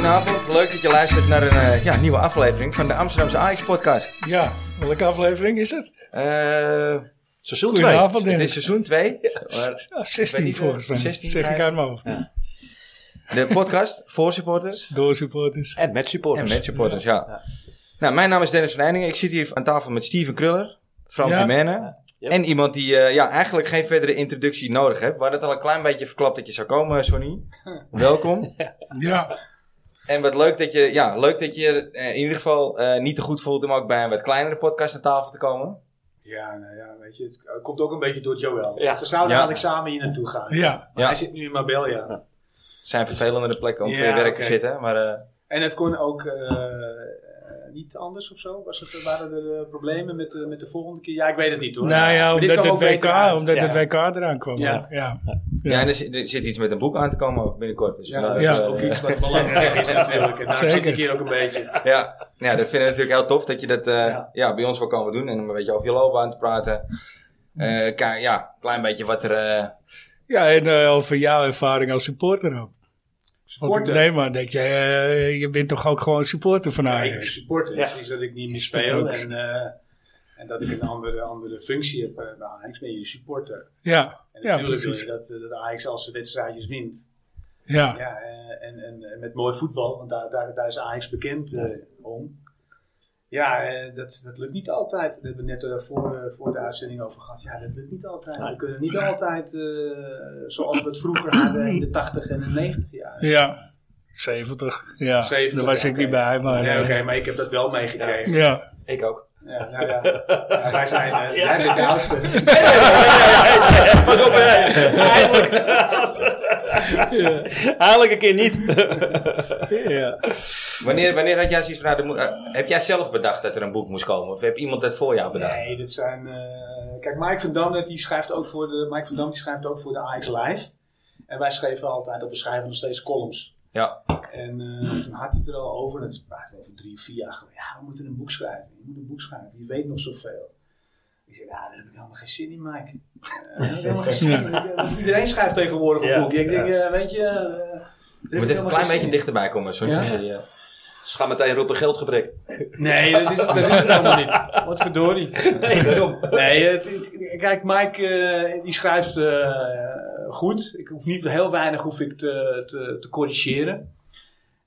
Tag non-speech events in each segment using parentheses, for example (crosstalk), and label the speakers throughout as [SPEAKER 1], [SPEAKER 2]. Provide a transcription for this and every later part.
[SPEAKER 1] leuk dat je luistert naar een eh, ja, nieuwe aflevering van de Amsterdamse Ajax-podcast.
[SPEAKER 2] Ja, welke aflevering is het?
[SPEAKER 1] Eh
[SPEAKER 3] Seizoen 2.
[SPEAKER 2] Goedenavond,
[SPEAKER 1] dit is
[SPEAKER 2] Dennis.
[SPEAKER 1] seizoen
[SPEAKER 3] (laughs)
[SPEAKER 1] 2.
[SPEAKER 2] Ja,
[SPEAKER 1] Ik weet
[SPEAKER 2] 16
[SPEAKER 4] eh,
[SPEAKER 1] niet,
[SPEAKER 2] volgens mij.
[SPEAKER 1] 16
[SPEAKER 2] zeg ik
[SPEAKER 1] krijgen.
[SPEAKER 2] uit mijn hoofd.
[SPEAKER 1] De podcast voor supporters
[SPEAKER 2] Door supporters.
[SPEAKER 3] En met
[SPEAKER 1] en
[SPEAKER 3] supporters.
[SPEAKER 1] met supporters, ja. Nou, mijn naam is Dennis van Einingen. Ik zit hier aan tafel met Steven Kruller, Frans
[SPEAKER 2] Ja.
[SPEAKER 1] ja.
[SPEAKER 3] Ja.
[SPEAKER 1] En iemand die eh, ja, eigenlijk geen verdere introductie nodig heeft. We hadden het al een klein beetje verklapt dat je zou komen,
[SPEAKER 3] (laughs)
[SPEAKER 1] Sonny. Welkom.
[SPEAKER 2] Ja,
[SPEAKER 1] En wat leuk dat je, ja, leuk dat je eh, in ieder geval eh, niet te goed voelt om ook bij een wat kleinere podcast aan tafel te komen.
[SPEAKER 4] Ja, nou ja, weet je, het komt ook een beetje door Joel.
[SPEAKER 3] Ja.
[SPEAKER 4] Ze zouden
[SPEAKER 1] Ja.
[SPEAKER 4] eigenlijk samen hier naartoe gaan.
[SPEAKER 2] ja.
[SPEAKER 4] Maar
[SPEAKER 1] Ja.
[SPEAKER 4] Hij zit nu in Marbella.
[SPEAKER 1] Het zijn vervelende plekken om
[SPEAKER 4] Dus- Ja,
[SPEAKER 1] voor je werk te
[SPEAKER 4] oké.
[SPEAKER 1] zitten. Maar eh,
[SPEAKER 4] En het kon ook eh, niet anders of zo? Was het, waren er eh, problemen met, de- met de volgende keer? Ja, ik weet het niet hoor.
[SPEAKER 2] Nou ja,
[SPEAKER 4] Maar dit
[SPEAKER 2] omdat,
[SPEAKER 4] kwam
[SPEAKER 2] het
[SPEAKER 4] ook beter
[SPEAKER 2] WK,
[SPEAKER 4] uit.
[SPEAKER 2] omdat
[SPEAKER 4] Ja.
[SPEAKER 2] het WK eraan kwam.
[SPEAKER 4] Ja.
[SPEAKER 2] ook, Ja.
[SPEAKER 1] ja. en er, zit, er zit iets met een boek aan te komen ook binnenkort. Dus
[SPEAKER 4] Ja,
[SPEAKER 1] vandaar
[SPEAKER 4] dat
[SPEAKER 1] dat,
[SPEAKER 4] is
[SPEAKER 1] eh,
[SPEAKER 4] ook iets wat belangrijk is natuurlijk. En daarom zit
[SPEAKER 2] Zeker.
[SPEAKER 4] ik hier ook een beetje.
[SPEAKER 1] (laughs) ja. ja, dat vinden we natuurlijk heel tof dat je dat eh, ja.
[SPEAKER 4] Ja.
[SPEAKER 1] bij ons wil komen doen. En om een beetje over je loopbaan te praten. Eh, ka- ja, klein beetje wat er... eh,
[SPEAKER 2] Ja, en eh, over jouw ervaring als supporter ook. Want
[SPEAKER 4] Supporter.
[SPEAKER 2] Nee, maar denk je, eh, je bent toch ook gewoon supporter van
[SPEAKER 4] Ja, ik ben
[SPEAKER 2] Ajax?
[SPEAKER 4] supporter.
[SPEAKER 3] Ja.
[SPEAKER 4] Dus is dat ik niet meer
[SPEAKER 2] Is dat
[SPEAKER 4] speel.
[SPEAKER 2] ook?
[SPEAKER 4] En, eh, en dat ik een andere, andere functie heb eh, bij Ajax. Ben je supporter.
[SPEAKER 2] Ja,
[SPEAKER 4] En
[SPEAKER 2] ja,
[SPEAKER 4] natuurlijk wil
[SPEAKER 2] precies.
[SPEAKER 4] je dat, eh, dat Ajax als ze wedstrijdjes wint.
[SPEAKER 2] Ja,
[SPEAKER 4] Ja, eh, en, en, en met mooi voetbal, want daar, daar, daar is Ajax bekend eh, om. Ja, eh, dat, dat lukt niet altijd. Daar hebben we net eh, voor, eh, voor de uitzending over gehad. Ja, dat lukt niet altijd. We kunnen niet altijd eh, zoals we het vroeger hadden in de 80 en de 90 jaar.
[SPEAKER 2] ja. 70. Ja,
[SPEAKER 4] 70,
[SPEAKER 2] daar was
[SPEAKER 4] ja,
[SPEAKER 2] ik niet
[SPEAKER 4] oké.
[SPEAKER 2] bij, maar...
[SPEAKER 4] Nee,
[SPEAKER 2] eh,
[SPEAKER 4] oké, maar ik heb dat wel meegekregen. Ja.
[SPEAKER 2] Ja,
[SPEAKER 3] Ik ook.
[SPEAKER 4] nou ja, Ja,
[SPEAKER 2] (laughs)
[SPEAKER 4] wij zijn, eh, jij bent de oudste.
[SPEAKER 3] Pas op, hè. Eigenlijk. Eigenlijk een keer niet.
[SPEAKER 4] (laughs)
[SPEAKER 2] ja.
[SPEAKER 1] wanneer, wanneer had jij zoiets van... nou, er moet- eh, heb jij zelf bedacht dat er een boek moest komen? Of heb iemand dat voor jou bedacht?
[SPEAKER 4] Nee, dat zijn. eh, kijk, Mike van Dam die schrijft ook voor de Mike van Dam die schrijft ook voor de Ajax Live. En wij schreven altijd, of we schrijven nog steeds columns.
[SPEAKER 1] Ja.
[SPEAKER 4] En eh, toen had hij het er al over, en dat praten we over drie, vier jaar geleden. Ja, we moeten een boek schrijven. Je moet een boek schrijven. Je weet nog zoveel. Ik zei, nou, daar heb ik helemaal geen zin in, Mike. Eh, daar heb ik helemaal geen zin in.
[SPEAKER 1] (laughs)
[SPEAKER 4] Ik- Iedereen schrijft tegenwoordig een
[SPEAKER 3] Ja,
[SPEAKER 4] boek. Ik denk, eh, weet je. eh, daar heb
[SPEAKER 1] Je
[SPEAKER 4] ik
[SPEAKER 1] moet even
[SPEAKER 4] helemaal
[SPEAKER 1] een klein
[SPEAKER 4] geen zin
[SPEAKER 1] beetje
[SPEAKER 4] in.
[SPEAKER 1] dichterbij komen. Sorry.
[SPEAKER 4] Ja?
[SPEAKER 1] Ja? Ja.
[SPEAKER 3] Ze gaan meteen roepen geldgebrek.
[SPEAKER 4] Nee, dat is, dat is het allemaal niet. Wat verdorie.
[SPEAKER 3] Nee, waarom?
[SPEAKER 4] Nee, het- het- kijk, Mike eh, die schrijft eh, goed. Ik hoef niet heel weinig hoef ik te, te, te corrigeren.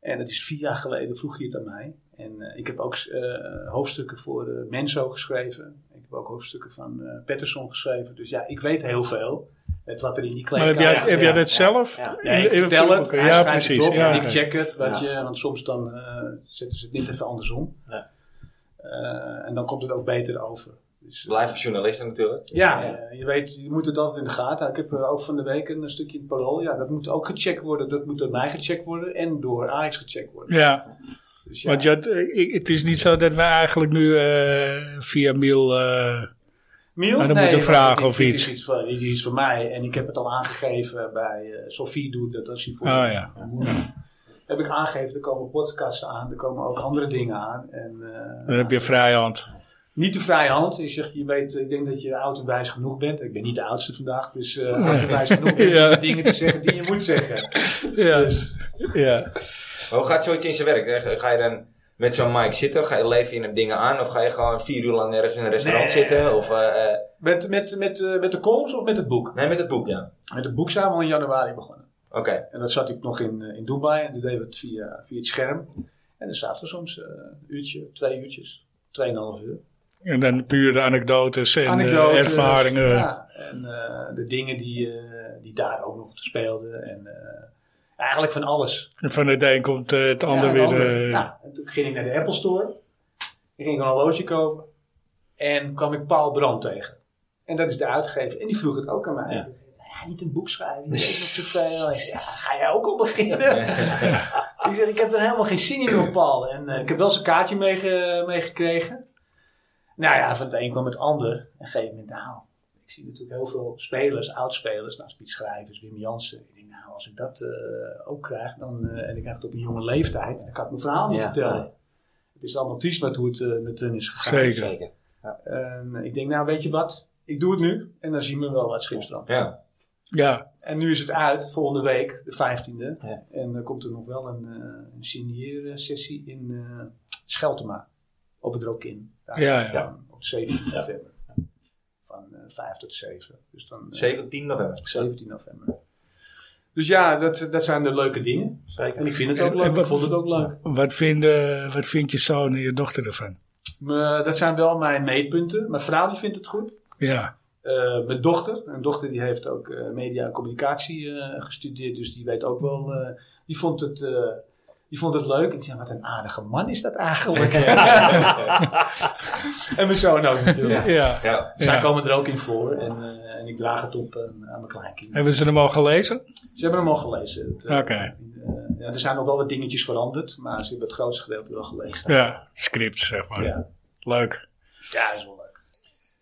[SPEAKER 4] En dat is vier jaar geleden vroeg hij het aan mij. En eh, ik heb ook eh, hoofdstukken voor eh, Menso geschreven. Ik heb ook hoofdstukken van eh Patterson geschreven. Dus ja, ik weet heel veel met wat er in die
[SPEAKER 2] Maar heb
[SPEAKER 4] kleedkamer...
[SPEAKER 2] jij, heb jij dat zelf?
[SPEAKER 3] ja.
[SPEAKER 4] Nee, ik
[SPEAKER 2] In- in-
[SPEAKER 4] vertel het, hij
[SPEAKER 2] Ja,
[SPEAKER 4] schrijft
[SPEAKER 2] precies.
[SPEAKER 4] het op
[SPEAKER 2] ja,
[SPEAKER 4] en
[SPEAKER 2] oké.
[SPEAKER 4] ik check het, weet je, want soms dan eh, zetten ze het net even andersom.
[SPEAKER 3] Ja.
[SPEAKER 4] Eh, en dan komt het ook beter over. Dus, eh,
[SPEAKER 1] Blijf een journalist natuurlijk.
[SPEAKER 4] ja, eh, je weet, je moet het altijd in de gaten houden. Ik heb eh, ook van de week een stukje in het parool. Ja, dat moet ook gecheckt worden. Dat moet door mij gecheckt worden en door Ajax gecheckt worden.
[SPEAKER 2] Ja,
[SPEAKER 4] Dus ja,
[SPEAKER 2] Want je had, eh, ik- het is niet zo dat wij eigenlijk nu eh, via mail. eh,
[SPEAKER 4] Miel?
[SPEAKER 2] Maar dan moet je
[SPEAKER 4] want
[SPEAKER 2] vragen
[SPEAKER 4] dit-
[SPEAKER 2] of
[SPEAKER 4] dit
[SPEAKER 2] iets.
[SPEAKER 4] Is iets van, dit is iets van mij en ik heb het al aangegeven bij eh Sophie doet dat als hij voor.
[SPEAKER 2] Oh ja.
[SPEAKER 4] Heb ik aangegeven, er komen podcasts aan, er komen ook andere dingen aan. En, eh,
[SPEAKER 2] dan heb je vrije hand.
[SPEAKER 4] Niet de vrije hand. Je zegt, je weet, ik denk dat je oud en wijs genoeg bent. Ik ben niet de oudste vandaag, dus eh oud en wijs
[SPEAKER 2] (laughs)
[SPEAKER 4] genoeg bent
[SPEAKER 2] Ja.
[SPEAKER 4] om de dingen te zeggen die je moet zeggen.
[SPEAKER 2] Ja. Dus, ja.
[SPEAKER 1] Maar hoe gaat zoiets in zijn werk? Hè? Ga je dan met zo'n mic zitten? Ga je leven je hem dingen aan? Of ga je gewoon vier uur lang ergens in een restaurant
[SPEAKER 4] Nee.
[SPEAKER 1] zitten? Of, eh, eh,
[SPEAKER 4] Met, met, met, eh, met de columns of met het boek?
[SPEAKER 1] nee, met het boek, ja.
[SPEAKER 4] Met het boek zijn we al in januari begonnen.
[SPEAKER 1] Oké.
[SPEAKER 4] En dat zat ik nog in, eh, in Dubai en toen deden we het via, via het scherm. En dan zaten we soms eh, een uurtje, twee uurtjes, tweeënhalf uur.
[SPEAKER 2] En dan pure anekdotes en eh,
[SPEAKER 4] Anekdotes,
[SPEAKER 2] ervaringen.
[SPEAKER 4] Ja, en eh, de dingen die, eh, die daar ook nog speelden. En eh, eigenlijk van alles.
[SPEAKER 2] En Van het een komt eh, het ander
[SPEAKER 4] Ja,
[SPEAKER 2] weer.
[SPEAKER 4] het andere.
[SPEAKER 2] eh,
[SPEAKER 4] Nou, en toen ging ik naar de Apple Store. Ik ging een horloge kopen. En kwam ik Paul Brand tegen. En dat is de uitgever. En die vroeg het ook aan mij. Hij zei, "Ja, niet een boek schrijven, je weet nog zoveel. Ik zei, ja, ga jij ook al beginnen? ik zeg, ik heb er helemaal geen zin in op Paul. En eh, ik heb wel zijn kaartje meege- meegekregen. nou ja, van het een kwam het ander. En op een gegeven moment, nou, ik zie natuurlijk heel veel spelers, oudspelers, nou, Piet Schrijvers, Wim Jansen. Ik denk, nou, als ik dat eh, ook krijg, dan, eh, en ik krijg het op een jonge leeftijd, dan kan ik mijn verhaal niet
[SPEAKER 3] Ja.
[SPEAKER 4] vertellen. Het is allemaal triest met hoe het eh, met hun is gegaan.
[SPEAKER 2] Zeker.
[SPEAKER 1] Zeker.
[SPEAKER 4] En ik denk, nou, weet je wat? Ik doe het nu en dan zien we wel wat schipstrand.
[SPEAKER 1] Ja.
[SPEAKER 2] Ja,
[SPEAKER 4] En nu is het uit, volgende week, de 15e.
[SPEAKER 1] Ja.
[SPEAKER 4] En dan komt er nog wel een, eh een signeersessie in eh, Scheltema. Op het Rokin. Daar.
[SPEAKER 2] Ja, ja.
[SPEAKER 4] Dan Op 17 november. Van eh 5 tot 7. Dus dan, eh,
[SPEAKER 5] 17 november.
[SPEAKER 4] 17 november. Dus ja, dat, dat zijn de leuke dingen. En ik vind het ook
[SPEAKER 2] En-
[SPEAKER 4] leuk.
[SPEAKER 2] en wat-
[SPEAKER 4] ik vond het ook leuk.
[SPEAKER 2] wat, vinden, wat vindt je zoon en je dochter ervan?
[SPEAKER 4] Maar eh, dat zijn wel mijn meetpunten. Mijn vrouw die vindt het goed.
[SPEAKER 2] Ja,
[SPEAKER 4] Eh, mijn dochter, mijn dochter die heeft ook eh, media en communicatie eh, gestudeerd, dus die weet ook wel, eh, die, vond het, eh, die vond het leuk. En die zei, wat een aardige man is dat eigenlijk. (laughs) en mijn zoon ook natuurlijk.
[SPEAKER 2] ja.
[SPEAKER 5] Ja.
[SPEAKER 4] Zij
[SPEAKER 2] Ja.
[SPEAKER 4] komen er ook in voor en, eh, en ik draag het op eh, aan mijn kleinkinderen.
[SPEAKER 2] Hebben ze hem al gelezen?
[SPEAKER 4] Ze hebben hem al gelezen. Het, eh,
[SPEAKER 2] Oké.
[SPEAKER 4] eh, ja, er zijn nog wel wat dingetjes veranderd, maar ze hebben het grootste gedeelte wel gelezen.
[SPEAKER 2] Ja, script zeg maar.
[SPEAKER 4] Ja,
[SPEAKER 2] Leuk.
[SPEAKER 4] ja is wel leuk.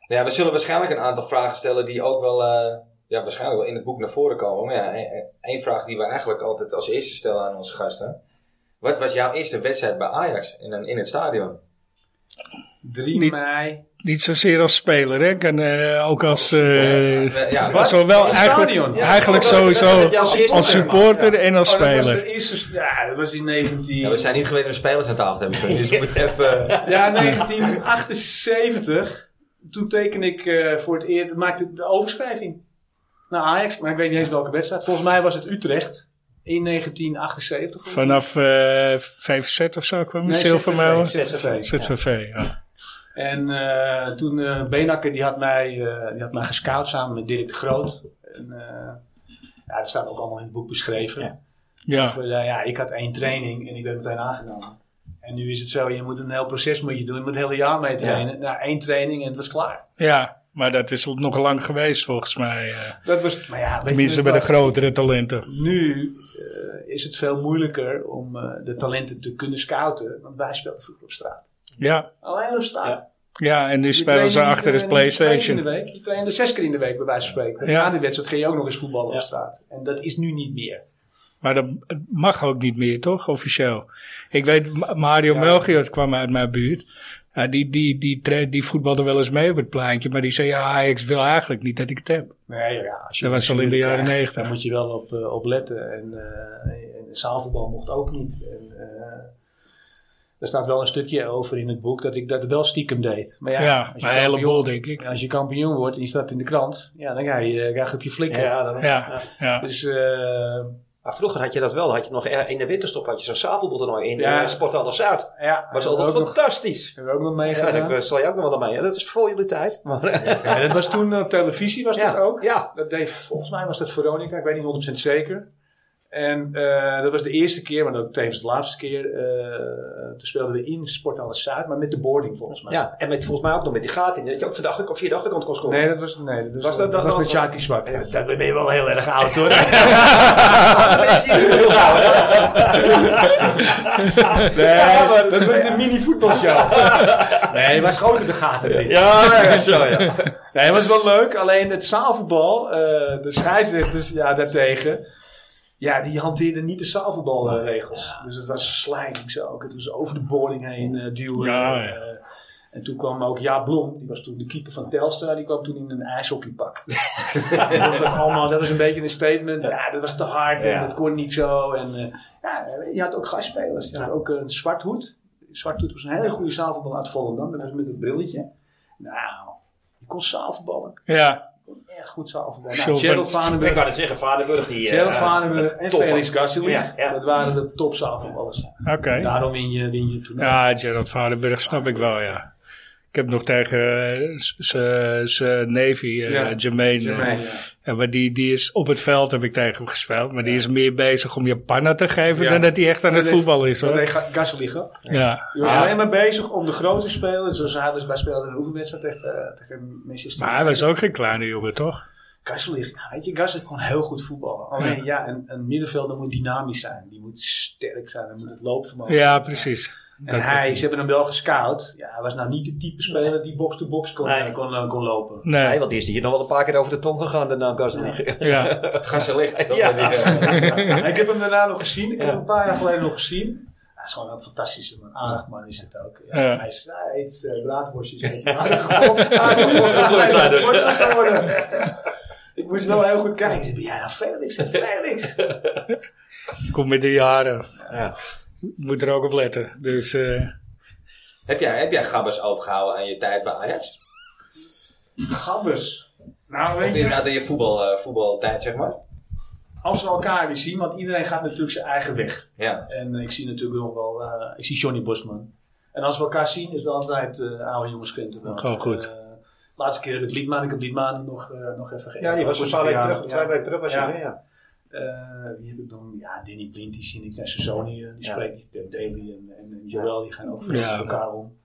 [SPEAKER 5] ja, we zullen waarschijnlijk een aantal vragen stellen die ook wel, eh, ja, waarschijnlijk wel in het boek naar voren komen. Maar ja, e- e- één vraag die we eigenlijk altijd als eerste stellen aan onze gasten. Wat was jouw eerste wedstrijd bij Ajax in, een- in het stadion?
[SPEAKER 4] 3
[SPEAKER 2] Niet-
[SPEAKER 4] mei.
[SPEAKER 2] Niet zozeer als speler, hè? En, eh, ook als. eh,
[SPEAKER 5] Eh, ja,
[SPEAKER 4] Wat?
[SPEAKER 2] Zowel
[SPEAKER 4] In het
[SPEAKER 2] eigenlijk,
[SPEAKER 4] stadion? Ja,
[SPEAKER 2] eigenlijk
[SPEAKER 5] dat- dat- dat-
[SPEAKER 2] sowieso
[SPEAKER 5] dat- dat- dat- dat-
[SPEAKER 2] als supporter en als
[SPEAKER 4] Oh, dat was
[SPEAKER 2] speler.
[SPEAKER 4] de eerste, ja, dat was in 19...
[SPEAKER 5] Ja, we zijn niet geweten om spelers aan tafel te hebben. sorry. Dus we moeten even...
[SPEAKER 4] Ja, 1978. Toen teken ik eh, voor het eerst, maakte de overschrijving naar Ajax, maar ik weet niet eens welke wedstrijd. Volgens mij was het Utrecht in 1978. volgens mij.
[SPEAKER 2] Vanaf eh VVZ of zo kwam
[SPEAKER 4] Nee,
[SPEAKER 2] nee, Zilvermouwen.
[SPEAKER 4] ZVV, ZVV, ja.
[SPEAKER 2] ZVV, ja.
[SPEAKER 4] En eh, toen eh Benakker die had, mij, eh, die had mij gescout samen met Dirk de Groot. En, eh, ja, dat staat ook allemaal in het boek beschreven.
[SPEAKER 2] Ja,
[SPEAKER 4] Of, eh, ja, ik had één training en ik werd meteen aangenomen. En nu is het zo, je moet een heel proces moet je doen. Je moet het hele jaar mee trainen. Nou, één training en het was klaar.
[SPEAKER 2] ja, maar dat is nog lang geweest volgens mij. eh.
[SPEAKER 4] Dat was, maar ja, weet je,
[SPEAKER 2] tenminste
[SPEAKER 4] het
[SPEAKER 2] bij de
[SPEAKER 4] was-
[SPEAKER 2] grotere talenten.
[SPEAKER 4] Nu eh, is het veel moeilijker om eh, de talenten te kunnen scouten. Want wij speelden vroeger op straat.
[SPEAKER 2] Ja,
[SPEAKER 4] Alleen op straat.
[SPEAKER 2] ja en nu
[SPEAKER 4] Je
[SPEAKER 2] spelen ze
[SPEAKER 4] trainde
[SPEAKER 2] achter
[SPEAKER 4] niet,
[SPEAKER 2] de
[SPEAKER 4] eh, niet twee keer
[SPEAKER 2] PlayStation.
[SPEAKER 4] In de week. Je trainde zes keer in de week, bij wijze van spreken.
[SPEAKER 2] Ja.
[SPEAKER 4] Na de wedstrijd ging je ook nog eens voetballen
[SPEAKER 1] Ja.
[SPEAKER 4] op straat. En dat is nu niet meer.
[SPEAKER 2] Maar dat mag ook niet meer, toch? Officieel. Ik weet, Ma- Mario Melchior kwam uit mijn buurt. Ja, die, die, die, tra- die voetbalde wel eens mee op het pleintje. Maar die zei, ja, Ajax wil eigenlijk niet dat ik het heb.
[SPEAKER 4] Nee, ja, als
[SPEAKER 2] Dat was
[SPEAKER 4] als
[SPEAKER 2] al in de
[SPEAKER 4] het
[SPEAKER 2] jaren
[SPEAKER 4] krijgt,
[SPEAKER 2] 90.
[SPEAKER 4] Daar moet je wel op, eh, op letten. En, eh, en zaalvoetbal mocht ook niet. En, eh, er staat wel een stukje over in het boek dat ik dat wel stiekem deed. Maar ja,
[SPEAKER 2] Ja,
[SPEAKER 4] als je
[SPEAKER 2] maar een heleboel,
[SPEAKER 4] kampioen-
[SPEAKER 2] denk ik.
[SPEAKER 4] Ja, als je kampioen wordt en je staat in de krant, ja, dan ga je, eh, ga je op je flikken.
[SPEAKER 1] daarom.
[SPEAKER 2] Ja, ja.
[SPEAKER 4] Dus eh,
[SPEAKER 1] Maar vroeger had je dat wel. Had je nog eh, in de winterstop had je zo'n zaalvoetbaltoernooi in
[SPEAKER 4] Ja.
[SPEAKER 1] eh, Sport Alles Zuid.
[SPEAKER 4] ja,
[SPEAKER 1] Was
[SPEAKER 4] hebben we
[SPEAKER 1] altijd
[SPEAKER 4] ook nog,
[SPEAKER 1] fantastisch.
[SPEAKER 4] hebben we ook nog
[SPEAKER 1] Ja,
[SPEAKER 4] meegedaan.
[SPEAKER 1] daar heb- zal eh, je ook nog wel aan mee. hè? Dat is voor jullie tijd. (laughs) Maar, eh,
[SPEAKER 4] Ja, dat was toen eh, op televisie, was dat ook?
[SPEAKER 1] Ja.
[SPEAKER 4] Dat deed, volgens mij was dat Veronica, ik weet niet 100% zeker. En eh, dat was de eerste keer, maar ook tevens de laatste keer. eh, toen speelden we in Sport Alles Zuid, maar met de boarding volgens mij.
[SPEAKER 1] ja. En met, volgens mij ook nog met die gaten in. Dat je ook van de achterkant, via de achterkant kon scoren.
[SPEAKER 4] Nee, dat was, nee, dat was,
[SPEAKER 1] Was dat-
[SPEAKER 4] dat
[SPEAKER 1] dat
[SPEAKER 4] was met
[SPEAKER 1] dan-
[SPEAKER 4] Sjaki Zwart.
[SPEAKER 1] Ja.
[SPEAKER 4] dat ben je wel heel erg oud
[SPEAKER 1] (laughs)
[SPEAKER 4] hoor.
[SPEAKER 1] dat zie je heel gauw. hè?
[SPEAKER 4] nee, dat was een mini
[SPEAKER 1] (laughs)
[SPEAKER 4] voetbalshow. nee, maar schoon in de gaten erin.
[SPEAKER 1] Ja,
[SPEAKER 6] (laughs)
[SPEAKER 1] ja, zo ja.
[SPEAKER 4] Nee, het was wel leuk. Alleen het zaalvoetbal, eh, de scheidsrechters ja, daartegen, ja, die hanteerden niet de zaalvoetbalregels. Dus het was verslijting zo ook. Het was over de boarding heen eh, duwen.
[SPEAKER 2] Ja, ja.
[SPEAKER 4] Eh, en toen kwam ook Jaap Blom, die was toen de keeper van Telstra, die kwam toen in een ijshockeypak. Die vond dat, allemaal, dat was een beetje een statement. Ja, dat was te hard en
[SPEAKER 1] Ja.
[SPEAKER 4] dat kon niet zo. En, eh, ja, je had ook gastspelers. Je had ook een zwarthoed. Zwarthoed was een hele goede zaalvoetbal uit Volendam. Dat was met het brilletje. Nou, je kon zaalvoetballen.
[SPEAKER 2] ja.
[SPEAKER 4] Je kon echt goed zaalvoetballen. Nou,
[SPEAKER 2] Sjoerd van-
[SPEAKER 4] Gerald
[SPEAKER 6] Ik
[SPEAKER 4] Vanenburg,
[SPEAKER 6] wou het zeggen, Vaderburg die... eh,
[SPEAKER 4] Gerald Vanenburg en
[SPEAKER 6] topper.
[SPEAKER 4] Felix Gasselief.
[SPEAKER 6] Ja, ja.
[SPEAKER 4] Dat waren de top zaalvoetballers.
[SPEAKER 2] Oké.
[SPEAKER 4] Daarom win je, win je toen.
[SPEAKER 2] Ja, Gerald Vaderburg snap ik wel, ja. Ik heb nog tegen eh, zijn neefie, eh,
[SPEAKER 4] Ja,
[SPEAKER 2] Jermaine. eh, ja, maar die, die is op het veld, heb ik tegen hem gespeeld. Maar die is meer bezig om je pannen te geven
[SPEAKER 4] Ja.
[SPEAKER 2] dan dat hij echt aan het voetbal is,
[SPEAKER 4] Nee,
[SPEAKER 2] hoor.
[SPEAKER 4] Gasselief ook.
[SPEAKER 2] Ja.
[SPEAKER 4] Je was
[SPEAKER 6] Ah.
[SPEAKER 4] alleen maar bezig om de grote spelers. Zoals hij was, wij speelden een oefenwedstrijd tegen, eh, tegen Manchester
[SPEAKER 2] Maar hij was ook geen kleine jongen, toch?
[SPEAKER 4] Gasselig, ja, weet je, Gasselig kon heel goed voetballen. Alleen ja, een, een middenvelder moet dynamisch zijn. Die moet sterk zijn. Dan moet het loopvermogen
[SPEAKER 2] Ja, precies.
[SPEAKER 4] En hij, ze hebben hem wel gescout. Ja, hij was nou niet de type speler die box-to-box kon,
[SPEAKER 1] Nee.
[SPEAKER 4] kon, eh, kon lopen.
[SPEAKER 1] Nee,
[SPEAKER 2] Nee,
[SPEAKER 1] want die is hier nog wel een paar keer over de tong gegaan, de naam Gazelich.
[SPEAKER 2] ja.
[SPEAKER 5] Gassen licht. dat
[SPEAKER 1] Ja.
[SPEAKER 5] weet ik, eh.
[SPEAKER 4] Ja, ik heb hem daarna nog gezien. Ik heb hem een paar jaar geleden nog gezien. Hij is gewoon een fantastische man. Aardig man is het ook. Ja,
[SPEAKER 2] Ja.
[SPEAKER 4] Hij, is, hij eet (laughs) eh, braadworstjes. Hij is een forse- hij is een forse geworden. Ik Ik moest wel heel goed kijken. Ik zei, ben jij nou Felix? Ik zei, Felix!
[SPEAKER 2] Kom met de jaren.
[SPEAKER 1] Ja.
[SPEAKER 2] Moet er ook op letten. Dus eh,
[SPEAKER 5] Heb jij, heb jij gabbers overgehouden aan je tijd bij Ajax?
[SPEAKER 4] Gabbers. Nou,
[SPEAKER 5] Of
[SPEAKER 4] weet je,
[SPEAKER 5] inderdaad aan je voetbal, eh, voetbaltijd, zeg maar?
[SPEAKER 4] als we elkaar weer zien, want iedereen gaat natuurlijk zijn eigen weg.
[SPEAKER 5] Ja.
[SPEAKER 4] En ik zie natuurlijk nog wel, eh, ik zie Johnny Bosman. En als we elkaar zien, is het altijd eh oude jongenskind. wel.
[SPEAKER 2] Gewoon goed.
[SPEAKER 4] Eh, laatste keer heb ik Liedman, ik heb Liedman nog, eh, nog even geëerd.
[SPEAKER 1] Ja, die was
[SPEAKER 4] Voor
[SPEAKER 1] een
[SPEAKER 4] zijn
[SPEAKER 1] paar weken
[SPEAKER 4] verjaardag,
[SPEAKER 1] terug, twee
[SPEAKER 4] ja.
[SPEAKER 1] weken terug was
[SPEAKER 4] Ja.
[SPEAKER 1] je weer, ja.
[SPEAKER 4] Eh, wie heb ik dan? Ja, Danny Blind, die zie ik. En Sassoni, eh, die
[SPEAKER 1] Ja.
[SPEAKER 4] spreekt ik. En Daly en, en, en Joel, die gaan ook veel
[SPEAKER 2] Ja.
[SPEAKER 4] met elkaar om.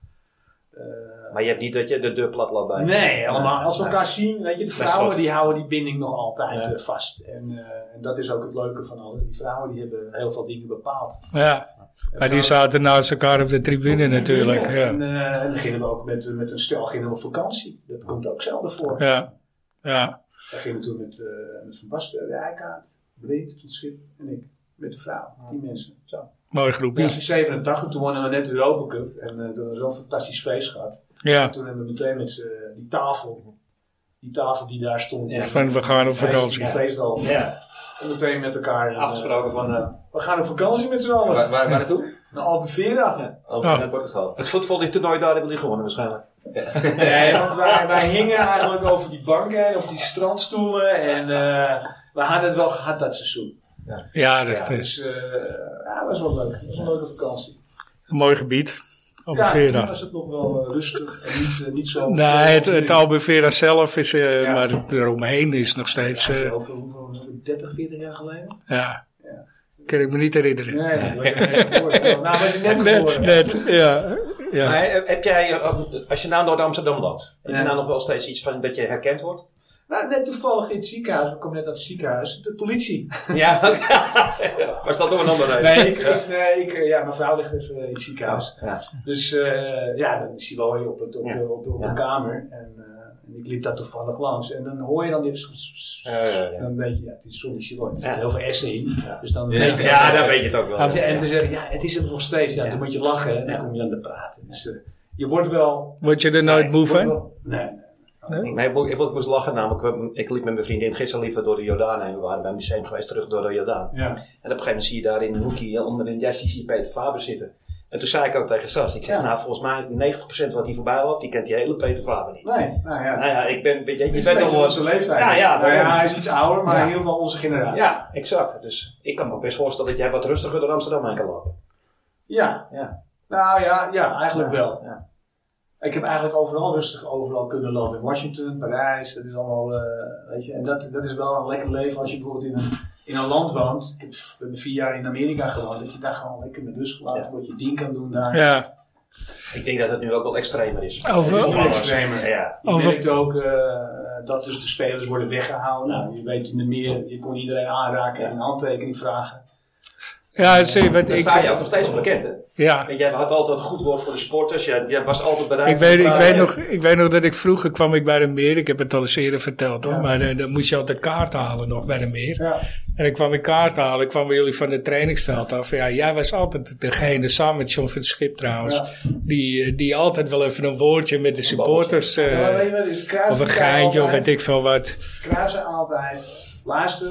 [SPEAKER 4] Eh,
[SPEAKER 1] Maar je hebt niet dat je de deur plat laat bij.
[SPEAKER 4] nee, allemaal. Als we elkaar zien, weet je, de
[SPEAKER 1] Dat is
[SPEAKER 4] vrouwen
[SPEAKER 1] goed.
[SPEAKER 4] die houden die binding nog altijd
[SPEAKER 1] Ja.
[SPEAKER 4] eh, vast. En, eh, en dat is ook het leuke van alles. Die vrouwen die hebben heel veel dingen bepaald.
[SPEAKER 2] ja. Maar die zaten naast elkaar op de tribune natuurlijk.
[SPEAKER 4] En
[SPEAKER 2] Ja.
[SPEAKER 4] eh, en beginnen we ook met, met een stel gingen we op vakantie. Dat komt ook zelden voor.
[SPEAKER 2] Ja. ja.
[SPEAKER 4] We gingen toen met, eh, met Van Basten, de Eikaart, Blind, Van Schip en ik. Met de vrouw, tien mensen. Zo.
[SPEAKER 2] Mooi
[SPEAKER 4] Ja.
[SPEAKER 2] groepje.
[SPEAKER 4] In 87, toen wonnen we net de Europa Cup. En eh, toen hebben we zo'n fantastisch feest gehad.
[SPEAKER 2] Ja.
[SPEAKER 4] Toen hebben we meteen met z'n- die tafel, die tafel die daar stond. Ja,
[SPEAKER 2] Van we gaan op vakantie.
[SPEAKER 4] Die feestdal.
[SPEAKER 1] Ja.
[SPEAKER 4] En meteen met elkaar. eh,
[SPEAKER 1] Afgesproken van eh,
[SPEAKER 4] we gaan op vakantie met z'n allen.
[SPEAKER 5] Waar, waar, waar naartoe?
[SPEAKER 4] Naar Albufeira.
[SPEAKER 5] Over
[SPEAKER 2] Oh.
[SPEAKER 5] naar Portugal.
[SPEAKER 1] het voetbal die toernooi daar hebben jullie gewonnen waarschijnlijk.
[SPEAKER 4] Nee, want wij, wij hingen eigenlijk over die banken en over die strandstoelen. En eh, we hadden het wel gehad dat seizoen.
[SPEAKER 2] Ja, dat
[SPEAKER 4] Ja,
[SPEAKER 2] is
[SPEAKER 4] dus eh, ja, dat was wel leuk. Dat was een leuke vakantie.
[SPEAKER 2] een mooi gebied.
[SPEAKER 4] Ja, toen
[SPEAKER 2] Albufeira.
[SPEAKER 4] was het nog wel eh, rustig en niet, eh, niet zo...
[SPEAKER 2] Nee, het, het Albufeira zelf is, eh,
[SPEAKER 4] Ja.
[SPEAKER 2] maar eromheen is nog steeds.
[SPEAKER 4] Ja,
[SPEAKER 2] eh,
[SPEAKER 4] over hoeveel was het, 30, 40 jaar geleden?
[SPEAKER 2] ja.
[SPEAKER 4] Ja.
[SPEAKER 2] Kan ik me niet herinneren.
[SPEAKER 4] Nee, dat was net geboren. Nou, was je
[SPEAKER 2] (laughs)
[SPEAKER 4] net
[SPEAKER 2] Net,
[SPEAKER 4] geboren.
[SPEAKER 2] net, ja. ja.
[SPEAKER 1] Maar, eh, heb jij, eh, als je nou door Amsterdam loopt, heb je
[SPEAKER 4] Ja.
[SPEAKER 1] nou nog wel steeds iets van dat je herkend wordt?
[SPEAKER 4] Nou, net toevallig in het ziekenhuis. We komen net uit het ziekenhuis. De politie.
[SPEAKER 1] (laughs) (laughs) Ja, was dat nog een andere reden?
[SPEAKER 4] Nee, ik, ik- nee ik, eh, ja, mijn vrouw ligt even in het ziekenhuis.
[SPEAKER 1] Ja.
[SPEAKER 4] Dus eh, ja, dan is die wel hier op, het, op,
[SPEAKER 1] Ja.
[SPEAKER 4] de, op, de- op de
[SPEAKER 1] Ja.
[SPEAKER 4] kamer. En, eh, en ik liep daar toevallig langs. En dan hoor je dan dit... soms-
[SPEAKER 1] Ja, ja, ja.
[SPEAKER 4] En Dan weet je, ja, het is zonder Chiloy. Er
[SPEAKER 1] Ja.
[SPEAKER 4] zit heel veel essen in. Dus dan
[SPEAKER 5] Ja.
[SPEAKER 4] weet je-
[SPEAKER 1] Ja, dan weet je het ook wel.
[SPEAKER 2] Ja.
[SPEAKER 4] En dan zeggen, ja, het is het nog steeds. Ja,
[SPEAKER 1] Ja.
[SPEAKER 4] dan moet je lachen en dan
[SPEAKER 1] Ja.
[SPEAKER 4] kom je aan de praten. Dus eh, je wordt wel...
[SPEAKER 2] Word je er nooit moe
[SPEAKER 4] wordt
[SPEAKER 2] van?
[SPEAKER 4] wel- Nee, nee.
[SPEAKER 1] Nee, ik, mo- ik moest lachen namelijk. Ik liep met mijn vriendin, gisteren liepen we door de Jordaan heen. We waren bij een museum geweest, terug door de Jordaan.
[SPEAKER 4] Ja.
[SPEAKER 1] En op een gegeven moment zie je daar in een hoekje eh, onder een jasje zie je Peter Faber zitten. En toen zei ik ook tegen Sas, ik zeg
[SPEAKER 4] Ja.
[SPEAKER 1] nou volgens mij 90% wat hier voorbij loopt, die kent die hele Peter Faber niet.
[SPEAKER 4] Nee, nou ja.
[SPEAKER 1] Nou ja, ik ben, weet je, je
[SPEAKER 4] Het is
[SPEAKER 1] bent
[SPEAKER 4] een beetje
[SPEAKER 1] al...
[SPEAKER 4] onze leeftijd.
[SPEAKER 1] Ja, ja,
[SPEAKER 4] nou,
[SPEAKER 1] daarom.
[SPEAKER 4] ja, hij is iets ouder, maar
[SPEAKER 1] Ja.
[SPEAKER 4] in ieder geval onze generatie.
[SPEAKER 1] Ja, exact. Dus ik kan me best voorstellen dat jij wat rustiger door Amsterdam heen kan lopen.
[SPEAKER 4] Ja.
[SPEAKER 1] Ja.
[SPEAKER 4] Nou ja, ja eigenlijk wel.
[SPEAKER 1] Ja.
[SPEAKER 4] Ik heb eigenlijk overal rustig overal kunnen lopen. In Washington, Parijs, dat is allemaal, eh, weet je. En dat, dat is wel een lekker leven als je bijvoorbeeld in een, in een land woont. Ik heb, we hebben vier jaar in Amerika gewoond. Dat je daar gewoon lekker met rust gelaten
[SPEAKER 1] Ja.
[SPEAKER 4] wordt. Je ding kan doen daar.
[SPEAKER 2] Ja.
[SPEAKER 1] Ik denk dat het nu ook wel extremer is.
[SPEAKER 2] Over-
[SPEAKER 1] Het is wel
[SPEAKER 4] Over-
[SPEAKER 1] extremer. Ja.
[SPEAKER 4] Je
[SPEAKER 2] Over-
[SPEAKER 4] merkt ook eh, dat dus de spelers worden weggehouden. Nou, je weet in de meer, je kon iedereen aanraken en een handtekening vragen.
[SPEAKER 2] Ja, zie, wat
[SPEAKER 1] Daar
[SPEAKER 2] ik,
[SPEAKER 1] sta je ook nog steeds op bekend, hè?
[SPEAKER 2] ja.
[SPEAKER 1] Weet je, jij had altijd een goed woord voor de sporters. Jij, jij was altijd bereid.
[SPEAKER 2] Ik weet,
[SPEAKER 1] om te
[SPEAKER 2] ik, weet
[SPEAKER 4] eh,
[SPEAKER 1] praten.
[SPEAKER 2] nog, ik weet nog dat ik vroeger kwam ik bij de meer. Ik heb het al eens eerder verteld hoor. Maar eh, dan moest je altijd kaart halen nog bij de meer.
[SPEAKER 4] Ja.
[SPEAKER 2] En dan kwam ik kaart halen. kwamen jullie van het trainingsveld af. Ja, jij was altijd degene, samen met John van het Schip trouwens.
[SPEAKER 4] Ja.
[SPEAKER 2] Die, eh, die altijd wel even een woordje met de supporters. eh,
[SPEAKER 4] maar weet je wat, het is Cruijff
[SPEAKER 2] of een
[SPEAKER 4] zei
[SPEAKER 2] geintje of
[SPEAKER 4] altijd-
[SPEAKER 2] weet ik veel wat.
[SPEAKER 4] Kruijf zei altijd, luister,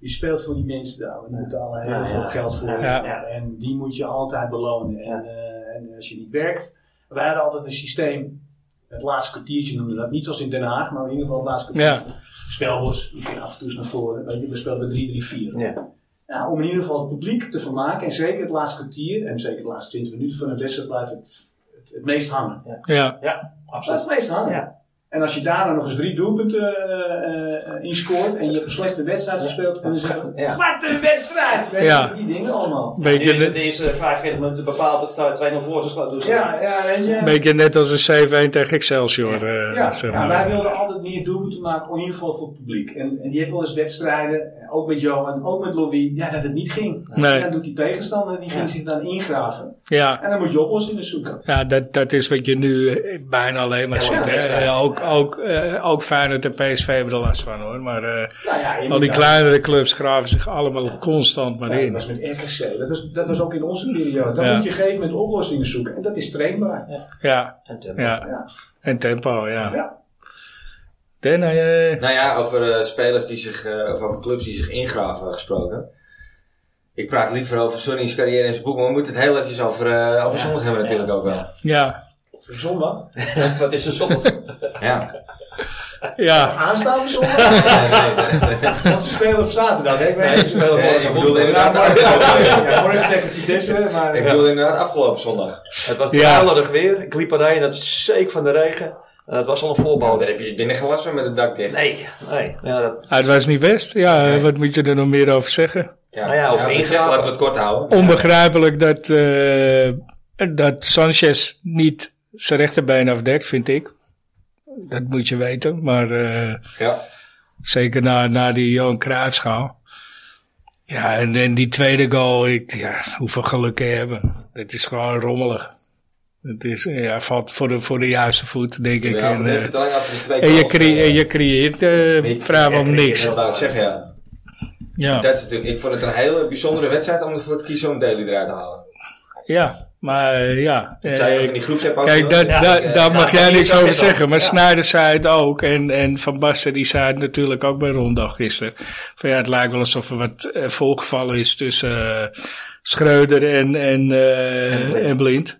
[SPEAKER 4] je speelt voor die mensen daar, want die betalen heel
[SPEAKER 1] Ja,
[SPEAKER 4] veel
[SPEAKER 1] ja.
[SPEAKER 4] geld voor.
[SPEAKER 2] Ja.
[SPEAKER 4] Ja, En die moet je altijd belonen. En, eh, en als je niet werkt, wij hadden altijd een systeem, het laatste kwartiertje noemden we dat, niet zoals in Den Haag, maar in ieder geval het laatste
[SPEAKER 2] Ja.
[SPEAKER 4] kwartiertje. Spelbos, die ging af en toe eens naar voren, weet je, we speelden 3-3-4.
[SPEAKER 1] Ja.
[SPEAKER 4] Nou, om in ieder geval het publiek te vermaken, en zeker het laatste kwartier, en zeker de laatste 20 minuten van de wedstrijd blijft het, het, het meest hangen.
[SPEAKER 2] Ja,
[SPEAKER 1] ja, absoluut.
[SPEAKER 4] Blijft het meest hangen.
[SPEAKER 1] Ja.
[SPEAKER 4] En als je daarna nog eens drie doelpunten eh, eh, in scoort en je hebt een slechte wedstrijd gespeeld, en dan zeggen we,
[SPEAKER 1] Ja.
[SPEAKER 4] wat een wedstrijd! Weet je,
[SPEAKER 2] Ja.
[SPEAKER 4] die dingen allemaal.
[SPEAKER 1] Nu
[SPEAKER 2] beetje,
[SPEAKER 1] is eh, het
[SPEAKER 2] ne-
[SPEAKER 1] de eerste 45 minuten bepaald. Het staat 2-0 voor. Ze slaan dus
[SPEAKER 4] Ja, ja, weet je.
[SPEAKER 2] beetje net als een 7-1 tegen Excelsior. eh,
[SPEAKER 4] Ja,
[SPEAKER 2] zeg
[SPEAKER 4] ja,
[SPEAKER 2] maar.
[SPEAKER 4] wij wilden altijd meer doelpunten maken, in ieder geval voor het publiek. En, en die hebben wel eens wedstrijden, eh, ook met Johan, ook met Louis, ja, dat het niet ging.
[SPEAKER 2] Nee.
[SPEAKER 4] En dan doet die tegenstander, die ging zich dan ingraven.
[SPEAKER 2] ja.
[SPEAKER 4] En dan moet je oplossingen zoeken.
[SPEAKER 2] Ja, dat, dat is wat je nu eh, bijna alleen maar
[SPEAKER 1] Ja,
[SPEAKER 2] ziet.
[SPEAKER 1] maar dat is
[SPEAKER 2] hè.
[SPEAKER 1] waar.
[SPEAKER 2] Ja, ook, ook, eh, ook Feyenoord en PSV hebben er last van hoor. Maar eh,
[SPEAKER 4] Nou ja,
[SPEAKER 2] al die
[SPEAKER 4] inderdaad.
[SPEAKER 2] kleinere clubs graven zich allemaal constant maar
[SPEAKER 4] Ja, dat
[SPEAKER 2] in.
[SPEAKER 4] was met RKC, dat was, dat was ook in onze periode. Dan
[SPEAKER 2] Ja.
[SPEAKER 4] moet je op een gegeven moment oplossingen zoeken. En dat is trainbaar.
[SPEAKER 1] eh,
[SPEAKER 2] Ja,
[SPEAKER 1] En Tim.
[SPEAKER 2] ja.
[SPEAKER 4] Ja.
[SPEAKER 2] En tempo, ja.
[SPEAKER 4] Ja.
[SPEAKER 2] Den, eh,
[SPEAKER 5] Nou ja, over eh, spelers die zich, eh, of over clubs die zich ingraven gesproken. Ik praat liever over Sonny's carrière en zijn boek, maar we moeten het heel eventjes over, eh, over zondag hebben natuurlijk ook wel.
[SPEAKER 2] ja,
[SPEAKER 4] Zondag?
[SPEAKER 1] Wat is er
[SPEAKER 2] (laughs)
[SPEAKER 1] zondag?
[SPEAKER 5] Ja.
[SPEAKER 2] ja.
[SPEAKER 4] Aanstaande zondag?
[SPEAKER 5] Nee, nee, nee, nee.
[SPEAKER 4] Want ze spelen op zaterdag. hè? Ik
[SPEAKER 1] Nee, ze
[SPEAKER 4] weet
[SPEAKER 1] spelen
[SPEAKER 5] Nee,
[SPEAKER 1] morgen
[SPEAKER 5] ik bedoelde
[SPEAKER 1] woensdag.
[SPEAKER 5] inderdaad afgelopen,
[SPEAKER 4] Ja, morgen tegen Vitesse, maar...
[SPEAKER 5] ik bedoelde inderdaad afgelopen zondag.
[SPEAKER 1] Het was
[SPEAKER 2] Ja.
[SPEAKER 1] druilerig weer. Ik liep erheen, het zeek van de regen. En het was al een
[SPEAKER 5] Oh, daar
[SPEAKER 1] voorbode.
[SPEAKER 5] heb je binnen gelassen met het dak dicht.
[SPEAKER 1] Nee, nee. Ja, dat,
[SPEAKER 2] Ah, het was niet best. Ja, eh, wat moet je er nog meer over zeggen?
[SPEAKER 5] Ja,
[SPEAKER 1] Nou ja, over
[SPEAKER 5] wat ik zeg,
[SPEAKER 1] ingraven.
[SPEAKER 5] Laten we het kort houden.
[SPEAKER 2] Onbegrijpelijk dat, eh, dat Sanchez niet zijn rechterbeen afdekt, vind ik. Dat moet je weten, maar eh,
[SPEAKER 5] Ja.
[SPEAKER 2] zeker na, na die Johan Cruijffschaal. Ja, en, en die tweede goal, ik, ja, hoeveel geluk kan je hebben? Dat is gewoon rommelig. Het is, eh, ja, valt voor de, voor de juiste voet, denk ik.
[SPEAKER 5] Ja,
[SPEAKER 2] en, eh,
[SPEAKER 5] we hebben het alleen over de twee
[SPEAKER 2] en, je
[SPEAKER 5] goals,
[SPEAKER 2] cre-
[SPEAKER 5] eh,
[SPEAKER 2] en je creëert eh vrijwel niks.
[SPEAKER 5] Heel duidelijk zeggen, ja.
[SPEAKER 2] Ja.
[SPEAKER 5] Dat is natuurlijk, ik vond het een hele bijzondere wedstrijd om ervoor te kiezen om Daly eruit te halen.
[SPEAKER 2] Ja, maar eh, ja.
[SPEAKER 5] Dat zei je
[SPEAKER 2] eh,
[SPEAKER 5] ook in die groepsapp ook.
[SPEAKER 2] Kijk,
[SPEAKER 5] nog.
[SPEAKER 2] daar,
[SPEAKER 5] Ja,
[SPEAKER 2] daar,
[SPEAKER 5] eh,
[SPEAKER 2] daar mag jij
[SPEAKER 1] die
[SPEAKER 2] niks
[SPEAKER 1] is ook
[SPEAKER 2] over
[SPEAKER 1] net al.
[SPEAKER 2] zeggen. Maar Snyder zei het ook. En, en Van Basten die zei het natuurlijk ook bij Rondag gisteren. Van ja, het lijkt wel alsof er wat eh, volgevallen is tussen eh, Schreuder en, en, eh,
[SPEAKER 1] En Blind.
[SPEAKER 2] en Blind.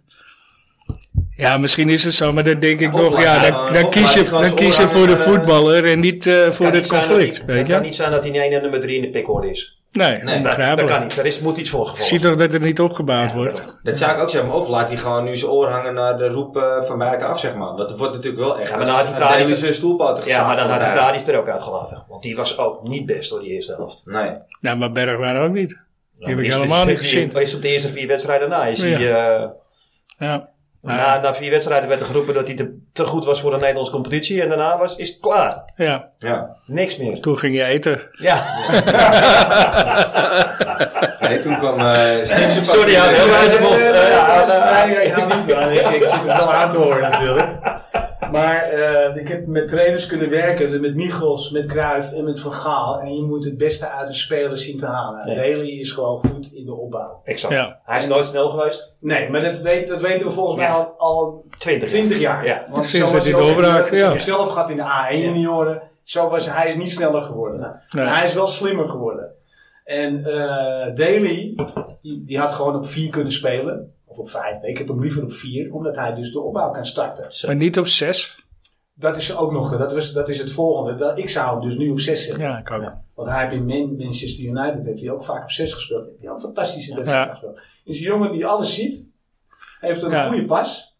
[SPEAKER 2] Ja, misschien is het zo, maar dan denk ik
[SPEAKER 5] Of
[SPEAKER 2] nog,
[SPEAKER 5] laat-
[SPEAKER 2] ja,
[SPEAKER 5] eh,
[SPEAKER 2] dan,
[SPEAKER 5] of
[SPEAKER 2] dan kies
[SPEAKER 5] laat
[SPEAKER 2] je,
[SPEAKER 5] die gast
[SPEAKER 2] dan kies je voor de
[SPEAKER 5] omhangen, eh,
[SPEAKER 2] voetballer en niet eh, voor
[SPEAKER 1] kan
[SPEAKER 2] het
[SPEAKER 1] niet zijn dat
[SPEAKER 2] conflict.
[SPEAKER 1] die-
[SPEAKER 2] Weet
[SPEAKER 1] Het kan
[SPEAKER 2] je?
[SPEAKER 1] niet zijn dat die ene en nummer drie in de pikorde is.
[SPEAKER 2] Nee,
[SPEAKER 5] Nee,
[SPEAKER 1] Dat, dat kan
[SPEAKER 2] onbegrijpelijk.
[SPEAKER 1] niet. Er is, moet iets voor
[SPEAKER 2] Ik zie
[SPEAKER 1] gevolgd.
[SPEAKER 2] toch dat het niet opgebouwd wordt.
[SPEAKER 5] Dat zou ik ook zeggen, maar of laat hij gewoon nu zijn oor hangen naar de roep eh, van buitenaf, zeg maar. Want het wordt natuurlijk wel echt.
[SPEAKER 1] Ja, maar dan had hij
[SPEAKER 5] Aan
[SPEAKER 1] Tadic-
[SPEAKER 5] Daly zijn stoelpoten
[SPEAKER 1] Ja, maar dan had
[SPEAKER 5] hij
[SPEAKER 1] hij Tadic er ook uitgelaten. Want die was ook niet best door die eerste helft.
[SPEAKER 5] Nee.
[SPEAKER 2] Nou, maar Bergwijn ook niet. Die heb ik
[SPEAKER 1] Is-
[SPEAKER 2] helemaal
[SPEAKER 1] is-
[SPEAKER 2] niet
[SPEAKER 1] is-
[SPEAKER 2] gezien.
[SPEAKER 1] Is op de eerste vier wedstrijden na. Je ziet, eh,
[SPEAKER 2] Ja.
[SPEAKER 1] na, na vier wedstrijden werd er geroepen dat hij te, te goed was voor de Nederlandse competitie. En daarna was, is het klaar.
[SPEAKER 2] ja,
[SPEAKER 5] Ja.
[SPEAKER 1] Niks meer.
[SPEAKER 2] toen ging je eten.
[SPEAKER 1] Ja,
[SPEAKER 5] Nee, toen kwam (laughs) eh Steve
[SPEAKER 1] sorry, ja, heel wijze mond. Eh, ja,
[SPEAKER 4] dat is
[SPEAKER 1] nou,
[SPEAKER 4] mij eigenlijk niet waar. Ik, ik zit het wel aan te horen natuurlijk. Maar eh, ik heb met trainers kunnen werken, dus met Michels, met Cruijff en met Van Gaal. En je moet het beste uit de spelers zien te halen.
[SPEAKER 1] Ja.
[SPEAKER 4] Daly is gewoon goed in de opbouw.
[SPEAKER 1] Exact.
[SPEAKER 2] Ja.
[SPEAKER 1] Hij is nooit snel geweest.
[SPEAKER 4] Nee, maar dat, weet, dat weten we volgens mij
[SPEAKER 1] Ja.
[SPEAKER 4] al, al
[SPEAKER 1] Twintig.
[SPEAKER 4] 20 jaar.
[SPEAKER 1] Ja.
[SPEAKER 4] Want
[SPEAKER 2] Sinds
[SPEAKER 4] zo
[SPEAKER 2] dat
[SPEAKER 4] was
[SPEAKER 2] hij
[SPEAKER 4] ook in de-
[SPEAKER 2] doorbraak,
[SPEAKER 4] Ik
[SPEAKER 2] ja.
[SPEAKER 4] heb hem zelf gehad in de A1
[SPEAKER 1] Ja.
[SPEAKER 4] junioren. Zo was hij is niet sneller geworden.
[SPEAKER 2] Nee.
[SPEAKER 4] Maar hij is wel slimmer geworden. En eh Daly, die, die had gewoon op 4 kunnen spelen. Of op 5. Ik heb hem liever op 4, omdat hij dus de opbouw kan starten.
[SPEAKER 2] Maar niet op zes.
[SPEAKER 4] Dat is ook nog, dat, was, dat is het volgende. Dat, ik zou hem dus nu op 6 zetten.
[SPEAKER 2] Ja, ik ook.
[SPEAKER 4] Want hij heeft in Man- Manchester United heeft hij ook vaak op 6 gespeeld. Hij heeft hij ook fantastische wedstrijden
[SPEAKER 2] Ja.
[SPEAKER 4] gespeeld. Is een jongen die alles ziet. Heeft een
[SPEAKER 2] Ja.
[SPEAKER 4] goede pas.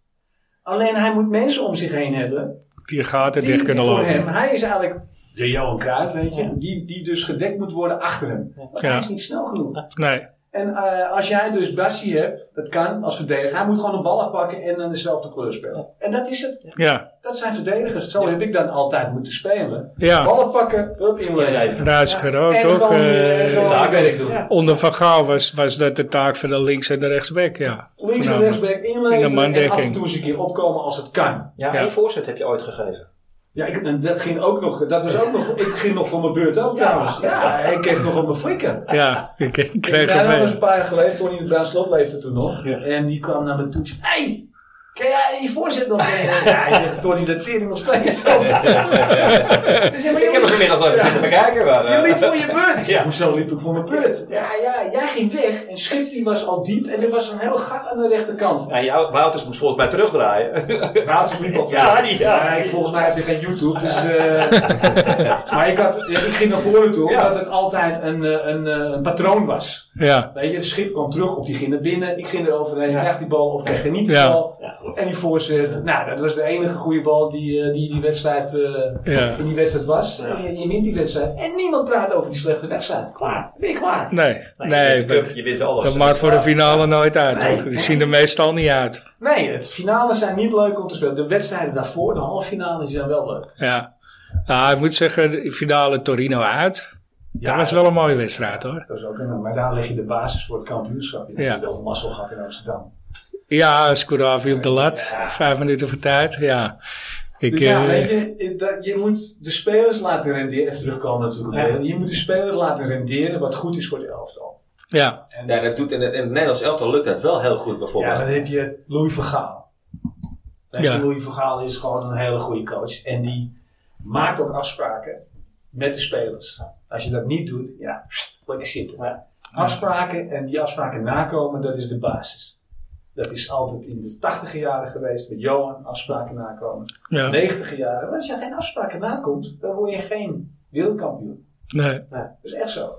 [SPEAKER 4] Alleen hij moet mensen om zich heen hebben.
[SPEAKER 2] Die gaten
[SPEAKER 4] Die
[SPEAKER 2] dicht kunnen
[SPEAKER 4] voor
[SPEAKER 2] lopen.
[SPEAKER 4] hem. Hij is eigenlijk de Johan Cruijff, weet je. Die, die dus gedekt moet worden achter hem. Want
[SPEAKER 2] Ja.
[SPEAKER 4] hij is niet snel genoeg.
[SPEAKER 2] Nee.
[SPEAKER 4] En eh, als jij dus Bassi hebt, dat kan als verdediger. Hij moet gewoon een bal afpakken en dan dezelfde kleur spelen. En dat is het.
[SPEAKER 2] Ja.
[SPEAKER 4] Dat zijn verdedigers. Zo heb ik dan altijd moeten spelen.
[SPEAKER 2] Ja.
[SPEAKER 4] Bal afpakken, hup, inleveren.
[SPEAKER 2] Daar is gerookt,
[SPEAKER 4] En
[SPEAKER 2] toch?
[SPEAKER 4] gewoon, eh,
[SPEAKER 2] Eh,
[SPEAKER 4] gewoon-
[SPEAKER 5] taakwerk doen.
[SPEAKER 4] Ja.
[SPEAKER 2] Onder Van Gaal was, was dat de taak van de links- en de rechtsback, ja.
[SPEAKER 4] Links en
[SPEAKER 2] Voornamelijk.
[SPEAKER 4] rechtsback
[SPEAKER 2] In de
[SPEAKER 4] inleveren en
[SPEAKER 2] mandekking.
[SPEAKER 4] af en toe eens een keer opkomen als het kan.
[SPEAKER 1] Ja,
[SPEAKER 2] Ja.
[SPEAKER 1] één voorzet heb je ooit gegeven.
[SPEAKER 4] Ja, ik, en dat ging ook nog, dat was ook nog, ik ging nog voor mijn beurt ook trouwens. Ja, ik kreeg nog op mijn flikken.
[SPEAKER 2] Ja, (laughs) ik ik
[SPEAKER 4] Ik
[SPEAKER 2] kreeg
[SPEAKER 4] ben
[SPEAKER 2] hem
[SPEAKER 4] wel eens een
[SPEAKER 2] mee.
[SPEAKER 4] paar jaar geleden, Tony de Bruin Slot leefde toen nog.
[SPEAKER 1] Ja.
[SPEAKER 4] En die kwam naar me toe en zei, hey, kan jij die voorzet nog (laughs) nemen? ja, ik zeg, Tony, dat tering nog
[SPEAKER 1] (laughs)
[SPEAKER 4] steeds op. Dus hij, "Maar
[SPEAKER 1] Ik heb hem
[SPEAKER 4] jullie-
[SPEAKER 1] vanmiddag wel even zitten bekijken. Maar, eh,
[SPEAKER 4] Je liep voor je beurt. Ik zeg,
[SPEAKER 1] Ja.
[SPEAKER 4] hoezo liep ik voor mijn beurt? Ja, ja, jij ging weg en Schip die was al diep en er was een heel gat aan de rechterkant.
[SPEAKER 1] Ja, jou- Wouters moet volgens mij terugdraaien.
[SPEAKER 4] Wouters liep op.
[SPEAKER 1] Ja, die- ja.
[SPEAKER 4] Maar ik- volgens mij heb je geen YouTube.
[SPEAKER 1] (laughs)
[SPEAKER 4] Dus, eh, maar ik, had, ik ging naar voren toe
[SPEAKER 1] Ja.
[SPEAKER 4] omdat het altijd een, eh, een, eh, een patroon was.
[SPEAKER 2] Ja.
[SPEAKER 4] Weet je, het schip kwam terug of die ging naar binnen. Ik ging er overheen,
[SPEAKER 1] Ja.
[SPEAKER 4] krijg die bal of kreeg er niet de
[SPEAKER 2] Ja.
[SPEAKER 4] bal.
[SPEAKER 1] Ja.
[SPEAKER 4] En die voorzet. Nou, dat was de enige goede bal die, eh, die, die wedstrijd, eh,
[SPEAKER 2] Ja.
[SPEAKER 4] in die wedstrijd was.
[SPEAKER 1] Ja.
[SPEAKER 4] En Je, je wint die wedstrijd. En niemand praat over die slechte wedstrijd. Klaar. Ben je klaar?
[SPEAKER 2] Nee,
[SPEAKER 1] je,
[SPEAKER 2] nee.
[SPEAKER 1] wint de cup,
[SPEAKER 2] Dat,
[SPEAKER 1] je wint alles.
[SPEAKER 2] dat maakt voor de finale nooit uit, toch? Die zien er meestal niet uit.
[SPEAKER 4] Nee, het finales zijn niet leuk om te spelen. De wedstrijden daarvoor, de halve finales, die zijn wel leuk.
[SPEAKER 2] Ja. Nou, ik moet zeggen, de finale Torino uit. Dat was wel een mooie wedstrijd, hoor.
[SPEAKER 4] Dat is ook een, maar daar leg je de basis voor het kampioenschap. Je
[SPEAKER 2] Ja.
[SPEAKER 4] hebt wel een mazzel gehad in Amsterdam.
[SPEAKER 2] Ja, Scoravi op de lat.
[SPEAKER 4] Ja.
[SPEAKER 2] Vijf minuten voor tijd, ja. Ik,
[SPEAKER 4] Dus ja,
[SPEAKER 2] eh,
[SPEAKER 4] weet je, eh, dat- je moet de spelers laten renderen. Even terugkomen natuurlijk. op
[SPEAKER 1] Ja.
[SPEAKER 4] Nederland. Je moet de spelers laten renderen wat goed is voor de elftal.
[SPEAKER 2] ja.
[SPEAKER 4] En,
[SPEAKER 5] Ja, dat doet in, het- in het Nederlands elftal lukt dat wel heel goed
[SPEAKER 4] ja,
[SPEAKER 5] bijvoorbeeld.
[SPEAKER 4] dan heb je Louis van Gaal. Weet
[SPEAKER 2] Ja.
[SPEAKER 4] je, Louis van Gaal is gewoon een hele goede coach. En die Maak ook afspraken met de spelers. Als je dat niet doet, ja, pst, lekker zitten. Maar afspraken en die afspraken nakomen, dat is de basis. Dat is altijd in de 80 jaren geweest met Johan, afspraken nakomen.
[SPEAKER 2] Ja.
[SPEAKER 4] 90 jaren. Maar als je geen afspraken nakomt, dan word je geen wereldkampioen.
[SPEAKER 2] Nee.
[SPEAKER 4] Dat is echt zo.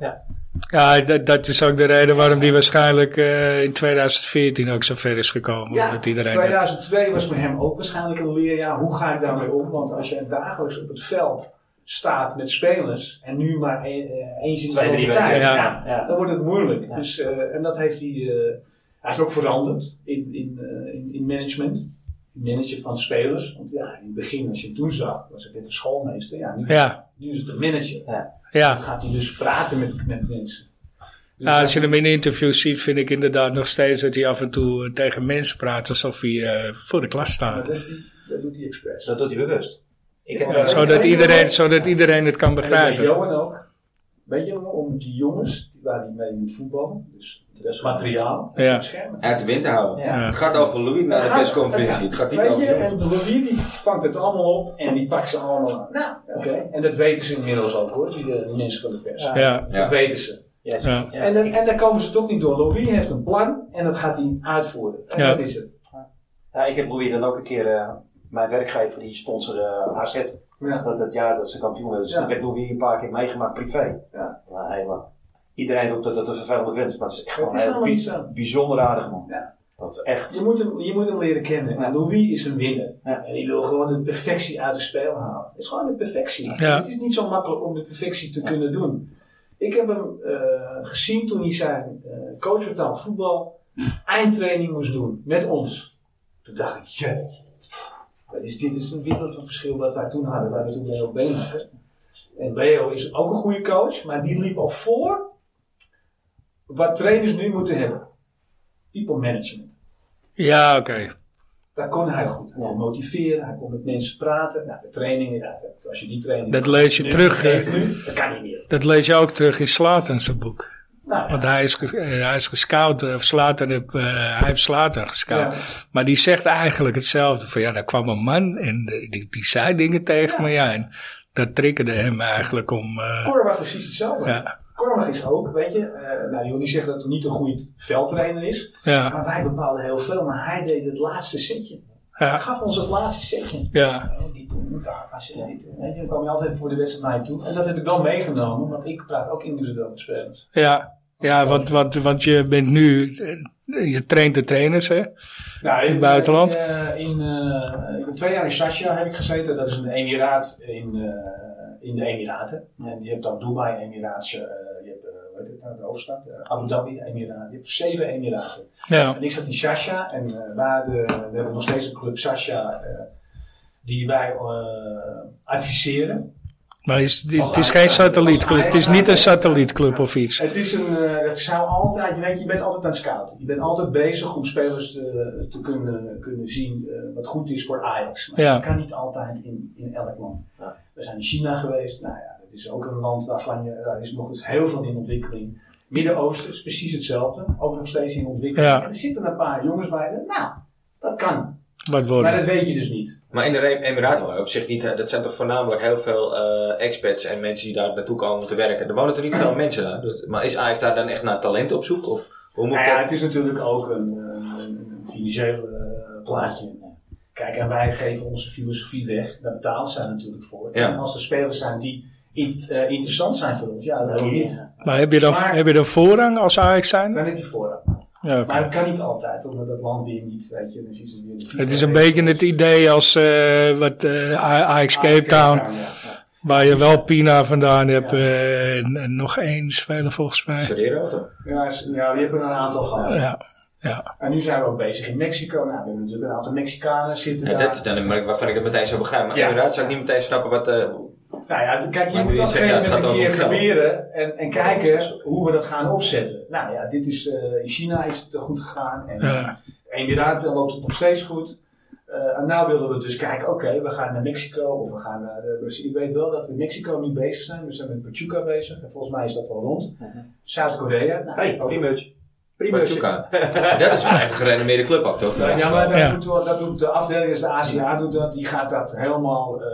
[SPEAKER 2] Ja, dat, dat is ook de reden waarom die waarschijnlijk eh, in 2014 ook zo ver is gekomen.
[SPEAKER 4] Ja,
[SPEAKER 2] omdat iedereen dat-
[SPEAKER 4] 2002 was voor hem ook waarschijnlijk een leerjaar. Hoe ga ik daarmee om? Want als je dagelijks op het veld staat met spelers en nu maar één- eh, eens in de
[SPEAKER 1] Twee, drie
[SPEAKER 4] zoveel tijd,
[SPEAKER 1] weken,
[SPEAKER 2] ja.
[SPEAKER 4] ja,
[SPEAKER 1] Ja.
[SPEAKER 4] dan wordt het moeilijk. Dus, eh, en dat heeft hij, eh, hij is ook veranderd in, in, eh, in, in management. In Manager van spelers. Want ja, in het begin, als je hem toen zag, was het net een schoolmeester. Ja, nu,
[SPEAKER 2] Ja,
[SPEAKER 4] nu is het een manager. Dan
[SPEAKER 2] ja.
[SPEAKER 4] gaat hij dus praten met, met mensen. Dus
[SPEAKER 2] Ja, als je hem in interviews ziet, vind ik inderdaad nog steeds dat hij af en toe eh, tegen mensen praat alsof hij eh, voor de klas
[SPEAKER 4] maar
[SPEAKER 2] staat.
[SPEAKER 4] dat, doet hij- dat doet hij expres.
[SPEAKER 1] Dat doet hij bewust. Ik heb,
[SPEAKER 4] Ja,
[SPEAKER 1] eh,
[SPEAKER 4] zo-
[SPEAKER 2] Zodat iedereen, zodat iedereen het kan
[SPEAKER 4] En bij
[SPEAKER 2] begrijpen.
[SPEAKER 4] Johan ook. Weet je, om die jongens die- waar hij mee moet voetballen, dus dat is materiaal,
[SPEAKER 2] Ja.
[SPEAKER 4] beschermen.
[SPEAKER 5] Uit de wind te houden.
[SPEAKER 1] Ja.
[SPEAKER 5] Het gaat over Louis naar de persconferentie. Het gaat niet
[SPEAKER 4] Weet
[SPEAKER 5] over
[SPEAKER 4] je,
[SPEAKER 5] Johan.
[SPEAKER 4] en Louis die vangt het allemaal op en die pakt ze allemaal aan. Nou, oké. En dat weten ze inmiddels ook hoor, die eh, mensen van de pers.
[SPEAKER 1] Ja.
[SPEAKER 2] Ja,
[SPEAKER 5] Ja.
[SPEAKER 4] Dat weten ze.
[SPEAKER 1] ja, zo-
[SPEAKER 2] ja.
[SPEAKER 1] ja.
[SPEAKER 4] En, dan, en daar komen ze toch niet door. Louis heeft een plan en dat gaat hij uitvoeren. En
[SPEAKER 2] Ja.
[SPEAKER 4] dat is het.
[SPEAKER 1] Ja, ik heb Louis dan ook een keer, eh, mijn werkgever, die sponsorde eh, AZ.
[SPEAKER 4] Ja.
[SPEAKER 1] Dat, dat jaar dat ze kampioen werden. Dus
[SPEAKER 4] Ja.
[SPEAKER 1] ik heb Louis een paar keer meegemaakt privé.
[SPEAKER 4] Ja.
[SPEAKER 1] Maar helemaal. Iedereen roept dat het een vervelende vent is, maar het is echt
[SPEAKER 4] Het
[SPEAKER 1] wel
[SPEAKER 4] is
[SPEAKER 1] een heel
[SPEAKER 4] helemaal niet
[SPEAKER 1] bi-
[SPEAKER 4] zo.
[SPEAKER 1] bijzonder aardig man.
[SPEAKER 4] Ja.
[SPEAKER 1] Dat is echt.
[SPEAKER 4] Je moet, hem, je moet hem leren kennen. En Louis is een winnaar.
[SPEAKER 1] Ja.
[SPEAKER 4] En die wil gewoon de perfectie uit het spel halen. Het is gewoon de perfectie.
[SPEAKER 2] Ja.
[SPEAKER 4] Het is niet zo makkelijk om de perfectie te kunnen doen. Ik heb hem eh, gezien toen hij zijn eh coach betaald voetbal eindtraining moest doen met ons. Toen dacht ik, jeetje. Wat is dit? Dit is een wereld van verschil wat wij toen hadden. Wij hadden toen Leo Beenhakker. En Leo is ook een goede coach, maar die liep al voor wat trainers nu moeten hebben. People management.
[SPEAKER 2] ja oké.
[SPEAKER 4] Dat kon hij goed. Hij kon motiveren, hij kon met mensen praten. Nou, de trainingen, ja, dat- als je die training
[SPEAKER 2] Dat lees je
[SPEAKER 4] nu
[SPEAKER 2] terug.
[SPEAKER 4] geeft
[SPEAKER 2] eh,
[SPEAKER 4] nu, dat kan niet meer.
[SPEAKER 2] Dat lees je ook terug in Slatan zijn boek.
[SPEAKER 4] Nou,
[SPEAKER 2] Want hij is, ge- eh, hij is gescout, eh, of Slatan, heeft, eh, hij heeft Slatan gescout.
[SPEAKER 4] Ja.
[SPEAKER 2] Maar die zegt eigenlijk hetzelfde. Van ja, daar kwam een man en eh, die, die zei dingen tegen me. Ja, en dat triggerde hem eigenlijk om... eh,
[SPEAKER 4] Korbach precies hetzelfde.
[SPEAKER 2] Ja.
[SPEAKER 4] Korbach is ook, weet je, eh, nou, jullie zeggen dat hij niet een goede veldtrainer is.
[SPEAKER 2] ja,
[SPEAKER 4] Maar wij bepaalden heel veel, maar hij deed het laatste setje. Hij
[SPEAKER 2] ja,
[SPEAKER 4] gaf ons het laatste setje.
[SPEAKER 2] ja,
[SPEAKER 4] Oh, dit doen moet daar, als je dit doet. Weet je, dan kwam je altijd voor de wedstrijd naar je toe. En dat heb ik wel meegenomen, want ik praat ook individueel met spelers.
[SPEAKER 2] ja. Ja, want, want, want je bent nu... eh, Je traint de trainers, hè?
[SPEAKER 4] Nou,
[SPEAKER 2] In het buitenland?
[SPEAKER 4] Ik, eh, in, eh, ik ben twee jaar in Sasha heb ik gezeten. Dat is een emiraat in, eh, in de Emiraten. En je hebt dan Dubai, Emiraatse, eh, je hebt eh, hoe heet het nou, de hoofdstad, eh, Abu Dhabi, Emiraten. Je hebt zeven Emiraten.
[SPEAKER 2] Ja,
[SPEAKER 4] En ik zat in Sasha en eh, waar de, we hebben nog steeds een club Sasha eh, die wij eh, adviseren.
[SPEAKER 2] maar is, het is geen satellietclub. Het is niet een satellietclub of iets.
[SPEAKER 4] Het is een, eh, het zou altijd, je weet, je bent altijd aan het scouten. Je bent altijd bezig om spelers eh, te, te kunnen, kunnen zien eh, wat goed is voor Ajax. Maar
[SPEAKER 2] Ja.
[SPEAKER 4] Dat kan niet altijd in, in elk land.
[SPEAKER 1] Ja.
[SPEAKER 4] We zijn in China geweest. Nou ja, dat is ook een land waarvan je, daar is nog eens heel veel in ontwikkeling. Midden-Oosten is precies hetzelfde. Ook nog steeds in ontwikkeling.
[SPEAKER 2] Ja.
[SPEAKER 4] En er zitten een paar jongens bij. die- Nou, dat kan.
[SPEAKER 2] Wat
[SPEAKER 4] Maar
[SPEAKER 2] worden.
[SPEAKER 4] dat weet je dus niet.
[SPEAKER 5] Maar in de Re- Emiraten wonen op zich niet. hè, Dat zijn toch voornamelijk heel veel eh, expats en mensen die daar naartoe komen om te werken. Er wonen toch niet veel mensen daar. Dus- maar is Ajax daar dan echt naar talent op zoek? Of hoe moet
[SPEAKER 4] Nou ja,
[SPEAKER 5] dat?
[SPEAKER 4] het is natuurlijk ook een, eh, een financieel eh, plaatje. Kijk, en wij geven onze filosofie weg. Daar betalen zij natuurlijk voor.
[SPEAKER 5] Ja.
[SPEAKER 4] En als er spelers zijn die in- eh, interessant zijn voor ons, ja, dan heb je niet.
[SPEAKER 2] Maar heb je dan,
[SPEAKER 4] Maar-
[SPEAKER 2] heb je dan voorrang als Ajax zijn?
[SPEAKER 4] Dan heb je voorrang.
[SPEAKER 2] Ja, oké.
[SPEAKER 4] Maar dat kan niet altijd, omdat dat land weer niet, weet je, dan is het weer de FIFA
[SPEAKER 2] Het is een beetje het idee als eh, wat eh, A- Ajax Cape Town,
[SPEAKER 4] Ah, ja.
[SPEAKER 2] waar je wel Pina vandaan hebt eh, en, en nog één speler volgens mij.
[SPEAKER 5] Serieiro toch?
[SPEAKER 4] Ja, is- ja, we hebben er een aantal gehad.
[SPEAKER 2] Ja, ja,
[SPEAKER 4] En nu zijn we ook bezig in Mexico. Nou, we hebben natuurlijk een aantal Mexicanen zitten
[SPEAKER 5] Ja,
[SPEAKER 4] daar.
[SPEAKER 5] dat is dan een merk waarvan ik het meteen zou begrijpen. Maar
[SPEAKER 4] Ja.
[SPEAKER 5] Emiraten zou ik niet meteen snappen wat... eh,
[SPEAKER 4] Nou ja, kijk, je
[SPEAKER 5] Maar
[SPEAKER 4] moet
[SPEAKER 5] nu
[SPEAKER 4] dat
[SPEAKER 5] je zegt, ja, het
[SPEAKER 4] gegeven moment
[SPEAKER 5] gaat
[SPEAKER 4] een
[SPEAKER 5] over
[SPEAKER 4] keer
[SPEAKER 5] geld.
[SPEAKER 4] proberen en, en kijken hoe we dat gaan opzetten. Nou ja, dit is, eh, in China is het eh, goed gegaan en
[SPEAKER 2] Ja.
[SPEAKER 4] Emiraten loopt het nog steeds goed. Eh, en nou willen we dus kijken, oké, we gaan naar Mexico of we gaan naar eh, Brazilië. Ik weet wel dat we in Mexico nu bezig zijn. We zijn met Pachuca bezig en volgens mij is dat al rond. Zuid-Korea. Nou,
[SPEAKER 1] Hey, primeurtje. Primeurtje.
[SPEAKER 5] Pachuca. (laughs) dat is wel echt een gerenommeerde club ook toch?
[SPEAKER 4] ja, maar dat
[SPEAKER 2] Ja.
[SPEAKER 4] doet wel- dat doet de afdeling, is de ACA doet dat. Die gaat dat helemaal eh,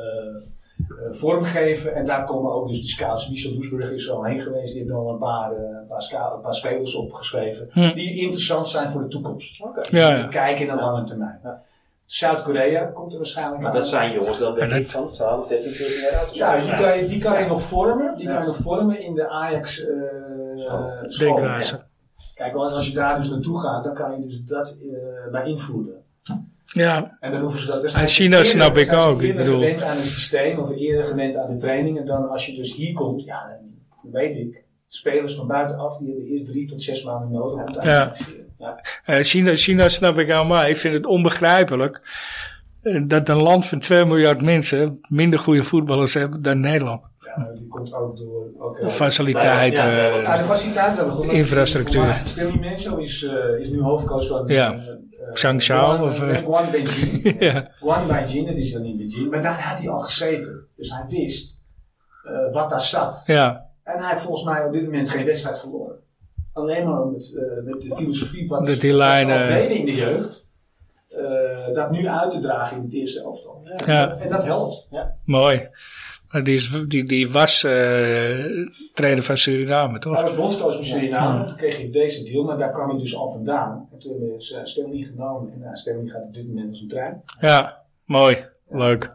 [SPEAKER 4] eh, vormgeven. En daar komen ook dus de scouts. Michel Doesburg is er al heen geweest. Die hebben al een paar, eh, een paar, sca- een paar spelers opgeschreven.
[SPEAKER 2] Hm.
[SPEAKER 4] Die interessant zijn voor de toekomst.
[SPEAKER 2] Ja, ja.
[SPEAKER 4] Dus Kijken naar lange termijn. Zuid-Korea komt er waarschijnlijk
[SPEAKER 1] Maar
[SPEAKER 4] aan.
[SPEAKER 1] dat zijn jongens dan denk
[SPEAKER 2] Ja,
[SPEAKER 1] ik van 12, 13, 14 jaar oud. of zo.
[SPEAKER 4] Ja, die kan je, die kan je nog vormen. Die
[SPEAKER 1] Ja.
[SPEAKER 4] kan je nog vormen in de Ajax eh school.
[SPEAKER 2] Denkwijze.
[SPEAKER 4] Kijk, want als je daar dus naartoe gaat, dan kan je dus dat eh beïnvloeden.
[SPEAKER 2] Ja,
[SPEAKER 4] En dan hoeven ze dat. Dus
[SPEAKER 2] En China
[SPEAKER 4] eerder-
[SPEAKER 2] snap ik
[SPEAKER 4] zijn ze
[SPEAKER 2] ook, ik
[SPEAKER 4] eerder
[SPEAKER 2] bedoel-
[SPEAKER 4] gewend aan het systeem of eerder gewend aan de trainingen dan als je dus hier komt, ja, dan weet ik. Spelers van buitenaf die hebben eerst drie tot zes maanden nodig om te
[SPEAKER 2] Ja.
[SPEAKER 4] acclimatiseren. Ja.
[SPEAKER 2] eh, China, China snap ik allemaal. Ik vind het onbegrijpelijk eh, dat een land van 2 miljard mensen minder goede voetballers heeft dan Nederland.
[SPEAKER 4] ja, maar die komt ook door. Ook, eh,
[SPEAKER 2] Faciliteiten.
[SPEAKER 4] Ja, de
[SPEAKER 2] eh,
[SPEAKER 4] faciliteiten hebben we goed.
[SPEAKER 2] Infrastructuur.
[SPEAKER 4] Informatie. Stil Menzo is, eh, is nu hoofdcoach van...
[SPEAKER 2] Ja.
[SPEAKER 4] eh, eh,
[SPEAKER 2] Zhangzhou
[SPEAKER 4] Guan-
[SPEAKER 2] of, eh,
[SPEAKER 4] nee, Guan Beijing.
[SPEAKER 2] (laughs) Ja.
[SPEAKER 4] Guan Beijing, dat is dan in Beijing. Maar daar had hij al gezeten. Dus hij wist eh, wat daar zat.
[SPEAKER 2] Ja,
[SPEAKER 4] En hij heeft volgens mij op dit moment geen wedstrijd verloren. Alleen maar met, eh, met de filosofie wat
[SPEAKER 2] Dat die
[SPEAKER 4] wat ze al
[SPEAKER 2] lijnen-
[SPEAKER 4] deden in de jeugd. eh, dat nu uit te dragen in het eerste elftal.
[SPEAKER 2] Ja.
[SPEAKER 4] En dat helpt. Ja.
[SPEAKER 2] mooi. Maar die, is, die, die was eh trainer van Suriname,
[SPEAKER 4] Hij
[SPEAKER 2] toch?
[SPEAKER 4] was bondscoach van Suriname, toen kreeg hij deze deal, maar daar kwam hij dus al vandaan. En toen hebben ze Stanley genomen en nou, Stanley gaat op dit moment als een trein.
[SPEAKER 2] Ja, mooi. Leuk.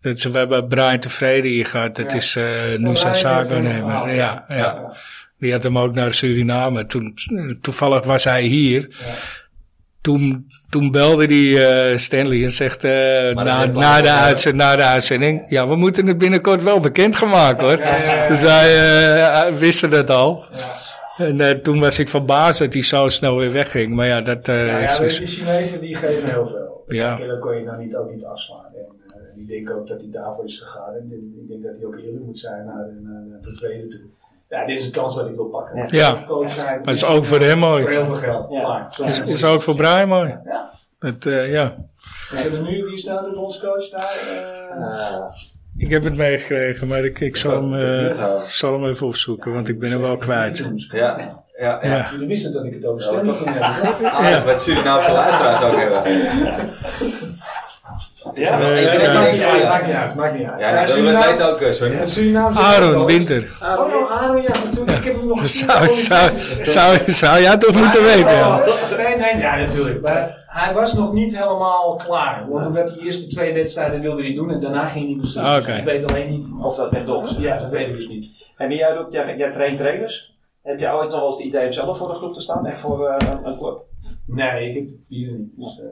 [SPEAKER 2] Dat, we hebben Brian Tevreden hier gehad. Dat
[SPEAKER 4] Ja.
[SPEAKER 2] is eh nu zijn
[SPEAKER 4] Brian heeft
[SPEAKER 2] zaak
[SPEAKER 4] hem
[SPEAKER 2] nemen.
[SPEAKER 4] gehaald,
[SPEAKER 2] Ja,
[SPEAKER 4] ja.
[SPEAKER 2] ja. Die had hem ook naar Suriname. Toen, toevallig was hij hier.
[SPEAKER 4] Ja.
[SPEAKER 2] Toen, toen belde die eh, Stanley en zegt eh, na,
[SPEAKER 5] heeft
[SPEAKER 2] na,
[SPEAKER 5] lang
[SPEAKER 2] de
[SPEAKER 5] gedaan.
[SPEAKER 2] uitzend, na de uitzending... Ja, we moeten het binnenkort wel bekendgemaakt hoor.
[SPEAKER 4] Ja, ja, ja.
[SPEAKER 2] Dus wij eh, wisten dat al.
[SPEAKER 4] Ja.
[SPEAKER 2] En eh, toen was ik verbaasd dat hij zo snel weer wegging. Maar ja, dat eh,
[SPEAKER 4] Nou ja,
[SPEAKER 2] is...
[SPEAKER 4] de
[SPEAKER 2] is-
[SPEAKER 4] Chinezen die geven heel veel.
[SPEAKER 2] Ja.
[SPEAKER 4] En Dat kon je nou niet, ook niet afslaan. En eh, die denken ook dat hij daarvoor is gegaan. En ik- ik denk dat hij ook eerlijk moet zijn naar, eh, naar, naar de tweede toe. Ja, dit is een kans wat ik wil pakken.
[SPEAKER 1] Ja.
[SPEAKER 2] Ja.
[SPEAKER 4] Ik wil coach zijn.
[SPEAKER 2] maar het is ook voor hem
[SPEAKER 4] Voor
[SPEAKER 2] mooi.
[SPEAKER 4] heel veel geld.
[SPEAKER 1] Ja.
[SPEAKER 4] Klaar. Zo
[SPEAKER 2] Het is ook voor Brian mooi.
[SPEAKER 4] Ja.
[SPEAKER 2] Het, eh, ja.
[SPEAKER 4] We hebben nu, wie is nou de bondscoach daar? Eh,
[SPEAKER 1] Ah,
[SPEAKER 2] Ik heb het meegekregen, maar ik, ik zal, hem, eh, zal hem even opzoeken. Want ik ben hem wel kwijt.
[SPEAKER 5] Ja, ja, ja.
[SPEAKER 2] Ja.
[SPEAKER 4] Jullie wisten dat ik het over Stanley ging hebben.
[SPEAKER 5] Ah,
[SPEAKER 2] Ja.
[SPEAKER 5] Wat Surinaamse luisteraars ook hebben.
[SPEAKER 1] Ja,
[SPEAKER 2] Eh,
[SPEAKER 5] Ik denk-
[SPEAKER 4] maakt
[SPEAKER 5] denk-
[SPEAKER 4] niet uit, maakt niet uit, maakt niet uit.
[SPEAKER 5] Ja, dat
[SPEAKER 4] Suriname-
[SPEAKER 5] weet ook eh, sorry.
[SPEAKER 4] het Surinaamse
[SPEAKER 2] Aaron
[SPEAKER 4] bondscoach.
[SPEAKER 2] Winter.
[SPEAKER 4] Oh, nou, Aaron, ja, natuurlijk. Ik heb hem nog
[SPEAKER 2] (laughs)
[SPEAKER 4] gezien.
[SPEAKER 2] Zou, zou, zou, zou jij toch (laughs) moeten weten? Ja.
[SPEAKER 4] Oh, Nee, nee, ja, natuurlijk. Maar hij was nog niet helemaal klaar. Want omdat die eerste twee wedstrijden wilde hij doen en daarna ging hij besturen.
[SPEAKER 2] Ah,
[SPEAKER 4] Dus
[SPEAKER 2] oké.
[SPEAKER 4] Ik weet alleen niet.
[SPEAKER 1] Of dat echt dom is.
[SPEAKER 4] Ja, dat weet ik dus niet.
[SPEAKER 1] En wie jij doet, jij, jij traint trainers. Heb jij ooit nog wel eens het idee om zelf voor een groep te staan? Echt voor eh, een, een club?
[SPEAKER 4] Nee, ik heb hier niet. Dus, eh,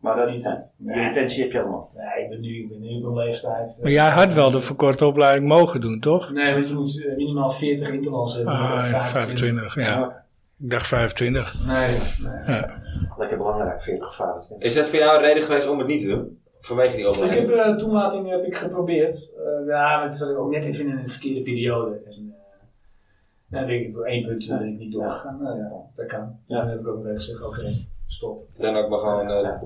[SPEAKER 1] Maar dat niet, hè? Je
[SPEAKER 4] Nee.
[SPEAKER 1] intentie heb je helemaal.
[SPEAKER 4] nee, ik ben nu, ik ben nu op een leeftijd. eh,
[SPEAKER 2] Maar jij had wel de verkorte opleiding mogen doen, toch?
[SPEAKER 4] Nee, want je moet eh, minimaal 40 interlands hebben.
[SPEAKER 2] Ah, ja, 25, ja. Ik dacht 25.
[SPEAKER 4] Nee, nee.
[SPEAKER 1] Lekker belangrijk, 40 of 25.
[SPEAKER 5] Is dat voor jou een reden geweest om het niet te doen? Vanwege die
[SPEAKER 4] Ik heb
[SPEAKER 5] opleiding?
[SPEAKER 4] eh, toelating heb ik geprobeerd. Eh, ja, maar toen zat ik ook net even in een verkeerde periode. En, eh, nou, denk ik, door één punt eh, ben ik niet doorgegaan. Nou ja, dat kan.
[SPEAKER 1] Ja.
[SPEAKER 4] Dan heb ik ook weer gezegd, oké, stop.
[SPEAKER 5] Dan ook maar gewoon... eh,
[SPEAKER 1] Ja.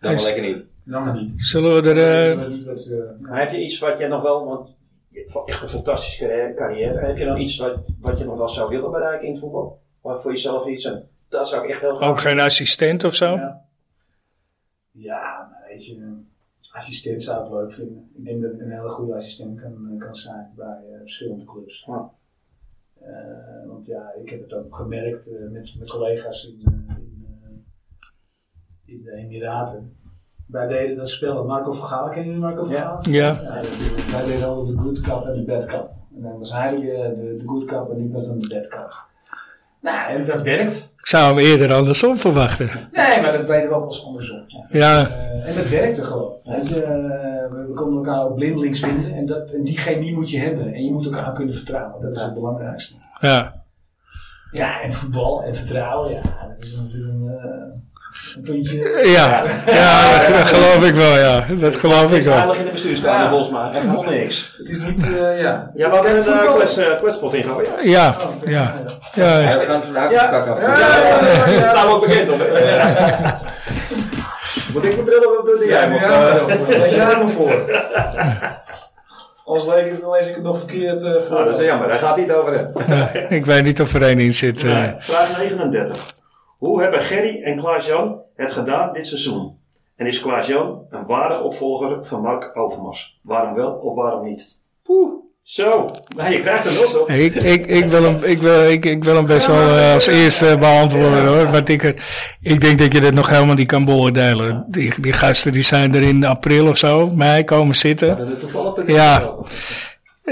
[SPEAKER 5] Dan
[SPEAKER 2] Is-
[SPEAKER 5] maar lekker niet.
[SPEAKER 4] Dan maar niet.
[SPEAKER 2] Zullen we er...
[SPEAKER 4] Ik
[SPEAKER 2] eh,
[SPEAKER 4] weet niet wat, eh,
[SPEAKER 1] Maar heb je iets wat jij nog wel, want je hebt wel echt een fantastische carrière- carrière. Heb je dan iets wat, wat je nog wel zou willen bereiken in het voetbal? Waar voor jezelf iets en dat zou ik echt heel graag.
[SPEAKER 2] ook geen assistent of zo?
[SPEAKER 4] ja. ja, maar weet je, eh, assistent zou ik leuk vinden. Ik denk dat ik een hele goede assistent kan, eh, kan zijn bij eh, verschillende clubs.
[SPEAKER 1] Ja.
[SPEAKER 4] Eh, want ja, ik heb het ook gemerkt eh, met mijn collega's in, eh, in, eh, in de Emiraten. Wij deden dat spel. Marco van Gaal, ken jullie Marco van
[SPEAKER 1] Ja.
[SPEAKER 4] Gaal?
[SPEAKER 2] Ja.
[SPEAKER 4] Ja, die- wij deden al de good cup en de bad cup. En dan was hij de, eh, de, de good cup en ik was dan de bad cup. Nou, en dat werkt.
[SPEAKER 2] Ik zou hem eerder andersom verwachten.
[SPEAKER 4] Nee, maar dat deden we ook als andersom. Ja.
[SPEAKER 2] Ja,
[SPEAKER 4] Eh, en dat werkte gewoon. En, eh, we, we konden elkaar ook blindelings vinden. En, dat, en die chemie moet je hebben. En je moet elkaar kunnen vertrouwen. Dat is het belangrijkste.
[SPEAKER 2] ja.
[SPEAKER 4] Ja, en voetbal en vertrouwen. Ja, dat is natuurlijk een, eh, een puntje.
[SPEAKER 2] Ja, ja dat, dat geloof ik wel, ja. Dat geloof ik
[SPEAKER 1] is
[SPEAKER 2] wel.
[SPEAKER 1] aardig in de bestuurskamer
[SPEAKER 4] Ja.
[SPEAKER 1] volgens mij. Echt helemaal niks.
[SPEAKER 4] Het is niet, eh, ja.
[SPEAKER 1] Ja, wat hebben
[SPEAKER 4] daar
[SPEAKER 1] een
[SPEAKER 4] een
[SPEAKER 1] kwets, eh, kwetspot in ja.
[SPEAKER 2] Ja,
[SPEAKER 4] Oh,
[SPEAKER 2] ja.
[SPEAKER 4] ja.
[SPEAKER 2] ja, ja.
[SPEAKER 5] Hij gaat vandaag de kak af.
[SPEAKER 4] Ja, ja, ja, ja,
[SPEAKER 1] (laughs)
[SPEAKER 4] ja.
[SPEAKER 1] Daar ook bekend op. Moet ik mijn bril op doen? die
[SPEAKER 4] Ja,
[SPEAKER 1] Jij
[SPEAKER 4] nu
[SPEAKER 1] moet.
[SPEAKER 4] ja,
[SPEAKER 1] eh,
[SPEAKER 4] ja. Lees jij me voor. Anders lees ik, lees ik het nog verkeerd eh, voor.
[SPEAKER 1] Nou, dat is jammer, daar gaat niet over hem.
[SPEAKER 2] Ik weet niet of er één in zit. eh.
[SPEAKER 1] Vraag 39. Hoe hebben Gerry en Klaas-Jan het gedaan dit seizoen? En is Klaas-Jan een waardig opvolger van Mark Overmars? Waarom wel of waarom niet?
[SPEAKER 4] Poeh.
[SPEAKER 1] Zo, nou, je krijgt een los op.
[SPEAKER 2] Ik, ik, ik, wil hem, ik, wil, ik, ik wil hem best wel eh, als eerste beantwoorden hoor. Want ik, eh, ik denk dat je dat nog helemaal niet kan beoordelen. Die, die gasten die zijn er in april of zo, mei komen zitten.
[SPEAKER 1] Dat het toevallig de
[SPEAKER 2] Ja.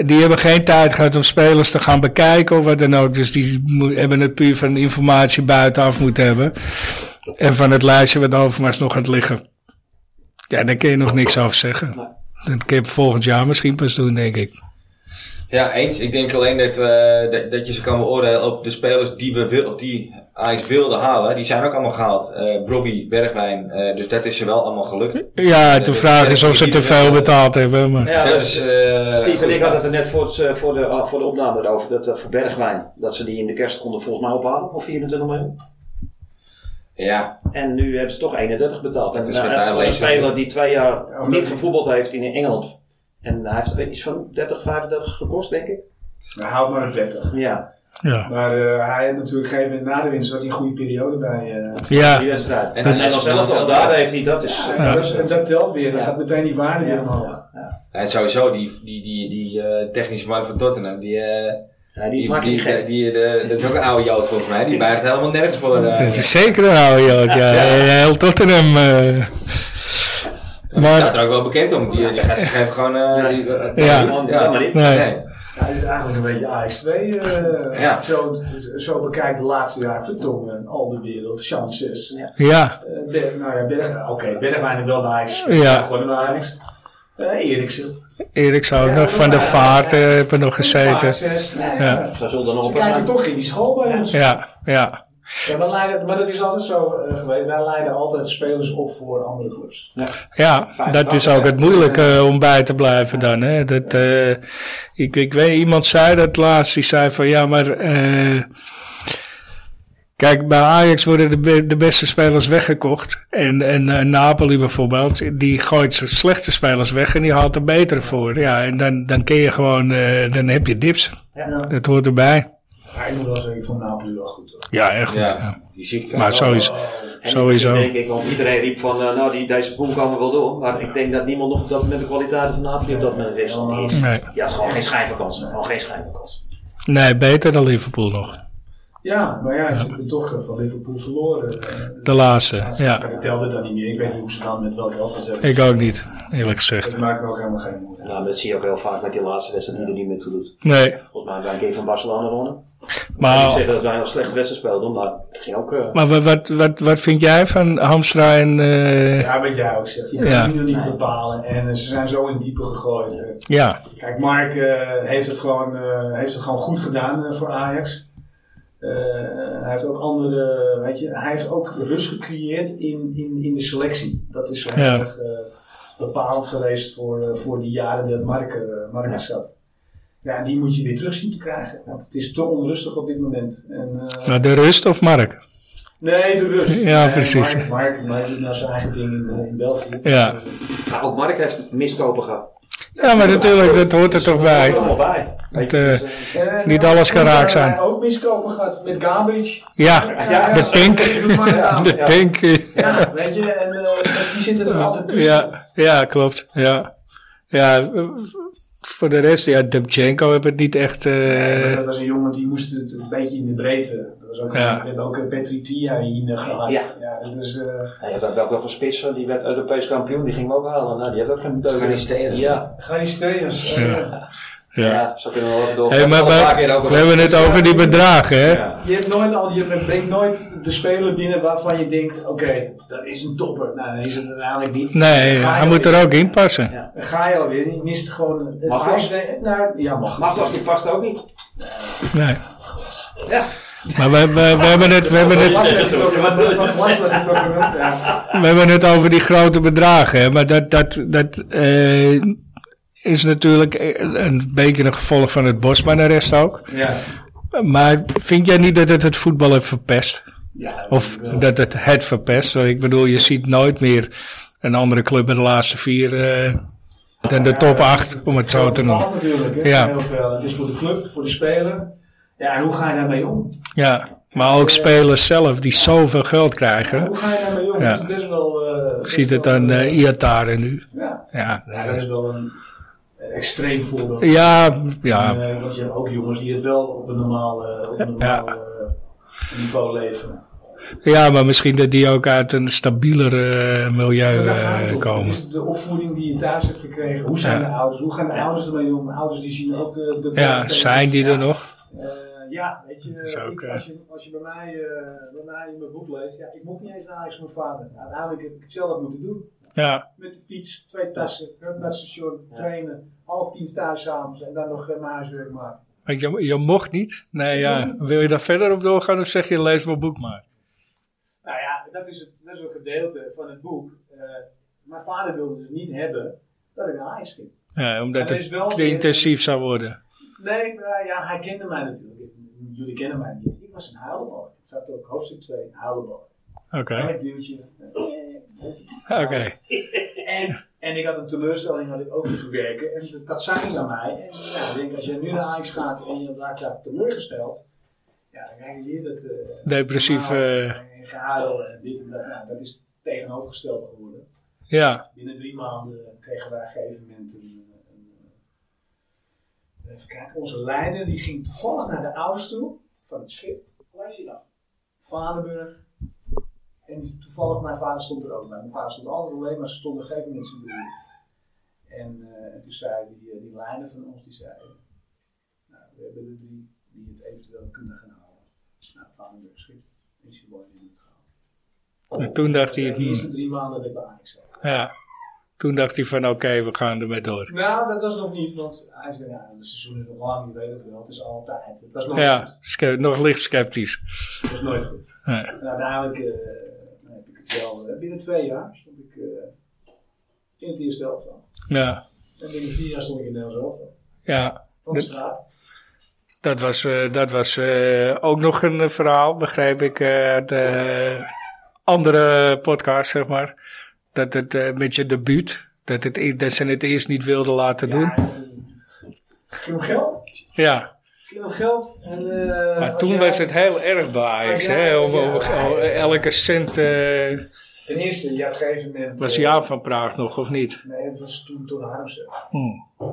[SPEAKER 2] Die hebben geen tijd gehad om spelers te gaan bekijken of wat dan ook. Dus die mo- hebben het puur van informatie buitenaf moeten hebben. En van het lijstje wat Overmars nog gaat liggen. Ja, daar kun je nog niks over zeggen. Dat kun je volgend jaar misschien pas doen, denk ik.
[SPEAKER 5] Ja, eens. Ik denk alleen dat, we, dat, dat je ze kan beoordelen op de spelers die we wil, of die Ajax wilde halen. Die zijn ook allemaal gehaald. Eh Brobby, Bergwijn. eh, dus dat is ze wel allemaal
[SPEAKER 2] Hm?
[SPEAKER 5] gelukt.
[SPEAKER 2] Ja, de vraag is of ze te veel betaald hebben. Maar.
[SPEAKER 1] Ja,
[SPEAKER 5] Dus,
[SPEAKER 1] dus,
[SPEAKER 5] eh,
[SPEAKER 1] Steve en ik
[SPEAKER 5] goed.
[SPEAKER 1] hadden het er net voor, het, eh, voor, de, ah, voor de opname erover. Dat eh, voor Bergwijn, dat ze die in de kerst konden volgens mij ophalen voor 24 miljoen.
[SPEAKER 5] Ja,
[SPEAKER 1] En nu hebben ze toch 31 betaald.
[SPEAKER 5] Dat is
[SPEAKER 1] en,
[SPEAKER 5] met
[SPEAKER 1] eh,
[SPEAKER 5] mij
[SPEAKER 1] voor een
[SPEAKER 5] lezen.
[SPEAKER 1] speler die twee jaar
[SPEAKER 4] Ja,
[SPEAKER 1] niet
[SPEAKER 4] dat-
[SPEAKER 1] gevoetbald heeft in Engeland. En hij heeft er iets van 30, 35 gekost, denk ik.
[SPEAKER 4] Nou, houd maar een bekken.
[SPEAKER 1] Ja,
[SPEAKER 2] Ja.
[SPEAKER 4] Maar eh, hij had natuurlijk gegeven in na de winst had hij een goede periode bij. eh
[SPEAKER 2] ja,
[SPEAKER 1] die wedstrijd.
[SPEAKER 5] En
[SPEAKER 1] En,
[SPEAKER 5] dan
[SPEAKER 1] en,
[SPEAKER 5] Nederland
[SPEAKER 1] zelf al
[SPEAKER 5] zelf
[SPEAKER 1] daar
[SPEAKER 5] ook.
[SPEAKER 1] heeft hij dat. Is, eh,
[SPEAKER 4] en dat, en dat telt weer. Dan
[SPEAKER 1] Ja.
[SPEAKER 4] gaat meteen die waarde weer omhoog.
[SPEAKER 5] en sowieso die, die, die, die eh, technische man van Tottenham. Die, eh,
[SPEAKER 1] Ja, die,
[SPEAKER 5] die, die,
[SPEAKER 1] maakt niet
[SPEAKER 5] die,
[SPEAKER 1] gek.
[SPEAKER 5] die- de- dat is ook een oude Jood volgens mij. Die buigt helemaal nergens voor. eh.
[SPEAKER 2] dat is zeker een oude jood. Ja, heel Tottenham. eh.
[SPEAKER 5] die staat er ook wel bekend om. Die, die gasten geven gewoon... eh, die- eh,
[SPEAKER 2] Ja.
[SPEAKER 1] Ja, maar niet.
[SPEAKER 2] Nee.
[SPEAKER 5] Nee.
[SPEAKER 4] Hij is eigenlijk een beetje AX2. eh,
[SPEAKER 5] Ja.
[SPEAKER 4] zo, zo bekijkt de laatste jaar Vertongen, al de wereld, chances.
[SPEAKER 2] Ja,
[SPEAKER 4] Eh, Ber- nou ja, Berg, oké, Bergwijn is wel nice.
[SPEAKER 2] Ja.
[SPEAKER 4] Gewoon een nice. Eh Eriksen.
[SPEAKER 2] Erik zou ook nog van de vaart eh, hebben nog gezeten.
[SPEAKER 4] Zes, nou
[SPEAKER 2] Ja. eh,
[SPEAKER 4] ja.
[SPEAKER 1] Ze zullen er nog
[SPEAKER 4] Ze
[SPEAKER 1] op gaan.
[SPEAKER 4] kijken toch in die school bij ons.
[SPEAKER 2] Ja, ja.
[SPEAKER 4] Ja, maar, leiden, maar dat is altijd zo eh, geweest. Wij leiden altijd spelers op voor andere clubs.
[SPEAKER 2] Ja, dat is ook het moeilijke om bij te blijven dan. Hè? Dat, eh, ik, ik weet, iemand zei dat laatst, die zei van ja, maar eh, kijk, bij Ajax worden de, be- de beste spelers weggekocht. En, en eh, Napoli bijvoorbeeld, die gooit zijn slechte spelers weg en die haalt er betere voor. Ja, en dan, dan kun je gewoon, eh, dan heb je dips.
[SPEAKER 4] Ja. Maar
[SPEAKER 2] Dat hoort erbij.
[SPEAKER 4] ik moet wel zeggen, ik vond Napoli wel goed. Hoor.
[SPEAKER 2] Ja, echt goed.
[SPEAKER 5] Ja,
[SPEAKER 2] ja.
[SPEAKER 5] die zie ik
[SPEAKER 2] Maar sowieso.
[SPEAKER 1] En
[SPEAKER 2] Sowieso.
[SPEAKER 1] Denk ik, want iedereen riep van, eh, nou die, deze pool kan we wel door. Maar ik denk dat niemand nog op dat moment de kwaliteit van Napoli op dat moment wist.
[SPEAKER 2] Nee.
[SPEAKER 1] Ja, het is gewoon geen schijnvakantie. Gewoon geen schijnvakantie.
[SPEAKER 2] nee, beter dan Liverpool nog.
[SPEAKER 4] Ja, maar ja, ze hebben toch eh, van Liverpool verloren. eh.
[SPEAKER 2] De laatste,
[SPEAKER 4] Maar
[SPEAKER 2] ja.
[SPEAKER 4] Ik telde dat niet meer. Ik weet niet hoe ze dan met welke helft dat hebben.
[SPEAKER 2] Ik ook niet, eerlijk gezegd.
[SPEAKER 4] Dat maakt me ook helemaal geen moeite.
[SPEAKER 1] Ja, maar Nou, dat zie je ook heel vaak met die laatste wedstrijd die er niet meer toe doet.
[SPEAKER 2] Nee,
[SPEAKER 1] Volgens mij hebben wij een keer van Barcelona gewonnen. En ik
[SPEAKER 2] maar...
[SPEAKER 1] zeg dat wij een slechte wedstrijd speelden, maar het ging ook... eh,
[SPEAKER 2] Maar wat, wat, wat, wat vind jij van Hamstra en... eh, ja.
[SPEAKER 4] Ja, wat jij ook zegt. Je kan
[SPEAKER 2] Ja.
[SPEAKER 4] het nu nog niet bepalen. En eh, ze zijn zo in het diepe gegooid. eh. Kijk, Mark eh, heeft, het gewoon, eh, heeft het gewoon goed gedaan eh, voor Ajax. Eh, hij heeft ook andere, weet je, hij heeft ook rust gecreëerd in, in, in de selectie. Dat is zo
[SPEAKER 2] Ja.
[SPEAKER 4] heel erg eh, bepaald geweest voor, eh, voor die jaren dat Mark, eh, Mark er zat. Ja, en die moet je weer terug zien te krijgen. Want het is te onrustig op dit moment. En, eh,
[SPEAKER 2] Nou, de rust of Mark?
[SPEAKER 4] nee, de rust.
[SPEAKER 2] Ja,
[SPEAKER 4] Nee,
[SPEAKER 2] precies.
[SPEAKER 4] Mark, Mark, Mark doet nou zijn eigen ding in, eh, in België.
[SPEAKER 2] Ja.
[SPEAKER 1] maar ook Mark heeft miskopen gehad.
[SPEAKER 2] Ja, maar natuurlijk, dat hoort er toch
[SPEAKER 1] Dat hoort er
[SPEAKER 2] bij.
[SPEAKER 1] allemaal bij. Weet je,
[SPEAKER 2] eh,
[SPEAKER 1] dus, eh,
[SPEAKER 4] Eh,
[SPEAKER 2] Niet
[SPEAKER 4] nou,
[SPEAKER 2] alles kan
[SPEAKER 4] toen
[SPEAKER 2] raak
[SPEAKER 4] waren
[SPEAKER 2] zijn.
[SPEAKER 4] wij ook miskopen gehad met Gabriel.
[SPEAKER 2] Ja,
[SPEAKER 4] Ja,
[SPEAKER 2] de pink. (laughs) De pink.
[SPEAKER 4] Ja, weet je, en eh, die zitten er altijd tussen.
[SPEAKER 2] Ja, ja, klopt. Ja. Ja, eh, voor de rest, ja, Demchenko heeft het niet echt... eh,
[SPEAKER 4] Nee, maar dat was een jongen die moest het een beetje in de breedte. Dat was ook,
[SPEAKER 2] Ja.
[SPEAKER 4] We hebben ook eh, Petri Tia hier gehad.
[SPEAKER 1] Ja.
[SPEAKER 4] dus, eh,
[SPEAKER 1] nou, je hebt ook wel een spits van, die werd Europees kampioen, die gingen we ook halen. Nou, die heeft ook geen deugd.
[SPEAKER 5] Van die steden.
[SPEAKER 1] Ja,
[SPEAKER 4] Garisteas.
[SPEAKER 1] ja.
[SPEAKER 2] ja.
[SPEAKER 1] zo kunnen we wel even door.
[SPEAKER 2] Hey, maar
[SPEAKER 1] Al een paar keer
[SPEAKER 2] we,
[SPEAKER 1] over-
[SPEAKER 2] we hebben het over die bedragen, hè?
[SPEAKER 1] Ja.
[SPEAKER 4] Eh, Je, hebt nooit al, je brengt nooit de speler binnen waarvan je denkt, oké, dat is een topper. Nou, dat is het uiteindelijk niet.
[SPEAKER 2] Nee,
[SPEAKER 4] Dan ga je
[SPEAKER 2] hij moet er
[SPEAKER 4] alweer-
[SPEAKER 2] ook in passen.
[SPEAKER 4] Dan ga je alweer, je mist gewoon... het
[SPEAKER 1] Mag
[SPEAKER 4] huis-
[SPEAKER 1] wel.
[SPEAKER 4] nee, nou, ja, mag.
[SPEAKER 1] Maar was die vast ook niet.
[SPEAKER 2] Nee.
[SPEAKER 1] Ja.
[SPEAKER 2] Maar we, we, we hebben het... We hebben het
[SPEAKER 4] Last was het ook, wat was was het ook. Ja.
[SPEAKER 2] We hebben het over die grote bedragen, hè, maar dat, dat, dat eh, is natuurlijk een beetje een gevolg van het Bosman-arrest ook.
[SPEAKER 4] Ja.
[SPEAKER 2] Maar vind jij niet dat het het voetbal heeft verpest?
[SPEAKER 4] Ja,
[SPEAKER 2] Of dat het het verpest? Want Ik bedoel, je ziet nooit meer een andere club in de laatste vier eh, dan de top acht, om het zo te noemen.
[SPEAKER 4] natuurlijk, hè.
[SPEAKER 2] Ja.
[SPEAKER 4] Heel veel. Het is voor de club, voor de speler.
[SPEAKER 1] Ja, en hoe ga je daarmee om?
[SPEAKER 2] Ja, maar ook spelers zelf die zoveel geld krijgen.
[SPEAKER 1] Hoe ga je daarmee om?
[SPEAKER 2] Ja.
[SPEAKER 1] Dat is best wel... eh,
[SPEAKER 2] Ik
[SPEAKER 1] best
[SPEAKER 2] zie het
[SPEAKER 1] wel,
[SPEAKER 2] aan
[SPEAKER 1] eh,
[SPEAKER 2] eh Iataren nu.
[SPEAKER 1] ja.
[SPEAKER 2] Ja,
[SPEAKER 1] ja, dat is wel een eh, extreem voorbeeld.
[SPEAKER 2] ja, ja,
[SPEAKER 1] En, eh, want je hebt ook jongens die het wel op een normaal, eh, op een normaal
[SPEAKER 2] Ja.
[SPEAKER 1] eh, niveau leven.
[SPEAKER 2] ja, maar misschien dat die ook uit een stabieler eh, milieu
[SPEAKER 4] Maar daar gaat het
[SPEAKER 2] eh,
[SPEAKER 4] om.
[SPEAKER 2] komen.
[SPEAKER 4] Dus de opvoeding die je thuis hebt gekregen. Hoe zijn
[SPEAKER 2] Ja.
[SPEAKER 4] de ouders? Hoe gaan de ouders ermee om? Ouders die zien ook de... de
[SPEAKER 2] Ja, zijn die er nog?
[SPEAKER 4] Eh, ja, weet je,
[SPEAKER 2] is ook,
[SPEAKER 4] ik-
[SPEAKER 2] eh,
[SPEAKER 4] als, je, als je bij mij, eh, bij mij in mijn boek leest, ja, ik mocht niet eens naar huis van mijn vader. Uiteindelijk heb ik het zelf moeten doen.
[SPEAKER 2] Ja,
[SPEAKER 4] Met de fiets, twee tassen, hup naar het station, trainen, half tien thuis s'avonds en dan nog eh, mijn huiswerk maken.
[SPEAKER 2] Want je, je mocht niet. Nee, ja. Wil je daar verder op doorgaan of zeg je lees mijn boek maar?
[SPEAKER 4] Nou ja, dat is, het, dat is een gedeelte van het boek. Eh, mijn vader wilde dus niet hebben dat ik naar huis ging.
[SPEAKER 2] Ja, omdat
[SPEAKER 4] Maar er is wel
[SPEAKER 2] het te
[SPEAKER 4] weer-
[SPEAKER 2] intensief zou worden.
[SPEAKER 4] Nee, maar ja, hij kende mij natuurlijk. Jullie kennen mij niet. Ik was een huilenbalk. Ik zat ook hoofdstuk 2, een huilenbalk.
[SPEAKER 2] Oké,
[SPEAKER 4] Een duwtje. Eh,
[SPEAKER 2] oké.
[SPEAKER 4] En, en ik had een teleurstelling had ik ook te verwerken. En dat- dat zag hij aan mij. En ja, ik denk, als je nu naar Ajax gaat en je raakt daar teleurgesteld. Ja, dan krijg je hier dat... eh,
[SPEAKER 2] Depressief,
[SPEAKER 4] normaal,
[SPEAKER 2] eh,
[SPEAKER 4] en gehuil en dit en dat. Nou, dat is tegenovergesteld geworden.
[SPEAKER 2] Ja,
[SPEAKER 4] Binnen drie maanden kregen wij op een gegeven moment een... een- een- even kijken, onze leider die ging toevallig naar de ouders toe van het schip. Waar is hij dan? nou? Vaderburg. En toevallig, mijn vader stond er ook bij. Mijn vader stond altijd alleen, maar ze stonden op een gegeven moment met z'n drieën. En, eh, en toen zei die, eh, die leider van ons, die zei, nou, we hebben er drie die het eventueel kunnen gaan halen. Nou, Vaderburg schip. En ze worden in het gehaald.
[SPEAKER 2] en toen dacht hij,
[SPEAKER 4] En die
[SPEAKER 2] hmm,
[SPEAKER 4] eerste drie maanden werd bij Ajax gezet.
[SPEAKER 2] ja. Toen dacht hij van oké, we gaan ermee door.
[SPEAKER 4] Nou, dat was nog niet, want hij zei, ja, het seizoen is nog lang, je weet het wel, het is altijd. Het was nooit goed.
[SPEAKER 2] Ja, sce- nog licht sceptisch.
[SPEAKER 4] Het was nooit goed.
[SPEAKER 2] Ja.
[SPEAKER 4] En uiteindelijk eh, heb ik het wel. eh, binnen twee jaar stond ik eh, in het eerste helft van.
[SPEAKER 2] Ja,
[SPEAKER 4] En binnen vier jaar stond ik in de helft van.
[SPEAKER 2] ja.
[SPEAKER 4] Van de
[SPEAKER 2] Dat-
[SPEAKER 4] straat.
[SPEAKER 2] Dat was, eh, dat was eh, ook nog een eh, verhaal, begreep ik, eh, uit de andere podcast, zeg maar. Dat het eh, met je debuut, dat, het, e- dat ze het eerst niet wilden laten doen.
[SPEAKER 4] Ja, en, eh, genoeg geld.
[SPEAKER 2] Ja,
[SPEAKER 4] Genoeg geld. En, eh,
[SPEAKER 2] maar
[SPEAKER 4] als
[SPEAKER 2] toen
[SPEAKER 4] jij-
[SPEAKER 2] was het heel erg bij Ajax,
[SPEAKER 4] Ja,
[SPEAKER 2] hè. Om,
[SPEAKER 4] ja,
[SPEAKER 2] om-
[SPEAKER 4] ja.
[SPEAKER 2] om- elke cent eh,
[SPEAKER 4] Ten eerste, je had op een gegeven moment...
[SPEAKER 2] was
[SPEAKER 4] eh,
[SPEAKER 2] Jaap van Praag nog, of niet?
[SPEAKER 4] Nee, het was toen, toen Harmsen.
[SPEAKER 2] Hm.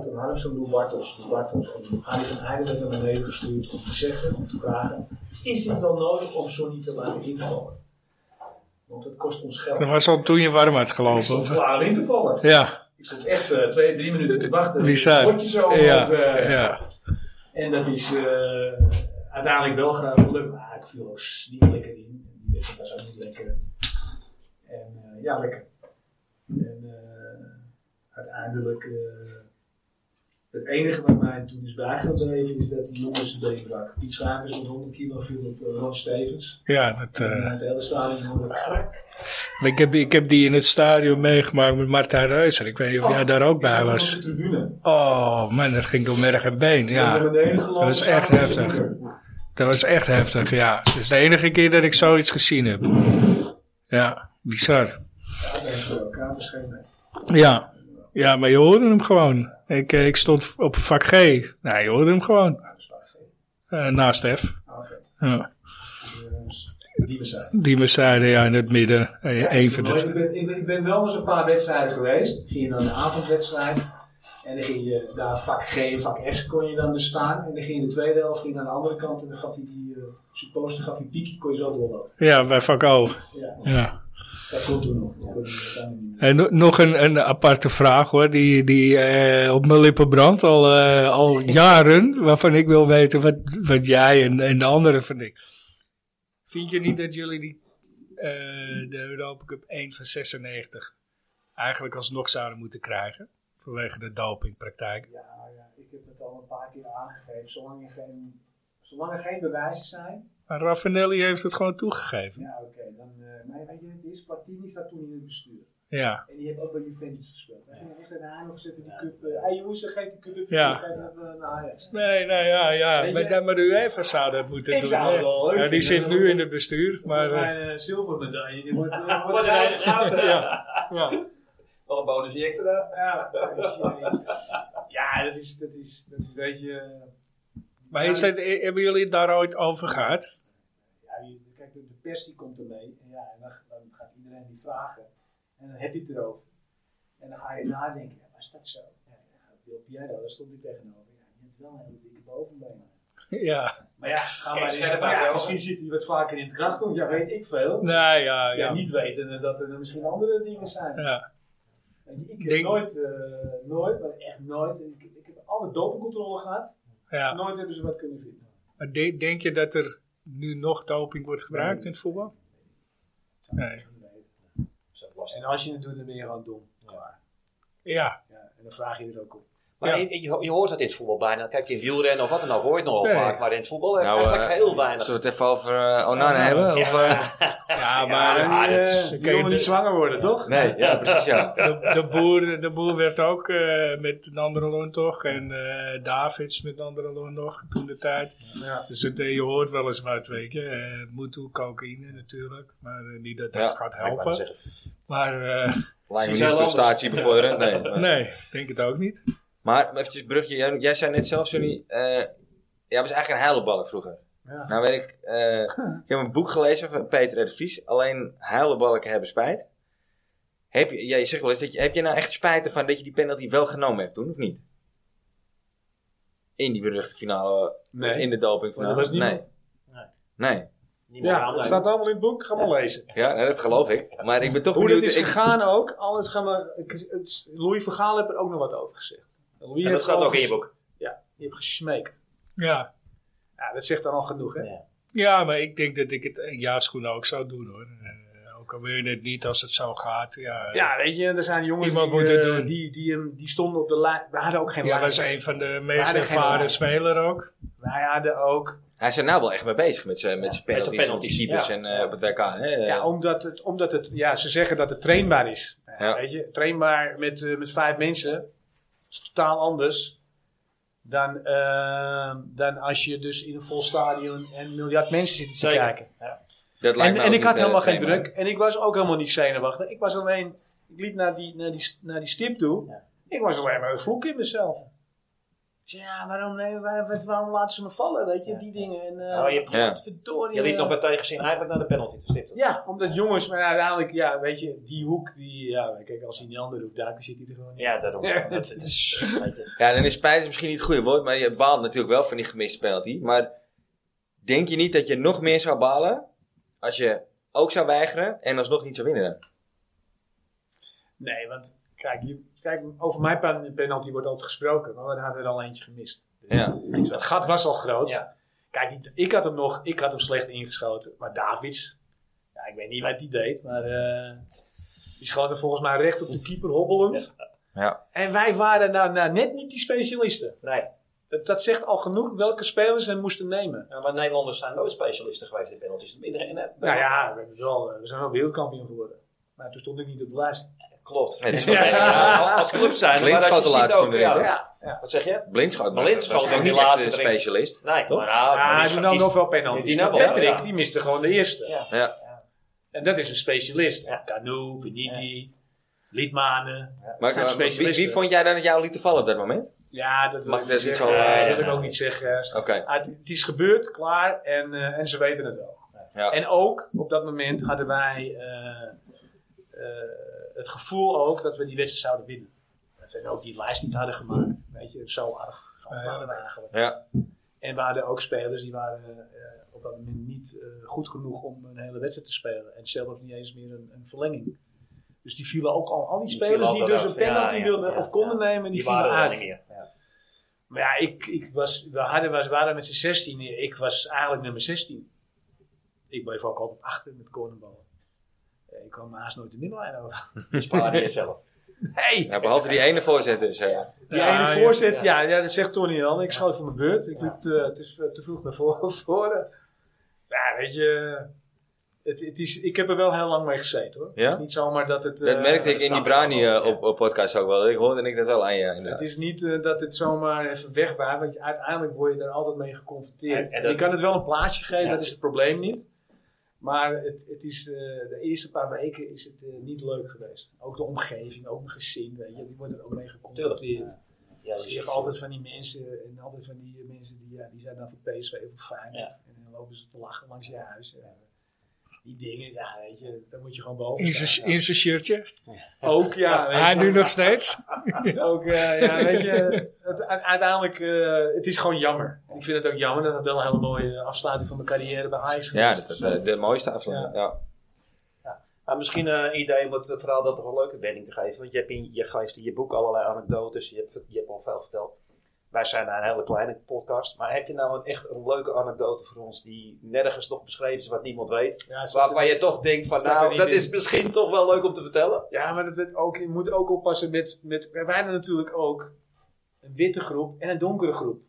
[SPEAKER 4] Toen Harmsen toen Bartels. Toen Bartels. En Harry van Heijden werd naar beneden gestuurd om te zeggen, om te vragen... Is dit wel nodig om Sonny te laten invallen? Want het kost ons geld.
[SPEAKER 2] Dat was al toen je warm had
[SPEAKER 4] Ik
[SPEAKER 2] gelopen.
[SPEAKER 4] stond
[SPEAKER 2] of?
[SPEAKER 4] klaar in te vallen.
[SPEAKER 2] Ja,
[SPEAKER 4] Ik stond echt eh, twee, drie minuten te wachten.
[SPEAKER 2] bizar.
[SPEAKER 4] Word je zo.
[SPEAKER 2] Ja,
[SPEAKER 4] want, eh,
[SPEAKER 2] ja.
[SPEAKER 4] En dat is eh, uiteindelijk wel gaan gelukt. Maar ik viel ook s- niet lekker in. Die wedstrijd was ook niet lekker. En eh, ja, lekker. En eh, uiteindelijk. eh, het enige wat mij toen is bijgebleven is dat die jongens een been brak. Piet Schrijvers met 100 kilo viel op eh, Ron Stevens.
[SPEAKER 2] ja dat... eh,
[SPEAKER 4] En het hele stadion hoorde krak.
[SPEAKER 2] Ik heb, ik heb die in het stadion meegemaakt met Marta Reuser. Ik weet niet of jij daar ook
[SPEAKER 4] Ik
[SPEAKER 2] bij
[SPEAKER 4] zat
[SPEAKER 2] was.
[SPEAKER 4] Op de tribune.
[SPEAKER 2] Oh man, dat ging door merg en been.
[SPEAKER 4] Ik ben
[SPEAKER 2] Ja,
[SPEAKER 4] naar beneden gelopen,
[SPEAKER 2] Dat is echt
[SPEAKER 4] samen met
[SPEAKER 2] heftig.
[SPEAKER 4] mijn moeder.
[SPEAKER 2] dat was echt heftig. Ja, dat is de enige keer dat ik zoiets gezien heb. Ja, bizar.
[SPEAKER 4] Ja, dat is voor elkaar beschreven.
[SPEAKER 2] Ja, ja maar je hoorde hem gewoon. Ik, eh, ik stond op vak G. Nou, je hoorde hem gewoon. Eh, naast F.
[SPEAKER 4] Oké.
[SPEAKER 2] Ja.
[SPEAKER 4] Dus, Die bezijden.
[SPEAKER 2] Die me zeiden, ja, in het midden. Eh, één van
[SPEAKER 4] ik,
[SPEAKER 2] de
[SPEAKER 4] ben, ik, ben, ik ben wel eens een paar wedstrijden geweest. Dan Ging je dan de avondwedstrijd. En dan ging je daar vak G, vak F kon je dan dus staan. En dan ging je de tweede helft ging naar de andere kant. En dan gaf je die eh supposter, gaf je piekje, kon je zo doorlopen.
[SPEAKER 2] Ja, bij vak O.
[SPEAKER 4] Ja,
[SPEAKER 2] Ja.
[SPEAKER 4] dat kon toen nog. Dat kon toen niet meer.
[SPEAKER 2] En no- nog een, een aparte vraag hoor, die, die eh, op mijn lippen brandt al, eh, al jaren, waarvan ik wil weten wat, wat jij en, en de anderen van ik. Vind je niet dat jullie die, eh, de Europa Cup 1 van 96 eigenlijk alsnog zouden moeten krijgen? Vanwege de dopingpraktijk.
[SPEAKER 4] Ja, ja, ik heb het al een paar keer aangegeven. Zolang, je geen, zolang er geen bewijzen zijn.
[SPEAKER 2] Maar Raffanelli heeft het gewoon toegegeven.
[SPEAKER 4] Ja, oké. Dan, eh, maar weet je, het is Platini staat toen in het bestuur.
[SPEAKER 2] Ja,
[SPEAKER 4] En die heeft ook bij Juventus gespeeld. Hij ging echt daarna nog zitten die cup. eh, hey jongens, geef die cup even.
[SPEAKER 2] Ja.
[SPEAKER 4] Geef hem even naar Ajax.
[SPEAKER 2] nee, nou ja, ja.
[SPEAKER 4] Weet
[SPEAKER 2] Maar,
[SPEAKER 4] je-
[SPEAKER 2] dan maar de UEFA zou dat moeten
[SPEAKER 4] Ik
[SPEAKER 2] doen.
[SPEAKER 4] zou het
[SPEAKER 2] hè.
[SPEAKER 4] wel leuk
[SPEAKER 2] ja, die
[SPEAKER 4] vinden.
[SPEAKER 2] zit nu in het bestuur, maar...
[SPEAKER 4] (laughs)
[SPEAKER 2] eh,
[SPEAKER 4] Mijn eh, zilvermedaille. Die wordt eh, wordt
[SPEAKER 1] Ja.
[SPEAKER 4] goud.
[SPEAKER 2] ja, ja.
[SPEAKER 1] Wel een bonusje extra.
[SPEAKER 4] Ja, dus, eh, ja, dat is, dat is, dat is, weet je, eh,
[SPEAKER 2] Maar is dat, eh, hebben jullie het daar ooit over gehad? (laughs)
[SPEAKER 4] Ja, je- kijk, de de pers die komt ermee. En ja, en dan, dan gaat iedereen die vragen. En dan heb je het erover. En dan ga je nadenken. Ja, was dat zo? Ja, ja, Wil Piero, daar stond hij tegenover. Ja, die had wel een hele dikke bovenbenen.
[SPEAKER 2] ja.
[SPEAKER 4] Maar ja, ga
[SPEAKER 1] Kijk,
[SPEAKER 4] maar eens.
[SPEAKER 1] scherp
[SPEAKER 4] maar
[SPEAKER 1] uit,
[SPEAKER 4] ja,
[SPEAKER 1] hè,
[SPEAKER 4] misschien zit hij wat vaker in het krachtkomt. Ja, weet ik veel.
[SPEAKER 2] Nou ja,
[SPEAKER 4] Ja,
[SPEAKER 2] ja.
[SPEAKER 4] niet weten eh, dat er misschien andere dingen zijn.
[SPEAKER 2] ja.
[SPEAKER 4] Weet je, Ik heb
[SPEAKER 2] Denk-
[SPEAKER 4] nooit, eh, nooit, maar echt nooit. Ik, ik heb alle dopingcontrole gehad.
[SPEAKER 2] ja.
[SPEAKER 4] Nooit hebben ze wat kunnen vinden.
[SPEAKER 2] Maar de- denk je dat er nu nog doping wordt gebruikt in het voetbal? Nee.
[SPEAKER 4] En als je het doet, dan ben je gewoon dom. Klaar.
[SPEAKER 2] Ja.
[SPEAKER 4] Ja, en dan vraag je er ook op.
[SPEAKER 6] Maar
[SPEAKER 2] Ja.
[SPEAKER 6] je, je ho- je hoort dat in het voetbal bijna. Kijk, in wielrennen of wat dan ook hoor je het nogal
[SPEAKER 2] Nee.
[SPEAKER 6] vaak. Maar in het voetbal heb je
[SPEAKER 5] Nou,
[SPEAKER 6] eigenlijk
[SPEAKER 5] eh,
[SPEAKER 6] heel weinig.
[SPEAKER 5] Zullen we het even over eh, Onana hebben? Of, eh,
[SPEAKER 2] Ja, maar
[SPEAKER 6] ja,
[SPEAKER 2] eh,
[SPEAKER 6] dat
[SPEAKER 4] is-
[SPEAKER 6] is-
[SPEAKER 2] dan
[SPEAKER 4] Je
[SPEAKER 2] kun je
[SPEAKER 4] wil niet
[SPEAKER 2] de,
[SPEAKER 4] zwanger worden, toch?
[SPEAKER 5] (laughs) nee, ja, precies ja.
[SPEAKER 2] de, de boer, de boer werd ook eh, met een andere loon toch. En eh, Davids met een andere loon nog toen de tijd.
[SPEAKER 4] Ja.
[SPEAKER 2] Dus het, eh, je hoort wel eens wat, weet je. Eh moet toe, cocaïne natuurlijk. Maar eh, niet dat dat
[SPEAKER 5] Ja,
[SPEAKER 2] gaat
[SPEAKER 6] Ik wou net
[SPEAKER 2] helpen.
[SPEAKER 6] zeggen.
[SPEAKER 2] Maar eh,
[SPEAKER 5] Lijkt
[SPEAKER 6] Ze
[SPEAKER 5] me
[SPEAKER 6] zijn
[SPEAKER 5] niet
[SPEAKER 6] wel
[SPEAKER 5] prestatie
[SPEAKER 6] (laughs)
[SPEAKER 5] bevorderend, nee.
[SPEAKER 2] (laughs)
[SPEAKER 5] maar-
[SPEAKER 2] nee, ik denk het ook niet.
[SPEAKER 5] Maar eventjes brugje, jij, jij zei net zelf, Johnny, eh, jij was eigenlijk een huilenbalk vroeger.
[SPEAKER 4] Ja.
[SPEAKER 5] Nou weet ik, eh, ik heb een boek gelezen van Peter R. de Vries, alleen huilenbalken hebben spijt. Heb je, jij zegt wel eens, dat je, heb je nou echt spijt ervan dat je die penalty wel genomen hebt toen, of niet? In die beruchte finale,
[SPEAKER 4] Nee.
[SPEAKER 5] in de doping
[SPEAKER 6] Nou,
[SPEAKER 4] Maar dat was
[SPEAKER 5] Nee. Nee,
[SPEAKER 6] Niet meer
[SPEAKER 4] Ja,
[SPEAKER 6] aan,
[SPEAKER 4] dat
[SPEAKER 6] nee.
[SPEAKER 4] staat allemaal in het boek. Ga maar lezen.
[SPEAKER 5] ja, nee, dat geloof ik. Maar ik ben toch
[SPEAKER 4] Hoe dat
[SPEAKER 5] benieuwd.
[SPEAKER 4] is
[SPEAKER 5] ik-
[SPEAKER 4] gegaan ook. Alles gaan we, ik- het- Louis van Gaal heeft er ook nog wat over gezegd. Louis
[SPEAKER 6] En dat
[SPEAKER 4] heeft
[SPEAKER 6] staat
[SPEAKER 4] al
[SPEAKER 6] ook in je
[SPEAKER 4] ges-
[SPEAKER 6] boek.
[SPEAKER 4] Je hebt gesmeekt.
[SPEAKER 2] Ja.
[SPEAKER 4] Ja, dat zegt dan al genoeg, hè?
[SPEAKER 6] Ja.
[SPEAKER 2] ja, maar ik denk dat ik het in jaarschoenen ook zou doen hoor. Eh, ook al wil je het niet als het zo gaat. Ja,
[SPEAKER 4] Ja, weet je, er zijn jongens
[SPEAKER 2] Iemand
[SPEAKER 4] die,
[SPEAKER 2] moet het
[SPEAKER 4] eh,
[SPEAKER 2] doen.
[SPEAKER 4] Die, die, hem- die stonden op de lijn. We hadden ook geen
[SPEAKER 2] Ja,
[SPEAKER 4] lijn.
[SPEAKER 2] was een van de meest
[SPEAKER 4] hadden geen
[SPEAKER 2] ervaren
[SPEAKER 4] lijn.
[SPEAKER 2] spelers ook.
[SPEAKER 4] Wij hadden ook.
[SPEAKER 5] hij is er nou wel echt mee bezig met zijn met zijn
[SPEAKER 6] met
[SPEAKER 5] penalties,
[SPEAKER 6] zijn
[SPEAKER 5] met zijn
[SPEAKER 6] penalties,
[SPEAKER 5] keepers
[SPEAKER 4] ja.
[SPEAKER 5] en eh, op het WK. Hè? Eh,
[SPEAKER 4] Ja, omdat het, omdat het, ja, ze zeggen dat het trainbaar is. Ja,
[SPEAKER 5] Ja.
[SPEAKER 4] Weet je, trainbaar met, eh, met vijf mensen is totaal anders dan, eh, dan als je dus in een vol stadion en een miljard mensen zit te
[SPEAKER 6] Zeker.
[SPEAKER 4] kijken.
[SPEAKER 5] dat lijkt
[SPEAKER 4] oh. En,
[SPEAKER 5] me
[SPEAKER 4] en ik had
[SPEAKER 5] ook niet, eh,
[SPEAKER 4] helemaal geen
[SPEAKER 5] trainbaar.
[SPEAKER 4] druk. En ik was ook helemaal niet zenuwachtig. Ik was alleen, ik liep naar die, naar die, naar die stip toe.
[SPEAKER 6] Ja.
[SPEAKER 4] Ik was alleen maar een vloek in mezelf. Ik zei, ja, waarom, nee, waarom, waarom laten ze me vallen? Weet je,
[SPEAKER 6] Ja.
[SPEAKER 4] die dingen. En, eh,
[SPEAKER 6] Oh, je-
[SPEAKER 5] Ja.
[SPEAKER 4] verdorie,
[SPEAKER 6] Je liep nog bij tegenzin eigenlijk naar de penalty te stippen.
[SPEAKER 4] Ja, omdat jongens, maar uiteindelijk, ja, weet je, die hoek, die, ja, kijk, als hij in die andere hoek duikt, dan zit hij er gewoon in.
[SPEAKER 6] Ja, daarom.
[SPEAKER 4] Ja. (laughs)
[SPEAKER 6] Dat, dat is, weet je.
[SPEAKER 5] Ja, dan is spijt is misschien niet het goede woord, maar je baalt natuurlijk wel van die gemiste penalty. Maar denk je niet dat je nog meer zou balen als je ook zou weigeren en alsnog niet zou winnen?
[SPEAKER 4] Nee, want kijk, je, kijk, over mijn pen- penalty wordt altijd gesproken, maar we hadden er al eentje gemist. Dus
[SPEAKER 5] Ja.
[SPEAKER 4] het gat was al groot.
[SPEAKER 6] Ja.
[SPEAKER 4] Kijk, die- ik had hem nog, ik had hem slecht ingeschoten, maar Davids, ja, ik weet niet wat die deed, maar eh, die schoot er volgens mij recht op de keeper hobbelend.
[SPEAKER 5] Ja.
[SPEAKER 4] En wij waren nou, nou net niet die specialisten.
[SPEAKER 6] Nee,
[SPEAKER 4] Dat, dat zegt al genoeg welke spelers ze moesten nemen.
[SPEAKER 6] Ja, maar Nederlanders zijn nooit specialisten geweest in penalties. Iedereen, eh,
[SPEAKER 4] Nou ja, we, hebben wel, eh, we zijn wel wereldkampioen geworden. Maar toen stond ik niet op de lijst.
[SPEAKER 6] Klopt.
[SPEAKER 4] (laughs)
[SPEAKER 5] Nee, dat is
[SPEAKER 6] Ja.
[SPEAKER 5] wel beter, ja.
[SPEAKER 6] Als club zijn,
[SPEAKER 5] Blind
[SPEAKER 6] maar als
[SPEAKER 5] schoot
[SPEAKER 6] je
[SPEAKER 5] de
[SPEAKER 6] ziet
[SPEAKER 5] laatste
[SPEAKER 6] ook,
[SPEAKER 5] toen erin,
[SPEAKER 6] ja,
[SPEAKER 5] toch?
[SPEAKER 6] ja. Ja. Wat zeg je?
[SPEAKER 5] Blindschot was
[SPEAKER 6] Blindschot
[SPEAKER 5] dat was
[SPEAKER 6] was
[SPEAKER 5] toch
[SPEAKER 6] die
[SPEAKER 5] niet echt
[SPEAKER 6] laatste
[SPEAKER 5] een
[SPEAKER 6] erin.
[SPEAKER 5] specialist.
[SPEAKER 6] Nee,
[SPEAKER 5] Toch?
[SPEAKER 6] maar nou,
[SPEAKER 4] ah,
[SPEAKER 6] die
[SPEAKER 4] hij
[SPEAKER 6] scha-
[SPEAKER 4] nam
[SPEAKER 6] die-
[SPEAKER 4] nog wel penalties.
[SPEAKER 6] die
[SPEAKER 4] Maar
[SPEAKER 6] nam wel,
[SPEAKER 4] Patrick,
[SPEAKER 6] ja.
[SPEAKER 4] die miste gewoon de eerste.
[SPEAKER 6] Ja.
[SPEAKER 5] Ja.
[SPEAKER 4] En dat is een specialist.
[SPEAKER 6] Ja.
[SPEAKER 4] Canoe, Veniti, Liedmanen.
[SPEAKER 5] Maar
[SPEAKER 4] zijn
[SPEAKER 5] eh, wie,
[SPEAKER 4] specialisten.
[SPEAKER 5] wie vond jij dan dat jou liet te vallen op dat moment?
[SPEAKER 4] Ja, dat wil
[SPEAKER 5] Mag
[SPEAKER 4] ik
[SPEAKER 5] ik
[SPEAKER 4] niet
[SPEAKER 5] dat Oh. niet
[SPEAKER 4] zeggen.
[SPEAKER 5] zo, eh,
[SPEAKER 4] dat wil ik
[SPEAKER 6] ja.
[SPEAKER 4] ook niet zeggen.
[SPEAKER 5] Oké.
[SPEAKER 4] Ah, het- het is gebeurd, klaar. En, eh, en ze weten het wel.
[SPEAKER 5] Ja.
[SPEAKER 4] En ook, op dat moment hadden wij eh, eh, het gevoel ook dat we die wedstrijd zouden winnen. Dat we ook die lijst niet hadden gemaakt. Weet je, zo aardig waren we eigenlijk.
[SPEAKER 5] Ja.
[SPEAKER 4] En we hadden ook spelers die waren eh, op dat moment niet eh, goed genoeg om een hele wedstrijd te spelen. En zelfs niet eens meer een, een verlenging. Dus die vielen ook al. Al die
[SPEAKER 6] Die
[SPEAKER 4] spelers
[SPEAKER 6] vielen
[SPEAKER 4] die
[SPEAKER 6] ook
[SPEAKER 4] dus
[SPEAKER 6] eraf.
[SPEAKER 4] een penalty
[SPEAKER 6] Ja, ja,
[SPEAKER 4] wilden
[SPEAKER 6] ja,
[SPEAKER 4] of konden
[SPEAKER 6] ja.
[SPEAKER 4] nemen, die,
[SPEAKER 6] die
[SPEAKER 4] vielen
[SPEAKER 6] waren er niet
[SPEAKER 4] uit.
[SPEAKER 6] meer. Ja.
[SPEAKER 4] Maar ja, ik, ik was, we, hadden, we waren met z'n 16. Ik was eigenlijk nummer 16. Ik bleef ook altijd achter met cornerballen. Eh, Ik kwam haast nooit de middenlijn over. (laughs)
[SPEAKER 6] Die sparen jezelf.
[SPEAKER 4] Hey,
[SPEAKER 5] Ja, behalve die ene voorzet dus. hè.
[SPEAKER 4] die
[SPEAKER 2] Ja,
[SPEAKER 4] ene
[SPEAKER 2] ja.
[SPEAKER 4] voorzet, ja. Ja, dat zegt Tony al. Ik schoot van mijn beurt. Ik liep te, het is eh, te vroeg naar voren- (laughs) voren. Ja, weet je. Het, het is, ik heb er wel heel lang mee gezeten hoor.
[SPEAKER 5] Ja?
[SPEAKER 4] Het is niet zomaar dat het.
[SPEAKER 5] Dat
[SPEAKER 4] eh,
[SPEAKER 5] merkte ik in die
[SPEAKER 4] snap
[SPEAKER 5] Brani
[SPEAKER 4] wel.
[SPEAKER 5] eh, op, op podcast ook wel. Ik hoorde ik dat wel aan je
[SPEAKER 4] Het
[SPEAKER 5] inderdaad.
[SPEAKER 4] is niet eh, dat het zomaar even weg was, want je, uiteindelijk word je daar altijd mee
[SPEAKER 6] En-
[SPEAKER 4] geconfronteerd.
[SPEAKER 6] en dat-
[SPEAKER 4] je kan het wel een plaatsje geven,
[SPEAKER 6] Ja.
[SPEAKER 4] dat is het probleem niet. Maar het, het is, eh, de eerste paar weken is het eh, niet leuk geweest. Ook de omgeving, ook mijn gezin, weet je, die wordt er ook mee geconfronteerd.
[SPEAKER 3] Ja,
[SPEAKER 4] Dus je hebt altijd van die mensen, en altijd van die mensen die, ja, die zijn dan voor PSV of voor Feyenoord.
[SPEAKER 3] Ja.
[SPEAKER 4] En dan lopen ze te lachen langs je huis. Ja. Die dingen, ja, weet je, daar moet je gewoon boven
[SPEAKER 2] In
[SPEAKER 4] staan.
[SPEAKER 2] zijn shirtje.
[SPEAKER 4] Ook, ja. weet
[SPEAKER 2] Hij
[SPEAKER 4] je.
[SPEAKER 2] nu nog steeds.
[SPEAKER 4] (laughs) Ook, eh, ja, weet je, het, u- uiteindelijk, eh, het is gewoon jammer. Ik vind het ook jammer dat het wel een hele mooie afsluiting van mijn carrière bij Ajax
[SPEAKER 5] Ja,
[SPEAKER 4] geweest
[SPEAKER 5] dat, dat- de, de mooiste afsluiting. Ja.
[SPEAKER 3] Maar misschien eh, een idee om het verhaal dat toch een leuke wending te geven. Want je, hebt in, je geeft in je boek allerlei anekdotes. Je hebt, je hebt al veel verteld. Wij zijn nou een hele kleine podcast. Maar heb je nou een, echt een leuke anekdote voor ons die nergens nog beschreven is, wat niemand weet?
[SPEAKER 4] Ja, staat er-
[SPEAKER 3] Waarvan je toch denkt van
[SPEAKER 4] staat er
[SPEAKER 3] nou,
[SPEAKER 4] niet
[SPEAKER 3] dat
[SPEAKER 4] in.
[SPEAKER 3] is misschien toch wel leuk om te vertellen.
[SPEAKER 4] Ja, maar dat werd ook, je moet ook oppassen met, met. Wij waren natuurlijk ook een witte groep en een donkere groep.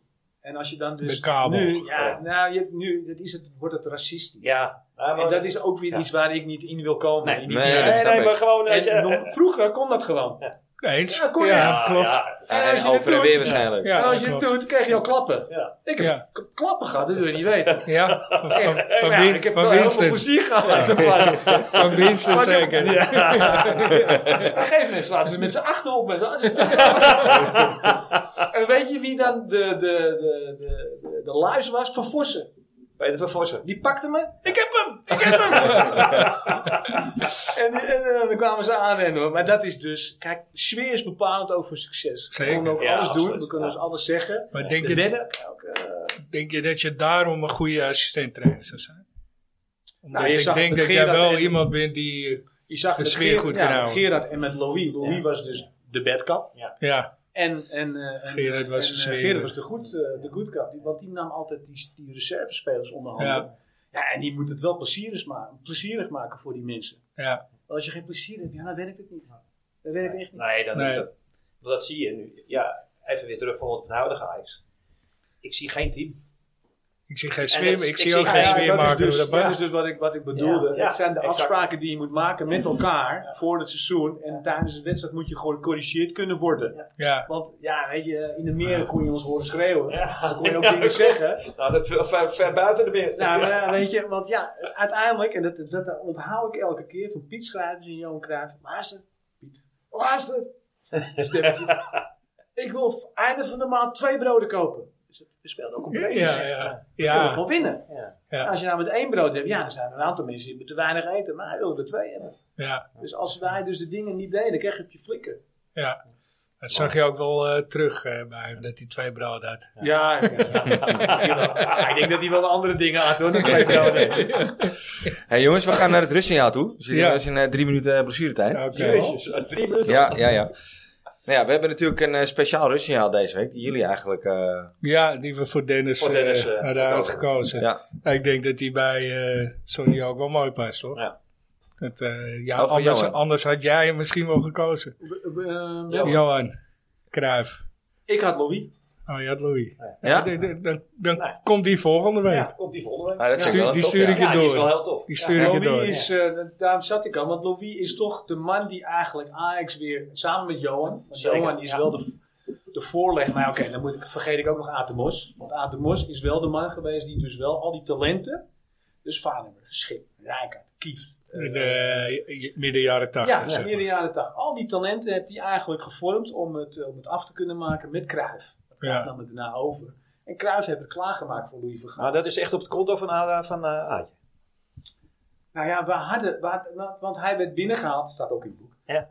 [SPEAKER 4] En als je dan dus.
[SPEAKER 2] De kabel.
[SPEAKER 4] Nu, ja, nou, je, hebt nu dat is het, wordt het racistisch.
[SPEAKER 3] Ja,
[SPEAKER 4] en dat is ook weer iets waar ik niet in wil komen.
[SPEAKER 3] Nee,
[SPEAKER 4] Niet
[SPEAKER 5] Nee,
[SPEAKER 4] meer.
[SPEAKER 5] dat
[SPEAKER 3] nee,
[SPEAKER 5] snap
[SPEAKER 3] nee,
[SPEAKER 5] ik.
[SPEAKER 3] maar gewoon.
[SPEAKER 4] En
[SPEAKER 3] als je- Ah,
[SPEAKER 4] nog- vroeger kon dat gewoon.
[SPEAKER 2] Eens.
[SPEAKER 4] Ja,
[SPEAKER 2] Ja,
[SPEAKER 4] kon echt.
[SPEAKER 2] klopt. Ja,
[SPEAKER 3] ja.
[SPEAKER 4] En als
[SPEAKER 5] En
[SPEAKER 4] je het
[SPEAKER 5] over en
[SPEAKER 4] doet-
[SPEAKER 5] weer waarschijnlijk.
[SPEAKER 4] en Nou, als je
[SPEAKER 2] klopt.
[SPEAKER 4] het doet, kreeg je al klappen.
[SPEAKER 3] Ja.
[SPEAKER 4] Ik heb
[SPEAKER 2] Ja.
[SPEAKER 4] k- klappen gehad, dat wil je niet weten.
[SPEAKER 2] Ja, (laughs) van, van,
[SPEAKER 4] Echt.
[SPEAKER 2] van,
[SPEAKER 4] Ja,
[SPEAKER 2] Win-
[SPEAKER 4] ik heb
[SPEAKER 2] van
[SPEAKER 4] wel heel veel
[SPEAKER 2] Winston.
[SPEAKER 4] plezier gehad (laughs) uit de
[SPEAKER 2] (laughs)
[SPEAKER 4] plannen.
[SPEAKER 2] Van Winston
[SPEAKER 4] Maar ik heb-
[SPEAKER 2] zeker.
[SPEAKER 4] (laughs) Op een gegeven moment zaten ze met z'n achter op. En, dan-
[SPEAKER 2] (laughs)
[SPEAKER 4] en weet je wie dan de, de, de, de, de, de luis was? Van Vossen.
[SPEAKER 3] Peter van Vossen.
[SPEAKER 4] Die pakte me. Ik heb hem! Ik heb
[SPEAKER 2] (laughs)
[SPEAKER 4] hem! en, en, en dan kwamen ze aanrennen. hoor. Maar dat is dus... Kijk, sfeer is bepalend ook voor succes.
[SPEAKER 2] Zeker.
[SPEAKER 4] We kunnen ook
[SPEAKER 3] Ja,
[SPEAKER 4] alles doen.
[SPEAKER 3] absoluut.
[SPEAKER 4] We kunnen
[SPEAKER 3] Ja.
[SPEAKER 4] ons alles zeggen.
[SPEAKER 2] Maar denk
[SPEAKER 4] De
[SPEAKER 2] je,
[SPEAKER 4] wedden. Ook, eh,
[SPEAKER 2] denk je dat je daarom een goede assistent trainer zou zijn? Omdat
[SPEAKER 4] Nou, je
[SPEAKER 2] ik
[SPEAKER 4] zag
[SPEAKER 2] denk
[SPEAKER 4] dat
[SPEAKER 2] dat jij
[SPEAKER 4] Gerard
[SPEAKER 2] wel
[SPEAKER 4] en-
[SPEAKER 2] iemand bent die...
[SPEAKER 4] je zag
[SPEAKER 2] De
[SPEAKER 4] dat
[SPEAKER 2] sfeer
[SPEAKER 4] Gerard-
[SPEAKER 2] goed
[SPEAKER 4] ja,
[SPEAKER 2] kunnen houden.
[SPEAKER 4] Gerard en met Louis. Louis was dus de bedkap.
[SPEAKER 2] Ja,
[SPEAKER 4] En, en, eh, en
[SPEAKER 2] Gerard was
[SPEAKER 4] en,
[SPEAKER 2] een
[SPEAKER 4] eh,
[SPEAKER 2] smerig.
[SPEAKER 4] Gerard was de goed, eh, de good cup. Die, want die nam altijd die, die reservespelers onder handen. Ja.
[SPEAKER 2] Ja.
[SPEAKER 4] en die moet het wel plezierig, ma plezierig maken voor die mensen.
[SPEAKER 2] ja,
[SPEAKER 4] Want als je geen plezier hebt, ja, dan werkt het niet. Dat werkt echt niet.
[SPEAKER 3] Nee, dan,
[SPEAKER 2] Nee.
[SPEAKER 3] Dat, dat zie je nu. Ja, even weer terug van het huidige Ajax. Ik zie geen team.
[SPEAKER 2] ik zie geen
[SPEAKER 3] dat
[SPEAKER 2] sfeer,
[SPEAKER 3] is-
[SPEAKER 2] ik
[SPEAKER 3] ik
[SPEAKER 2] zie
[SPEAKER 3] zie-
[SPEAKER 2] ook
[SPEAKER 3] ja,
[SPEAKER 2] geen
[SPEAKER 3] ja,
[SPEAKER 2] sfeer
[SPEAKER 4] dat, is
[SPEAKER 2] maken.
[SPEAKER 4] dus,
[SPEAKER 2] door de bank.
[SPEAKER 4] dat is dus wat ik, wat ik bedoelde.
[SPEAKER 3] Ja,
[SPEAKER 4] het zijn de
[SPEAKER 3] exact.
[SPEAKER 4] afspraken die je moet maken met elkaar voor het seizoen. En tijdens een wedstrijd moet je gecorrigeerd kunnen worden.
[SPEAKER 2] ja,
[SPEAKER 4] Want ja, weet je, in de meren kon je ons horen schreeuwen. Dan kon je ook dingen zeggen.
[SPEAKER 3] Nou, dat ver, ver buiten de meer.
[SPEAKER 4] Nou, maar ja, weet je, want ja, uiteindelijk, en dat, dat onthoud ik elke keer van Piet Schrijvers en Johan Cruijff. Luister, Piet, luister. (laughs) Stemmetje. ik wil v- einde van de maand twee broden kopen. Dus het het speelt ook een
[SPEAKER 2] ja,
[SPEAKER 4] prijs.
[SPEAKER 2] ja, ja,
[SPEAKER 4] Je wil
[SPEAKER 2] ja,
[SPEAKER 4] gewoon winnen.
[SPEAKER 2] ja,
[SPEAKER 4] Als je nou met één brood hebt, ja, dan zijn er een aantal mensen die hebben te weinig eten. Maar hij wil er twee hebben.
[SPEAKER 2] ja,
[SPEAKER 4] Dus als wij dus de dingen niet deden, kreeg je op je flikken.
[SPEAKER 2] ja. Dat zag je ook wel eh, terug eh, bij hem, dat hij twee brood had.
[SPEAKER 4] Ja, ik, denk dat hij wel de andere dingen had hoor, dan twee
[SPEAKER 2] oh,
[SPEAKER 4] (laughs) broden.
[SPEAKER 5] (laughs) Hey jongens, we gaan naar het rustsignaal toe. Dus
[SPEAKER 2] Ja.
[SPEAKER 5] ja. is in eh, drie minuten eh, blessuretijd.
[SPEAKER 2] Oké.
[SPEAKER 3] Jezus, drie minuten.
[SPEAKER 5] Ja, ja, ja. Nou ja, we hebben natuurlijk een eh, speciaal rustsignaal deze week. Die jullie eigenlijk... eh,
[SPEAKER 2] Ja, die we voor Dennis,
[SPEAKER 3] Voor Dennis,
[SPEAKER 2] eh,
[SPEAKER 3] eh,
[SPEAKER 2] hadden uitgekozen.
[SPEAKER 5] ja.
[SPEAKER 2] Ik denk dat die bij eh Sony ook wel mooi past, hoor.
[SPEAKER 3] Ja.
[SPEAKER 2] Dat, eh, ja,
[SPEAKER 5] Oh, voor
[SPEAKER 2] anders,
[SPEAKER 5] Johan.
[SPEAKER 2] anders had jij hem misschien wel gekozen.
[SPEAKER 3] Johan.
[SPEAKER 2] Johan, Cruijff.
[SPEAKER 4] Eh, Ik had Louis.
[SPEAKER 2] Oh, je had Louis.
[SPEAKER 5] Ja?
[SPEAKER 2] Dan, dan- dan, dan
[SPEAKER 3] Nee.
[SPEAKER 2] komt die volgende week.
[SPEAKER 3] Ja, op die volgende week.
[SPEAKER 5] Ah, dat vind ik
[SPEAKER 2] Stuur-
[SPEAKER 5] wel
[SPEAKER 2] die
[SPEAKER 5] tof,
[SPEAKER 2] stuur
[SPEAKER 5] ja.
[SPEAKER 2] ik je
[SPEAKER 3] Ja, die is wel
[SPEAKER 2] door.
[SPEAKER 3] heel tof.
[SPEAKER 2] Die stuur ik je
[SPEAKER 4] Louis
[SPEAKER 2] door.
[SPEAKER 4] is, eh, daarom zat ik al, want Louis is toch de man die eigenlijk Ajax weer samen met Johan. Want
[SPEAKER 3] Zeker,
[SPEAKER 4] Johan is
[SPEAKER 3] ja.
[SPEAKER 4] wel de, de voorleg. Maar oké, dan moet ik, vergeet ik ook nog Atemos. Want Atemos is wel de man geweest die dus wel al die talenten. Dus Vanemer, Schip, Rijkaard, Kieft. eh,
[SPEAKER 2] In de eh, midden jaren
[SPEAKER 4] ja,
[SPEAKER 2] tachtig. zeg maar.
[SPEAKER 4] midden jaren tachtig. Al die talenten heeft hij eigenlijk gevormd om het, eh, om het af te kunnen maken met Cruijff. Cruijff
[SPEAKER 2] Ja.
[SPEAKER 4] nam het daarna over. En Cruijff heeft het klaargemaakt voor Louis van Gaal.
[SPEAKER 3] Maar dat is echt op het konto van, eh, van eh, Aadje.
[SPEAKER 4] Nou ja, we hadden, we hadden- wa- want hij werd binnengehaald, staat ook in het boek. (laughs)
[SPEAKER 3] Ja.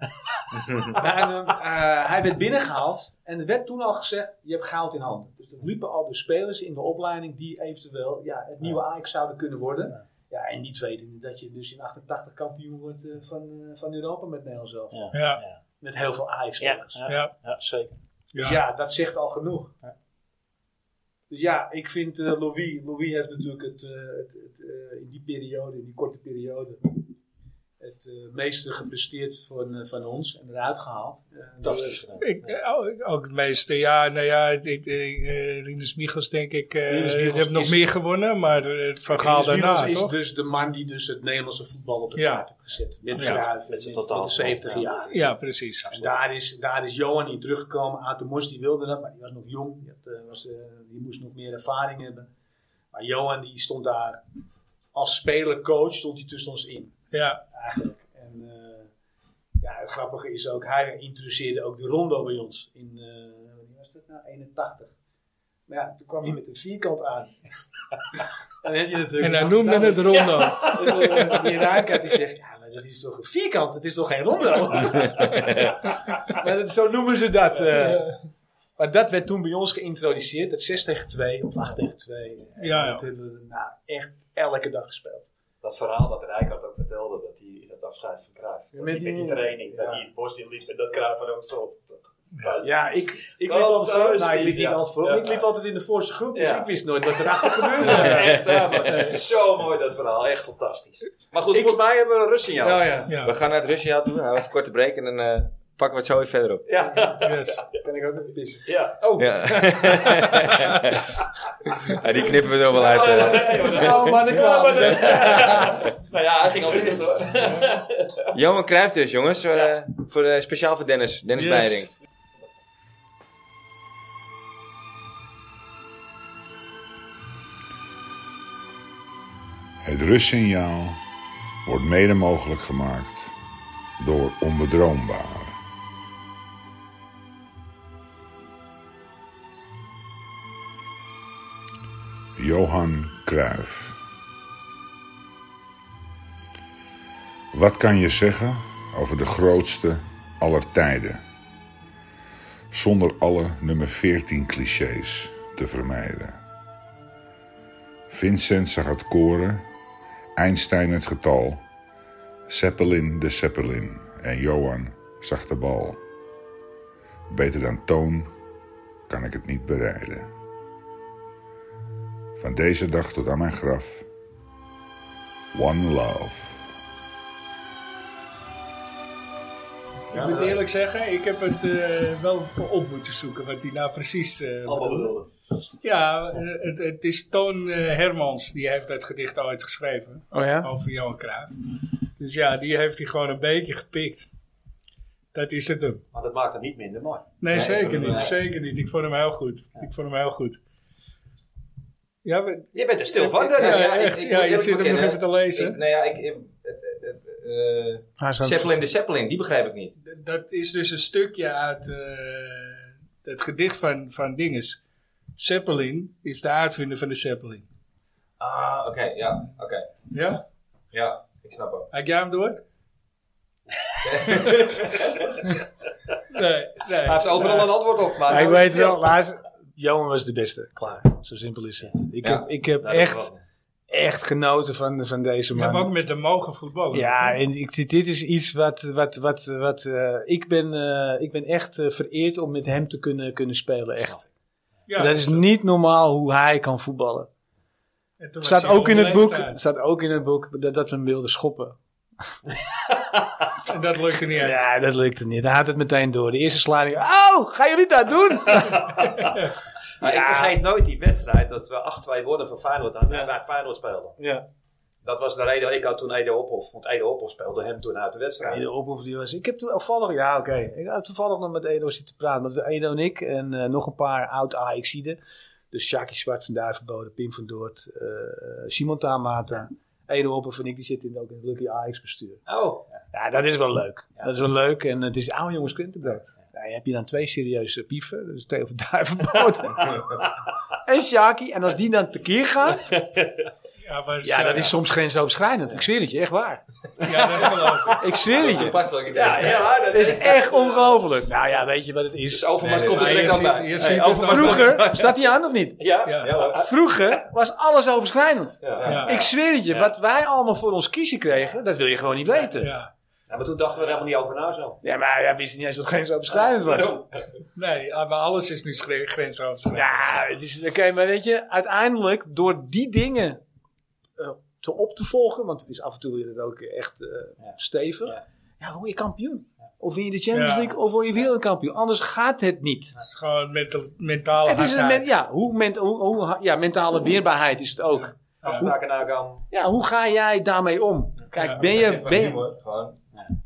[SPEAKER 4] Maar, eh, eh, hij werd binnengehaald en er werd toen al gezegd, je hebt goud in handen. Dus er liepen al de spelers in de opleiding die eventueel ja, het nieuwe Ajax zouden kunnen worden. Ja. en niet wetende dat je dus in 88 kampioen wordt eh, van, eh, van Europa met Nederland zelf.
[SPEAKER 3] Ja.
[SPEAKER 2] Ja,
[SPEAKER 4] Met heel veel Ajax-spelers.
[SPEAKER 3] Ja.
[SPEAKER 2] ja,
[SPEAKER 3] Ja, zeker.
[SPEAKER 4] Dus
[SPEAKER 2] ja.
[SPEAKER 4] ja, dat zegt al genoeg. Dus ja, ik vind eh, Louis, Louis heeft natuurlijk het, eh, het, het, eh, in die periode, in die korte periode, het eh, meeste gepresteerd van, eh, van ons en eruit gehaald. Eh,
[SPEAKER 3] Fantastisch gedaan.
[SPEAKER 2] Ik, eh, ook- ook het meeste, ja, nou ja, ik, ik, eh, Rinus Michels denk ik, eh
[SPEAKER 4] Rinus Michels
[SPEAKER 2] heeft nog
[SPEAKER 4] is-
[SPEAKER 2] meer gewonnen, maar eh, Van Gaal
[SPEAKER 4] Rinus Michels
[SPEAKER 2] daarna,
[SPEAKER 4] is
[SPEAKER 2] toch?
[SPEAKER 4] dus de man die dus het Nederlandse voetbal op de
[SPEAKER 2] Ja.
[SPEAKER 4] kaart heeft gezet. Met
[SPEAKER 2] Ja.
[SPEAKER 4] Schuif,
[SPEAKER 3] Met
[SPEAKER 4] met,
[SPEAKER 3] zijn
[SPEAKER 4] met
[SPEAKER 3] totaal-
[SPEAKER 4] de 70
[SPEAKER 3] ja.
[SPEAKER 4] jaar.
[SPEAKER 2] Ja, precies.
[SPEAKER 4] En daar is, daar is Johan in teruggekomen. Atemos die wilde dat, maar die was nog jong. Die, had, eh, was, eh, die moest nog meer ervaring hebben. Maar Johan die stond daar als speler-coach stond hij tussen ons in.
[SPEAKER 2] Ja,
[SPEAKER 4] Eigenlijk. En eh, ja, het grappige is ook, hij introduceerde ook de rondo bij ons. In, eh, wanneer was dat? dat nou? 81. Maar ja, toen kwam je met een vierkant (laughs) aan. dan heb je natuurlijk
[SPEAKER 2] En hij noemde het rondo.
[SPEAKER 4] Dus, eh, die Raka die zegt, ja, maar dat is toch een vierkant, het is toch geen (laughs) rondo? Maar dat- zo noemen ze dat. eh. Maar dat werd toen bij ons geïntroduceerd, dat 6 tegen 2 of 8 tegen 2. En
[SPEAKER 2] Ja, ja.
[SPEAKER 4] Dat hebben we nou, echt elke dag gespeeld.
[SPEAKER 7] Dat verhaal wat Rijkaard ook vertelde, dat hij dat afscheid van Cruijff.
[SPEAKER 4] Ja,
[SPEAKER 7] Dat
[SPEAKER 4] met
[SPEAKER 7] hij met die
[SPEAKER 4] die-
[SPEAKER 7] training, dat
[SPEAKER 4] ja.
[SPEAKER 7] hij het bos in liep en dat Cruijff er ook stond. Thuis.
[SPEAKER 4] Ja, ik, ik liep
[SPEAKER 7] Oh,
[SPEAKER 4] altijd
[SPEAKER 7] thuis
[SPEAKER 4] voor. Nou, ik
[SPEAKER 7] niet,
[SPEAKER 4] liep niet
[SPEAKER 7] ja.
[SPEAKER 4] altijd voor.
[SPEAKER 7] Ja.
[SPEAKER 4] Ik liep altijd in de voorste groep, dus
[SPEAKER 7] Ja.
[SPEAKER 4] ik wist nooit wat erachter gebeurde.
[SPEAKER 7] Ja, echt,
[SPEAKER 4] Oh,
[SPEAKER 7] ja,
[SPEAKER 6] eh,
[SPEAKER 7] maar, zo mooi dat verhaal, echt fantastisch. Maar goed, volgens mij hebben we een rustsignaal.
[SPEAKER 4] Nou ja,
[SPEAKER 5] We
[SPEAKER 2] (laughs) Ja,
[SPEAKER 5] gaan naar het Russia toe, houden even een korte break en dan eh, pakken we het zo weer verder op.
[SPEAKER 2] yes.
[SPEAKER 4] ben ik ook even bezig.
[SPEAKER 7] Ja.
[SPEAKER 4] Oh,
[SPEAKER 5] Ja. (laughs) Ja, die knippen we er wel uit.
[SPEAKER 7] Oh,
[SPEAKER 5] eh.
[SPEAKER 7] nee, we zijn
[SPEAKER 4] oude mannen kwamen.
[SPEAKER 7] Nou ja, hij ging al eerst hoor.
[SPEAKER 5] Johan Cruijff dus, jongens. Voor, eh, voor, eh, speciaal voor Dennis. Dennis
[SPEAKER 2] Yes.
[SPEAKER 5] Beiring.
[SPEAKER 8] Het rustsignaal wordt mede mogelijk gemaakt door onbedroombare. Johan Cruijff. Wat kan je zeggen over de grootste aller tijden? Zonder alle nummer 14 clichés te vermijden. Vincent zag het koren Einstein het getal, Zeppelin de Zeppelin en Johan zag de bal. Beter dan toon kan ik het niet bereiden. Van deze dag tot aan mijn graf. One love.
[SPEAKER 2] Ik moet eerlijk zeggen, ik heb het eh, wel op moeten zoeken wat hij nou precies eh,
[SPEAKER 7] Allemaal
[SPEAKER 2] bedoelde.
[SPEAKER 7] bedoelde.
[SPEAKER 2] Ja, eh, het, het is Toon eh, Hermans, die heeft dat gedicht ooit geschreven.
[SPEAKER 4] Oh ja?
[SPEAKER 2] Over Johan Cruijff. Dus ja, die heeft hij gewoon een beetje gepikt. Dat is het hem.
[SPEAKER 7] Maar dat maakt het niet minder mooi.
[SPEAKER 2] Nee, zeker niet.
[SPEAKER 6] eh,
[SPEAKER 7] nee.
[SPEAKER 2] Zeker niet. Ik vond hem heel goed. Ik vond hem heel goed. Ja, we-
[SPEAKER 6] Je bent er stil van,
[SPEAKER 2] ja,
[SPEAKER 6] Dennis.
[SPEAKER 5] ja, ik-
[SPEAKER 2] echt.
[SPEAKER 5] ik
[SPEAKER 2] Ja,
[SPEAKER 5] moet
[SPEAKER 2] je
[SPEAKER 5] eerlijk
[SPEAKER 2] zit hem nog
[SPEAKER 5] bekennen,
[SPEAKER 2] even te
[SPEAKER 5] Ik,
[SPEAKER 2] lezen.
[SPEAKER 5] nou ja, ik, eh, eh, eh, eh,
[SPEAKER 4] Hij is aan het-
[SPEAKER 5] Zeppelin de Zeppelin, die begrijp ik niet.
[SPEAKER 2] D- Dat is dus een stukje uit eh, het gedicht van, van Dinges. Zeppelin is de uitvinder van de Zeppelin.
[SPEAKER 5] Ah, oké, ja, oké.
[SPEAKER 2] Ja?
[SPEAKER 5] Ja, ik snap hem.
[SPEAKER 2] Had jij
[SPEAKER 6] (laughs)
[SPEAKER 2] hem door? nee, nee.
[SPEAKER 6] Hij heeft overal een antwoord op, maar...
[SPEAKER 4] Maar ik
[SPEAKER 6] nou is
[SPEAKER 4] weet
[SPEAKER 6] het stil.
[SPEAKER 4] wel, laatst, Johan was de beste. Klaar. Zo simpel is het. Ik
[SPEAKER 5] Ja.
[SPEAKER 4] heb, ik heb
[SPEAKER 6] Nou, dat
[SPEAKER 4] echt,
[SPEAKER 6] wel.
[SPEAKER 4] echt genoten van, van deze
[SPEAKER 2] Je hebt ook
[SPEAKER 4] man.
[SPEAKER 2] met de mogen voetballen.
[SPEAKER 4] Ja, en ik, dit dit is iets wat, wat, wat, wat eh, ik, ben, eh, ik ben echt eh, vereerd om met hem te kunnen, kunnen spelen. Echt.
[SPEAKER 2] Ja,
[SPEAKER 4] dat is niet normaal hoe hij kan voetballen.
[SPEAKER 2] en toen was
[SPEAKER 4] Staat
[SPEAKER 2] hij
[SPEAKER 4] ook, in het boek,
[SPEAKER 2] leeftijd.
[SPEAKER 4] staat ook in het boek dat, dat we hem wilden schoppen.
[SPEAKER 2] En dat lukte niet eens.
[SPEAKER 4] Ja, dat lukte niet. Hij had het meteen door. De eerste sliding. Oh, gaan jullie dat
[SPEAKER 2] (laughs)
[SPEAKER 4] doen?
[SPEAKER 6] Maar ik vergeet nooit die wedstrijd dat we 8-2 wonnen van Feyenoord aan en wij Feyenoord speelden.
[SPEAKER 4] ja.
[SPEAKER 6] Dat was de reden, ik had toen Ede Ophof, want Ede Ophof speelde hem toen uit de wedstrijd.
[SPEAKER 4] De oproep die was. Ik heb toevallig, ja oké. Ik heb toevallig nog met Edo zitten praten. Want Edo en ik en eh, nog een paar oud AXI'den. Dus Sjaki Zwart van Duivenbode, Pim van Doort, eh, Simon Tamata. Edo Ophof en ik die zitten ook in het Lucky AX bestuur.
[SPEAKER 6] Oh,
[SPEAKER 4] Ja, dat is wel leuk. Dat is wel leuk. En het is oude jongens krentenbrood. Nou, dan heb je dan twee serieuze pieven. Dus Theo van Duivenbode (laughs) en Sjaki. En als die dan tekeer gaan.
[SPEAKER 2] Ja, maar-
[SPEAKER 4] Ja, dat is soms grensoverschrijdend. Ik zweer het je, echt waar.
[SPEAKER 2] Ja, dat geloof ik.
[SPEAKER 4] Ik zweer het je.
[SPEAKER 5] Toepasselijk idee.
[SPEAKER 6] ja, ja, dat
[SPEAKER 4] Het is echt ongelooflijk. Nou ja, weet je wat het is?
[SPEAKER 6] Overmars komt er
[SPEAKER 2] maar je
[SPEAKER 6] direct aan
[SPEAKER 2] ziet-
[SPEAKER 6] bij.
[SPEAKER 2] je
[SPEAKER 6] Hey,
[SPEAKER 2] ziet het
[SPEAKER 6] Overmars-
[SPEAKER 2] ook.
[SPEAKER 4] Vroeger, zat hij aan of niet?
[SPEAKER 6] Ja,
[SPEAKER 2] Ja.
[SPEAKER 6] ja. hoor.
[SPEAKER 4] Vroeger was alles overschrijdend.
[SPEAKER 6] Ja.
[SPEAKER 2] Ja.
[SPEAKER 4] Ik zweer het je, wat wij allemaal voor ons kiezen kregen, dat wil je gewoon niet weten.
[SPEAKER 2] Ja.
[SPEAKER 6] Ja, maar toen dachten we er helemaal niet over na zo.
[SPEAKER 4] Ja, maar hij wist niet eens wat grensoverschrijdend was.
[SPEAKER 2] Nee, ah, maar alles is nu schre- grensoverschrijdend.
[SPEAKER 4] Ja, het is, oké, maar weet je, uiteindelijk door die dingen eh, te op te volgen, want het is af en toe weer ook echt eh, stevig, ja. word je kampioen. Of win je de Champions
[SPEAKER 2] Ja.
[SPEAKER 4] League of word je wereldkampioen. Anders gaat het niet.
[SPEAKER 2] Het is gewoon mental, mentale
[SPEAKER 4] het is een men-
[SPEAKER 2] hardheid.
[SPEAKER 4] ja, hoe ment- hoe, hoe, ha- ja, mentale weerbaarheid is het ook.
[SPEAKER 6] Afspraken nagaan.
[SPEAKER 4] Ja, hoe ga jij daarmee om? Kijk,
[SPEAKER 2] Ja,
[SPEAKER 4] ben je... Ben je
[SPEAKER 5] Humor, gewoon.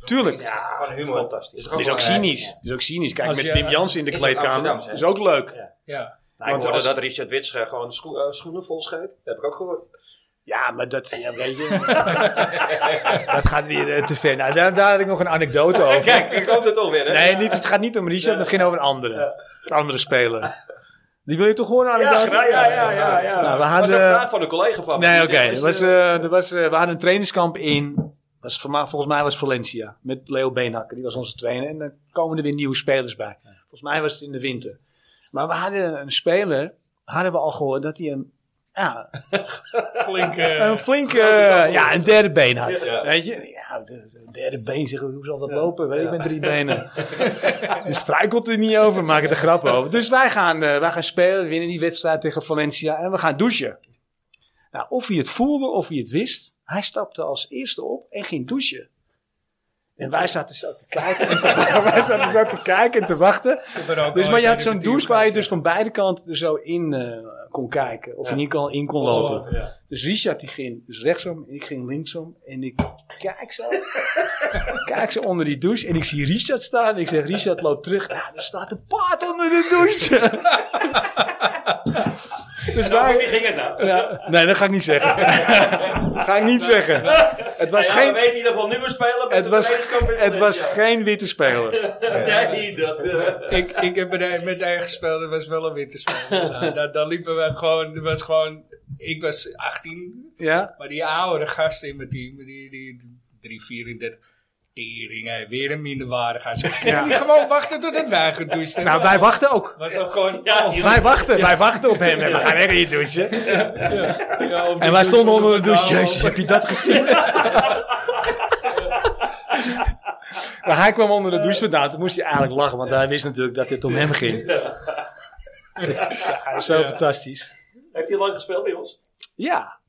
[SPEAKER 4] tuurlijk.
[SPEAKER 6] Ja,
[SPEAKER 5] humor.
[SPEAKER 6] Ah, fantastisch.
[SPEAKER 4] Het is ook
[SPEAKER 5] belangrijk.
[SPEAKER 4] cynisch. Het is ook cynisch. Kijk,
[SPEAKER 2] Als
[SPEAKER 4] met
[SPEAKER 2] je-
[SPEAKER 4] Wim Jans in de
[SPEAKER 5] is ook
[SPEAKER 4] kleedkamer.
[SPEAKER 5] Amsterdams, hè?
[SPEAKER 4] Dat is ook leuk.
[SPEAKER 2] Ja.
[SPEAKER 6] Nou, ik
[SPEAKER 4] Want
[SPEAKER 6] hoorde
[SPEAKER 4] als-
[SPEAKER 6] dat Richard Wits eh, gewoon scho- eh, schoenen vol scheet. Dat heb ik ook gehoord.
[SPEAKER 4] Ja, maar dat, ja, weet je. (laughs) dat gaat weer eh, te ver. Nou, daar, daar had ik nog een anekdote over.
[SPEAKER 1] Kijk, ik hoop dat toch weer, hè?
[SPEAKER 4] Nee, niet, het gaat niet om Richard, maar het ging over een andere. Een andere speler. Die wil je toch horen, anekdote?
[SPEAKER 1] Ja, ja, ja, ja. ja.
[SPEAKER 4] Nou, we
[SPEAKER 1] was
[SPEAKER 4] hadden,
[SPEAKER 1] een vraag van een collega van me.
[SPEAKER 4] Nee,
[SPEAKER 1] Die
[SPEAKER 4] oké.
[SPEAKER 1] zegt,
[SPEAKER 4] Er
[SPEAKER 1] is,
[SPEAKER 4] was,
[SPEAKER 1] eh,
[SPEAKER 4] eh, er was, eh, we hadden een trainingskamp in. Was, verma- volgens mij was Valencia. Met Leo Beenhakker. Die was onze trainer. En dan komen er weer nieuwe spelers bij. Volgens mij was het in de winter. Maar we hadden een speler. Hadden we al gehoord dat hij een. Ja,
[SPEAKER 2] Flink. eh,
[SPEAKER 4] een flinke. ja, een derde been had. Weet je? Ja, een derde been zeggen we, Hoe zal dat lopen? Weet je, Ik ben drie
[SPEAKER 1] (laughs)
[SPEAKER 4] benen. en struikelt er niet over. Maak er een grap over. Dus wij gaan, eh, wij gaan spelen. Winnen die wedstrijd tegen Valencia. En we gaan douchen. Nou, of hij het voelde of hij het wist, hij stapte als eerste op en ging douchen. En wij zaten zo te kijken en te, (laughs) wij zaten zo te, kijken en te wachten. Dus, maar je had zo'n douche waar je dus van beide kanten er zo in eh, kon kijken. Of in ieder geval in
[SPEAKER 1] Oh.
[SPEAKER 4] kon lopen. Dus Richard die ging dus rechtsom, ik ging linksom. En ik kijk zo, (laughs) kijk zo onder die douche. En ik zie Richard staan. En ik zeg, Richard loopt terug. Nou, er staat een paard onder de douche. (laughs) dus wij,
[SPEAKER 1] Wie ging het nou?
[SPEAKER 4] ja, nee, dat ga ik niet zeggen. (laughs) ga ik niet zeggen. Het was
[SPEAKER 1] Ja,
[SPEAKER 4] geen,
[SPEAKER 1] We weten in ieder geval nu we spelen. met
[SPEAKER 4] het
[SPEAKER 1] de
[SPEAKER 4] was,
[SPEAKER 1] trainingskamp in
[SPEAKER 4] het was
[SPEAKER 1] Valencia.
[SPEAKER 4] geen witte speler.
[SPEAKER 1] (laughs) Nee, dat... eh,
[SPEAKER 2] ik, ik heb met, met eigen gespeeld, dat was wel een witte spel.
[SPEAKER 4] (laughs)
[SPEAKER 2] Nou, daar, daar liepen we gewoon, dat was gewoon, ik was 18,
[SPEAKER 4] Ja?
[SPEAKER 2] maar die oude gasten in mijn team, die, die 3, 34, tering, hè, weer een minderwaardigheid. Ik
[SPEAKER 4] Ja.
[SPEAKER 2] die gewoon wachten totdat wij gedoucht hebben.
[SPEAKER 4] Nou, wij wachten ook.
[SPEAKER 2] was ook gewoon, oh,
[SPEAKER 4] Wij wachten, wij wachten (laughs) op hem. En we gaan echt in je douchen.
[SPEAKER 2] ja, of die
[SPEAKER 4] En wij stonden
[SPEAKER 2] douche
[SPEAKER 4] onder de douche.
[SPEAKER 2] nou,
[SPEAKER 4] Jezus, heb je dat gezien? maar hij kwam onder de douche vandaan. Toen moest hij eigenlijk lachen, want hij wist natuurlijk dat dit om hem ging. Ja, zo fantastisch.
[SPEAKER 3] Heeft hij lang gespeeld bij ons?
[SPEAKER 4] Ja.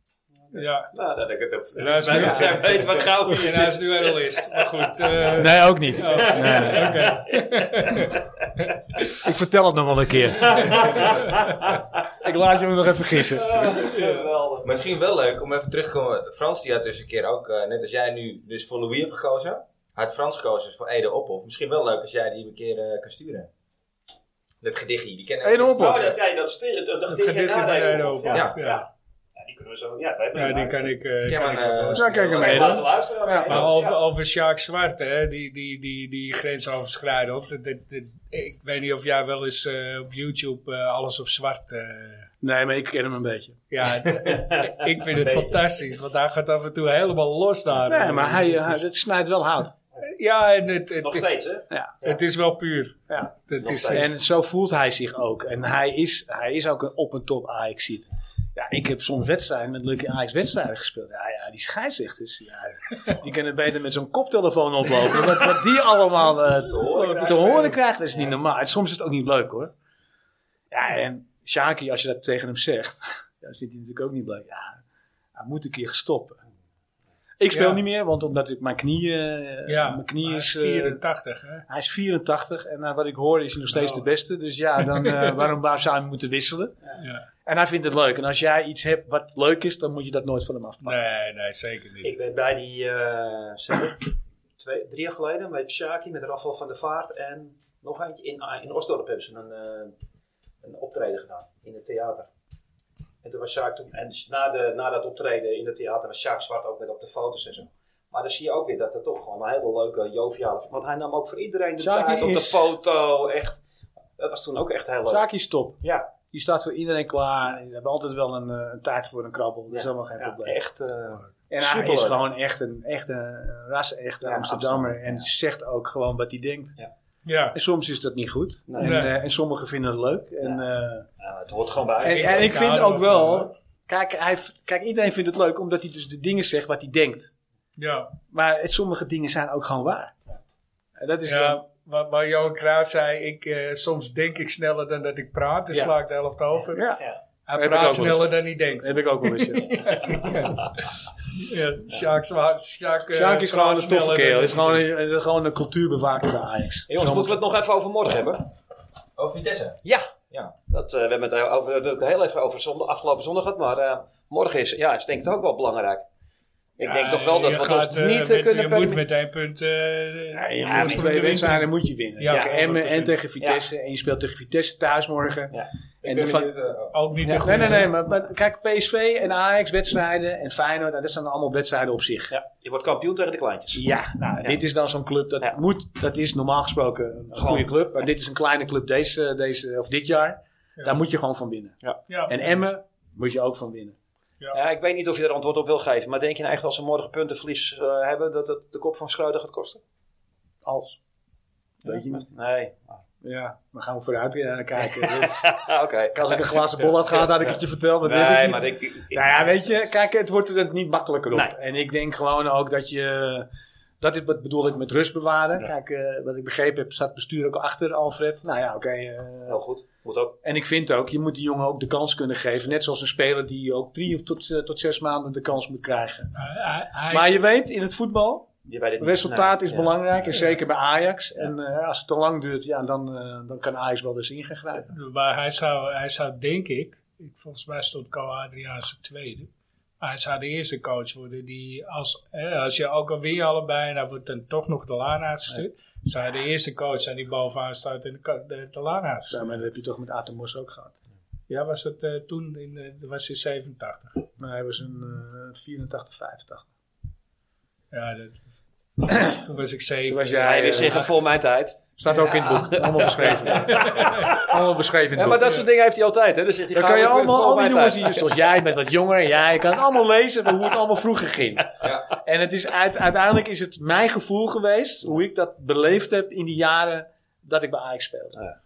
[SPEAKER 2] Ja,
[SPEAKER 3] Nou, dat ik het heb.
[SPEAKER 2] en hij is nu, hij weet wat gauw hier en hij is nu analist. Maar goed, eh,
[SPEAKER 4] Nee, ook niet.
[SPEAKER 2] oh,
[SPEAKER 4] Nee, nee.
[SPEAKER 2] oké.
[SPEAKER 4] Ik vertel het nog wel een (laughs) keer. ik laat jullie nog even gissen.
[SPEAKER 5] Misschien wel leuk om even terug te komen. Frans die had dus een keer ook, eh, net als jij nu dus voor Louis hebt gekozen, had Frans gekozen voor Ede Ophof. Misschien wel leuk als jij die een keer eh, kan sturen. Dat gedichtje, die kennen we.
[SPEAKER 4] Ede Ophof.
[SPEAKER 3] Oh, dat, ja, dat, stu- dat, dat
[SPEAKER 2] Het
[SPEAKER 3] gedichtje
[SPEAKER 2] gedichtje van
[SPEAKER 3] nadelen.
[SPEAKER 2] Ede Ophof,
[SPEAKER 3] Ja.
[SPEAKER 2] ja.
[SPEAKER 3] ja. Ja, die kunnen we zo. Ja, wij hebben
[SPEAKER 2] Ja,
[SPEAKER 3] die
[SPEAKER 2] die
[SPEAKER 3] maken.
[SPEAKER 2] kan ik, eh,
[SPEAKER 5] Ja,
[SPEAKER 2] kan ik
[SPEAKER 5] maar,
[SPEAKER 2] ook
[SPEAKER 5] eh,
[SPEAKER 2] wel
[SPEAKER 4] Nou, kijk hem mee
[SPEAKER 3] Laten
[SPEAKER 4] dan.
[SPEAKER 3] luisteren.
[SPEAKER 4] Ja,
[SPEAKER 2] Maar
[SPEAKER 3] Ja.
[SPEAKER 2] over, over Sjaak Zwart, hè, die, die, die, die grensoverschrijdend. Dat- dat- dat- Ik weet niet of jij wel eens eh, op YouTube eh, alles op zwart. eh,
[SPEAKER 4] Nee, maar ik ken hem een beetje.
[SPEAKER 2] ja, d- ik vind het fantastisch, want hij gaat af en toe helemaal los daar.
[SPEAKER 4] Nee, maar hij, eh, hij het snijdt wel hout.
[SPEAKER 2] Ja, en het, het,
[SPEAKER 3] Nog
[SPEAKER 2] het,
[SPEAKER 3] steeds, hè?
[SPEAKER 2] is wel puur.
[SPEAKER 4] Ja.
[SPEAKER 2] Het is,
[SPEAKER 4] En zo voelt hij zich ook. En hij is, hij is ook een op en top ajax ziet. Ja, ik heb soms wedstrijden met leuke Ajax-wedstrijden gespeeld. Ja, ja, die scheidsrechters, ja, die kunnen beter met zo'n koptelefoon oplopen. Wat, wat die allemaal eh, te horen krijgt, dat is niet normaal. En soms is het ook niet leuk, hoor. Ja, en Shaki, als je dat tegen hem zegt, (laughs) dan vindt hij natuurlijk ook niet leuk. Ja, hij moet een keer gestoppen. Ik speel
[SPEAKER 2] Ja.
[SPEAKER 4] niet meer, want omdat ik mijn knieën, eh,
[SPEAKER 2] ja,
[SPEAKER 4] mijn knie
[SPEAKER 2] maar
[SPEAKER 4] is, eh,
[SPEAKER 2] 84, hè?
[SPEAKER 4] hij is 84 en naar wat ik hoor is hij nog steeds
[SPEAKER 2] Oh.
[SPEAKER 4] de beste. Dus ja,
[SPEAKER 1] (laughs)
[SPEAKER 4] dan, eh, waarom waar zou je hem moeten wisselen?
[SPEAKER 2] Ja.
[SPEAKER 4] En hij vindt het leuk. En als jij iets hebt wat leuk is, dan moet je dat nooit van hem afpakken.
[SPEAKER 2] Nee, nee, zeker niet.
[SPEAKER 1] Ik ben bij die... eh, zeg ik, Twee, drie jaar geleden bij Shaki met Rafael van der Vaart en nog eentje in, in Osdorp hebben ze een, eh, een optreden gedaan in het theater. En toen was Sjaak toen, en dus na, de, na dat optreden in het theater was Sjaak Zwart ook met op de foto's en zo. Maar dan zie je ook weer dat het toch gewoon een hele leuke, joviale... Want hij nam ook voor iedereen de
[SPEAKER 4] Sjaak
[SPEAKER 1] tijd op de
[SPEAKER 4] is-
[SPEAKER 1] foto, echt. Dat was toen ook echt heel leuk.
[SPEAKER 4] Zaki is top.
[SPEAKER 1] Ja.
[SPEAKER 4] Die staat voor iedereen klaar. We hebben altijd wel een, eh, een taart voor een krabbel. Dat is
[SPEAKER 1] Ja.
[SPEAKER 4] helemaal geen
[SPEAKER 1] Ja,
[SPEAKER 4] probleem.
[SPEAKER 1] echt. eh,
[SPEAKER 4] En hij
[SPEAKER 1] superleuk.
[SPEAKER 4] is gewoon echt een, echt een ras-echte
[SPEAKER 1] Ja,
[SPEAKER 4] Amsterdammer.
[SPEAKER 1] absoluut.
[SPEAKER 4] En
[SPEAKER 1] Ja.
[SPEAKER 4] zegt ook gewoon wat hij denkt.
[SPEAKER 2] Ja,
[SPEAKER 4] En soms is dat niet goed.
[SPEAKER 1] Nee.
[SPEAKER 4] En,
[SPEAKER 2] Nee.
[SPEAKER 4] eh, en sommigen vinden het leuk. En, eh,
[SPEAKER 1] ja, het hoort gewoon bij.
[SPEAKER 4] En, en ik
[SPEAKER 2] Ik
[SPEAKER 4] vind
[SPEAKER 2] hou
[SPEAKER 4] ook
[SPEAKER 2] er wel
[SPEAKER 4] wel. Kijk, hij, v- kijk, iedereen vindt het leuk omdat hij dus de dingen zegt wat hij denkt.
[SPEAKER 2] ja.
[SPEAKER 4] Maar het, sommige dingen zijn ook gewoon waar. En dat is Dus dan-
[SPEAKER 2] Ja, wat, wat Johan Cruijff zei, ik, eh, soms denk ik sneller dan dat ik praat, dus
[SPEAKER 4] Ja.
[SPEAKER 2] sla ik de helft over.
[SPEAKER 4] Ja.
[SPEAKER 2] Hij
[SPEAKER 4] Heb ik ook wel
[SPEAKER 2] praat
[SPEAKER 4] eens.
[SPEAKER 2] sneller dan hij
[SPEAKER 4] Dat
[SPEAKER 2] denkt.
[SPEAKER 4] heb ik ook wel eens. ja.
[SPEAKER 2] Ja, Sjaak Zwa- Sjaak, eh,
[SPEAKER 4] Sjaak is gewoon
[SPEAKER 2] praat
[SPEAKER 4] een toffe
[SPEAKER 2] sneller dan
[SPEAKER 4] kerel.
[SPEAKER 2] hij
[SPEAKER 4] Is gewoon een, is gewoon een cultuurbewaker bij Ajax.
[SPEAKER 1] Jongens, moeten we het nog even over morgen hebben?
[SPEAKER 5] Over Vitesse.
[SPEAKER 1] Ja.
[SPEAKER 5] Ja.
[SPEAKER 1] Dat, eh, we hebben het over, dat heel even over zondag, afgelopen zondag gehad, maar eh, morgen is, ja, is denk ik ook wel belangrijk. Ik
[SPEAKER 2] Ja,
[SPEAKER 1] denk toch wel dat
[SPEAKER 2] je
[SPEAKER 1] we het
[SPEAKER 2] gaat,
[SPEAKER 1] ons
[SPEAKER 2] eh,
[SPEAKER 1] niet
[SPEAKER 2] met-
[SPEAKER 1] eh, kunnen
[SPEAKER 2] Je moet
[SPEAKER 1] permitteren.
[SPEAKER 2] met één punt... eh,
[SPEAKER 4] Ja,
[SPEAKER 2] voor de
[SPEAKER 4] twee
[SPEAKER 2] winter.
[SPEAKER 4] wedstrijden moet je winnen.
[SPEAKER 2] Ja,
[SPEAKER 4] tegen Emmen en
[SPEAKER 2] 100%.
[SPEAKER 4] tegen Vitesse. En je speelt tegen Vitesse thuis morgen.
[SPEAKER 1] Ja.
[SPEAKER 5] Ik
[SPEAKER 4] En
[SPEAKER 5] ben
[SPEAKER 4] van-
[SPEAKER 5] benieuwd, eh, oh.
[SPEAKER 2] Ook niet
[SPEAKER 4] Ja,
[SPEAKER 2] de goede.
[SPEAKER 4] nee, nee, nee. Maar, maar kijk, PSV en Ajax wedstrijden en Feyenoord, nou, dat zijn allemaal wedstrijden op zich. Ja,
[SPEAKER 3] Je wordt kampioen tegen de kleintjes.
[SPEAKER 4] nou, dit is dan zo'n club dat
[SPEAKER 3] Ja.
[SPEAKER 4] moet, dat is normaal gesproken een goede club. Maar dit is een kleine club deze, deze, of dit jaar. Daar moet je gewoon van winnen.
[SPEAKER 2] Ja.
[SPEAKER 4] En Emmen moet je ook van winnen.
[SPEAKER 3] Ja, ik weet niet of je er antwoord op wil geven. Maar denk je nou echt als ze morgen puntenverlies eh, hebben, dat het de kop van Schreuder gaat kosten?
[SPEAKER 4] Als.
[SPEAKER 3] Weet je niet. Nee. (laughs)
[SPEAKER 4] Ja, we gaan we vooruit eh, (laughs) kijken.
[SPEAKER 3] Ah, Oké.
[SPEAKER 4] Als ik een glazen bol had gehad, had ik het je verteld. Maar dit
[SPEAKER 3] (laughs) Nee,
[SPEAKER 4] niet.
[SPEAKER 3] maar ik, ik-
[SPEAKER 4] Nou ja, weet je, kijk, het wordt er niet makkelijker op.
[SPEAKER 3] Nee.
[SPEAKER 4] En ik denk gewoon ook dat je. eh, Dat is wat bedoel ik met rust bewaren. Kijk, eh, wat ik begrepen heb, staat het bestuur ook achter Alfred. Nou ja, oké. eh,
[SPEAKER 3] heel goed. Moet ook.
[SPEAKER 4] en ik vind ook, je moet die jongen ook de kans kunnen geven. Net zoals een speler die ook drie of tot, eh, tot zes maanden de kans moet krijgen.
[SPEAKER 2] Hij- hij-
[SPEAKER 4] Maar je weet, in het voetbal,
[SPEAKER 3] Je weet het niet.
[SPEAKER 4] resultaat
[SPEAKER 3] Nee,
[SPEAKER 4] is
[SPEAKER 3] ja.
[SPEAKER 4] belangrijk. En zeker bij Ajax. En eh, als het te lang duurt, ja, dan, eh, dan kan Ajax wel eens ingrijpen.
[SPEAKER 2] Maar hij zou, hij zou denk ik, ik- volgens mij stond Co Adriaanse tweede. Maar hij zou de eerste coach worden die, als, hè, als je ook al win je allebei, en dan wordt dan toch nog de laan uitgestuurd. Zou hij de eerste coach zijn die bovenaan staat en de, ka- de, de laan uitstuurt.
[SPEAKER 4] Ja, maar dat heb je toch met Atemos ook gehad.
[SPEAKER 2] Ja, was dat eh, toen, in, eh, was in 87.
[SPEAKER 4] Maar hij was een eh 84, 85.
[SPEAKER 2] Ja, dat,
[SPEAKER 4] (clears throat)
[SPEAKER 2] toen was ik 7.
[SPEAKER 4] was
[SPEAKER 3] Ja,
[SPEAKER 4] jij,
[SPEAKER 3] je wist
[SPEAKER 4] eh,
[SPEAKER 3] zeggen, voor mijn tijd.
[SPEAKER 4] Staat ook in het boek. Allemaal beschreven. allemaal beschreven in
[SPEAKER 3] Ja,
[SPEAKER 4] het
[SPEAKER 3] maar
[SPEAKER 4] boek.
[SPEAKER 3] dat soort dingen heeft hij altijd. Hè? Dan zegt hij,
[SPEAKER 4] Dan
[SPEAKER 3] ga
[SPEAKER 4] kan je
[SPEAKER 3] maar voor-
[SPEAKER 4] allemaal,
[SPEAKER 3] voor
[SPEAKER 4] alle
[SPEAKER 3] mijn
[SPEAKER 4] jongens
[SPEAKER 3] tijd.
[SPEAKER 4] hier, zoals jij bent wat jonger, ja, je kan het allemaal lezen maar hoe het allemaal vroeger ging.
[SPEAKER 5] Ja.
[SPEAKER 4] En het is uit- uiteindelijk is het mijn gevoel geweest, hoe ik dat beleefd heb in die jaren dat ik bij Ajax speelde.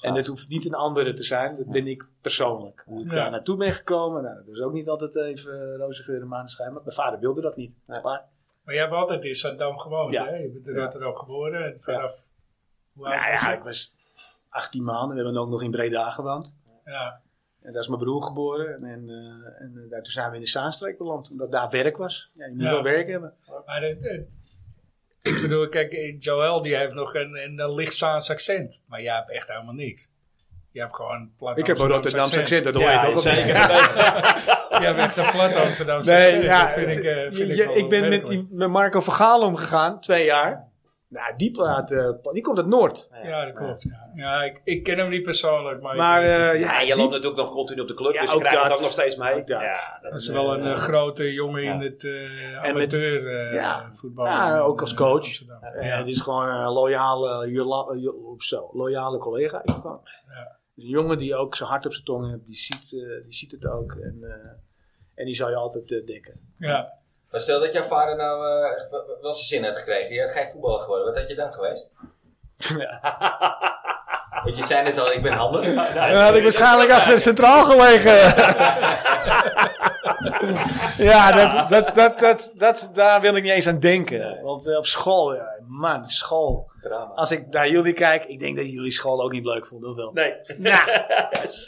[SPEAKER 4] En dat hoeft niet een andere te zijn, dat ben ik persoonlijk. Hoe ik
[SPEAKER 2] Ja.
[SPEAKER 4] daar naartoe ben gekomen, nou, dat is ook niet altijd even eh, roze geur en maneschijn, want mijn vader wilde dat niet. Maar
[SPEAKER 2] Maar jij hebt altijd in Zandam gewoond,
[SPEAKER 4] Ja.
[SPEAKER 2] hè? Je bent in Rotterdam geboren en vanaf... hoe oud
[SPEAKER 4] Nou
[SPEAKER 2] was
[SPEAKER 4] ja,
[SPEAKER 2] je?
[SPEAKER 4] ik was 18 maanden. We hebben ook nog in Breda gewoond.
[SPEAKER 2] ja.
[SPEAKER 4] En daar is mijn broer geboren. En, eh, en eh, daar, toen zijn we in de Zaanstreek beland. Omdat daar werk was. Ja, je moest
[SPEAKER 2] Ja.
[SPEAKER 4] wel werk hebben.
[SPEAKER 2] Maar het- het- ik bedoel, kijk, eh, Joël die heeft nog een, een, een licht Zaans accent. Maar jij hebt echt helemaal niks. Je hebt gewoon een plat
[SPEAKER 4] ik heb een Rotterdamse accent. Dat hoor
[SPEAKER 2] Ja,
[SPEAKER 4] je toch al (laughs)
[SPEAKER 2] zeker. Je hebt echt een plat Amsterdamse
[SPEAKER 4] Nee,
[SPEAKER 2] accent.
[SPEAKER 4] ja,
[SPEAKER 2] dat vind ik, eh, vind
[SPEAKER 4] je-
[SPEAKER 2] ik,
[SPEAKER 4] je-
[SPEAKER 2] wel
[SPEAKER 4] ik ben met,
[SPEAKER 2] opmerkelijk.
[SPEAKER 4] die, met Marco van Gaal omgegaan. Twee jaar. Nou, die praat... eh, die komt uit Noord.
[SPEAKER 2] Ja, dat klopt. Ja, ja ik, ik ken hem niet persoonlijk, maar... ik
[SPEAKER 4] Maar
[SPEAKER 2] weet het.
[SPEAKER 4] eh,
[SPEAKER 3] Ja,
[SPEAKER 4] ja,
[SPEAKER 3] je
[SPEAKER 4] die-
[SPEAKER 3] loopt natuurlijk nog continu op de club,
[SPEAKER 4] Ja,
[SPEAKER 3] dus je
[SPEAKER 4] ook
[SPEAKER 3] krijgt het
[SPEAKER 4] dat.
[SPEAKER 3] ook nog steeds mee.
[SPEAKER 4] Ook dat.
[SPEAKER 3] Ja, dat
[SPEAKER 2] dat is wel een eh, grote jongen in het eh
[SPEAKER 4] En met-
[SPEAKER 2] amateur eh,
[SPEAKER 4] ja.
[SPEAKER 2] voetbal.
[SPEAKER 4] Ja,
[SPEAKER 2] in,
[SPEAKER 4] ook als
[SPEAKER 2] eh,
[SPEAKER 4] coach.
[SPEAKER 2] Amsterdam.
[SPEAKER 4] eh, het is gewoon een loyale, jola- eh, jo- of zo, loyale collega. Is het gewoon.
[SPEAKER 2] Ja.
[SPEAKER 4] Een jongen die ook zijn hart op zijn tong heeft. Die ziet, eh, die ziet het ook. En, eh, en die zou je altijd eh, dekken.
[SPEAKER 2] Ja.
[SPEAKER 5] Maar stel dat jouw vader nou eh, echt wel- wel zijn zin had gekregen. Je had geen voetballer geworden. Wat had je dan
[SPEAKER 1] (laughs)
[SPEAKER 5] geweest? Want je zei net al, ik ben handig.
[SPEAKER 4] Dan had ik waarschijnlijk achter centraal gelegen. (laughs) ja, dat, dat, dat, dat, dat, daar wil ik niet eens aan denken. Want eh, op school, ja, man, school. Als ik naar jullie kijk, ik denk dat jullie school ook niet leuk vonden, of wel?
[SPEAKER 3] Nee. (laughs)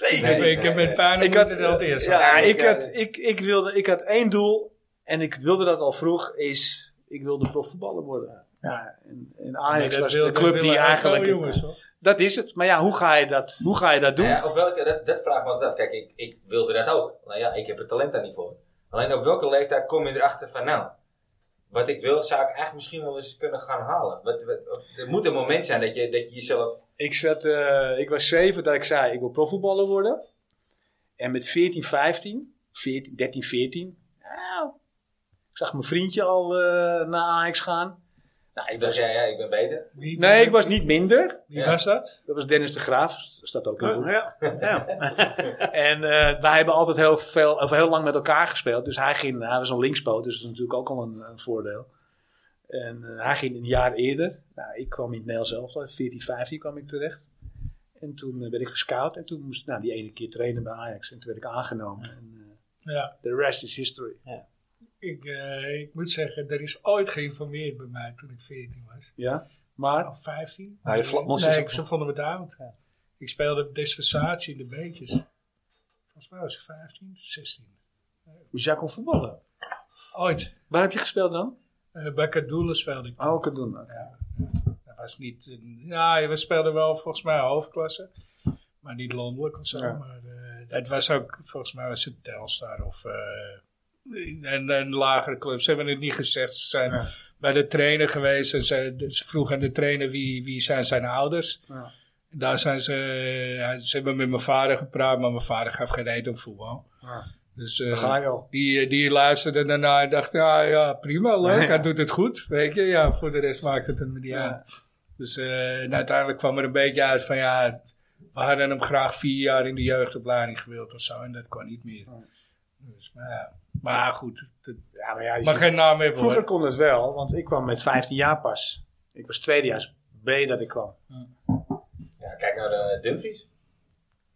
[SPEAKER 2] Ik heb- ik heb met pijn
[SPEAKER 4] Ik
[SPEAKER 2] ik
[SPEAKER 4] had-
[SPEAKER 2] had, het al eerst.
[SPEAKER 4] Ja, ik, had, ik, ik, wilde, ik had één doel en ik wilde dat al vroeg, is ik wilde profvoetballer worden. Ja, en, en Ajax was de club die eigenlijk...
[SPEAKER 2] Jongens, hoor.
[SPEAKER 4] dat is het. Maar ja, hoe ga je dat, hoe ga je dat doen?
[SPEAKER 5] Nou ja, op welke, dat, dat vraag was dat. Kijk, ik, ik wilde dat ook. Nou ja, ik heb het talent daar niet voor. Alleen op welke leeftijd kom je erachter van nou, wat ik wil zou ik eigenlijk misschien wel eens kunnen gaan halen. Wat, wat- er moet een moment zijn dat je, dat je jezelf...
[SPEAKER 4] Ik, zat, eh, ik was zeven dat ik zei, ik wil profvoetballer worden. En met 14, 15, 14, 13, 14. Nou, ik zag mijn vriendje al eh, naar Ajax gaan. Nou, ik
[SPEAKER 5] Dat
[SPEAKER 4] was,
[SPEAKER 5] jij, ja, ik ben beter.
[SPEAKER 2] Wie-
[SPEAKER 4] nee, ik was niet minder.
[SPEAKER 2] Wie was dat?
[SPEAKER 4] Dat was Dennis de Graaf. Dat staat ook in het boek.
[SPEAKER 3] Ja.
[SPEAKER 2] (laughs)
[SPEAKER 4] En eh, wij hebben altijd heel, veel, of heel lang met elkaar gespeeld. Dus hij, ging, hij was een linkspoot, dus dat is natuurlijk ook al een, een voordeel. En eh, hij ging een jaar eerder. Nou, ik kwam in het Nederlands elftal, 14, 15 kwam ik terecht. En toen eh, werd ik gescout en toen moest ik nou, die ene keer trainen bij Ajax. En toen werd ik aangenomen. En, eh,
[SPEAKER 2] Ja,
[SPEAKER 4] the rest is history.
[SPEAKER 2] ik, eh, ik moet zeggen, er is ooit geïnformeerd bij mij toen ik 14 was.
[SPEAKER 4] Ja? Maar,
[SPEAKER 2] Of 15.
[SPEAKER 4] Nou, je vla- moest
[SPEAKER 2] nee,
[SPEAKER 4] dus-
[SPEAKER 2] ik, ze vonden me daar oud. Ik speelde dispensatie in de beentjes. Volgens mij was ik 15, 16.
[SPEAKER 4] hoe dus jij kon voetballen.
[SPEAKER 2] Ooit.
[SPEAKER 4] Waar heb je gespeeld dan?
[SPEAKER 2] eh bij Kadoelen speelde ik.
[SPEAKER 4] Oh, ik kan doen.
[SPEAKER 2] Dat was niet... een- ja, we speelden wel volgens mij hoofdklasse. Maar niet landelijk of zo.
[SPEAKER 4] Ja.
[SPEAKER 2] Maar eh, dat was ook... Volgens mij was het Telstar of... eh, en, en lagere clubs. Ze hebben het niet gezegd. Ze zijn
[SPEAKER 4] Ja.
[SPEAKER 2] bij de trainer geweest. En ze, ze vroeg aan de trainer wie, wie zijn zijn ouders.
[SPEAKER 4] Ja.
[SPEAKER 2] En daar zijn ze, eh, ze hebben met mijn vader gepraat, maar mijn vader gaf geen eten op voetbal. Dus eh,
[SPEAKER 4] Ga je al.
[SPEAKER 2] die, die luisterde daarna en dacht, ja, ja prima, leuk, hij doet het goed. Weet je, ja, voor de rest maakt het hem niet uit. Dus eh, en uiteindelijk kwam er een beetje uit van, ja, we hadden hem graag vier jaar in de jeugdopleiding gewild of zo. En dat kon niet meer. Dus, maar, ja. maar goed, het- het
[SPEAKER 4] Ja, maar ja, je
[SPEAKER 2] mag
[SPEAKER 4] ziet-
[SPEAKER 2] geen naam hebben
[SPEAKER 4] Vroeger
[SPEAKER 2] hoor.
[SPEAKER 4] kon het wel, want ik kwam met 15 jaar pas. Ik was tweedejaars B dat ik kwam.
[SPEAKER 5] Ja, kijk naar eh, Dumfries.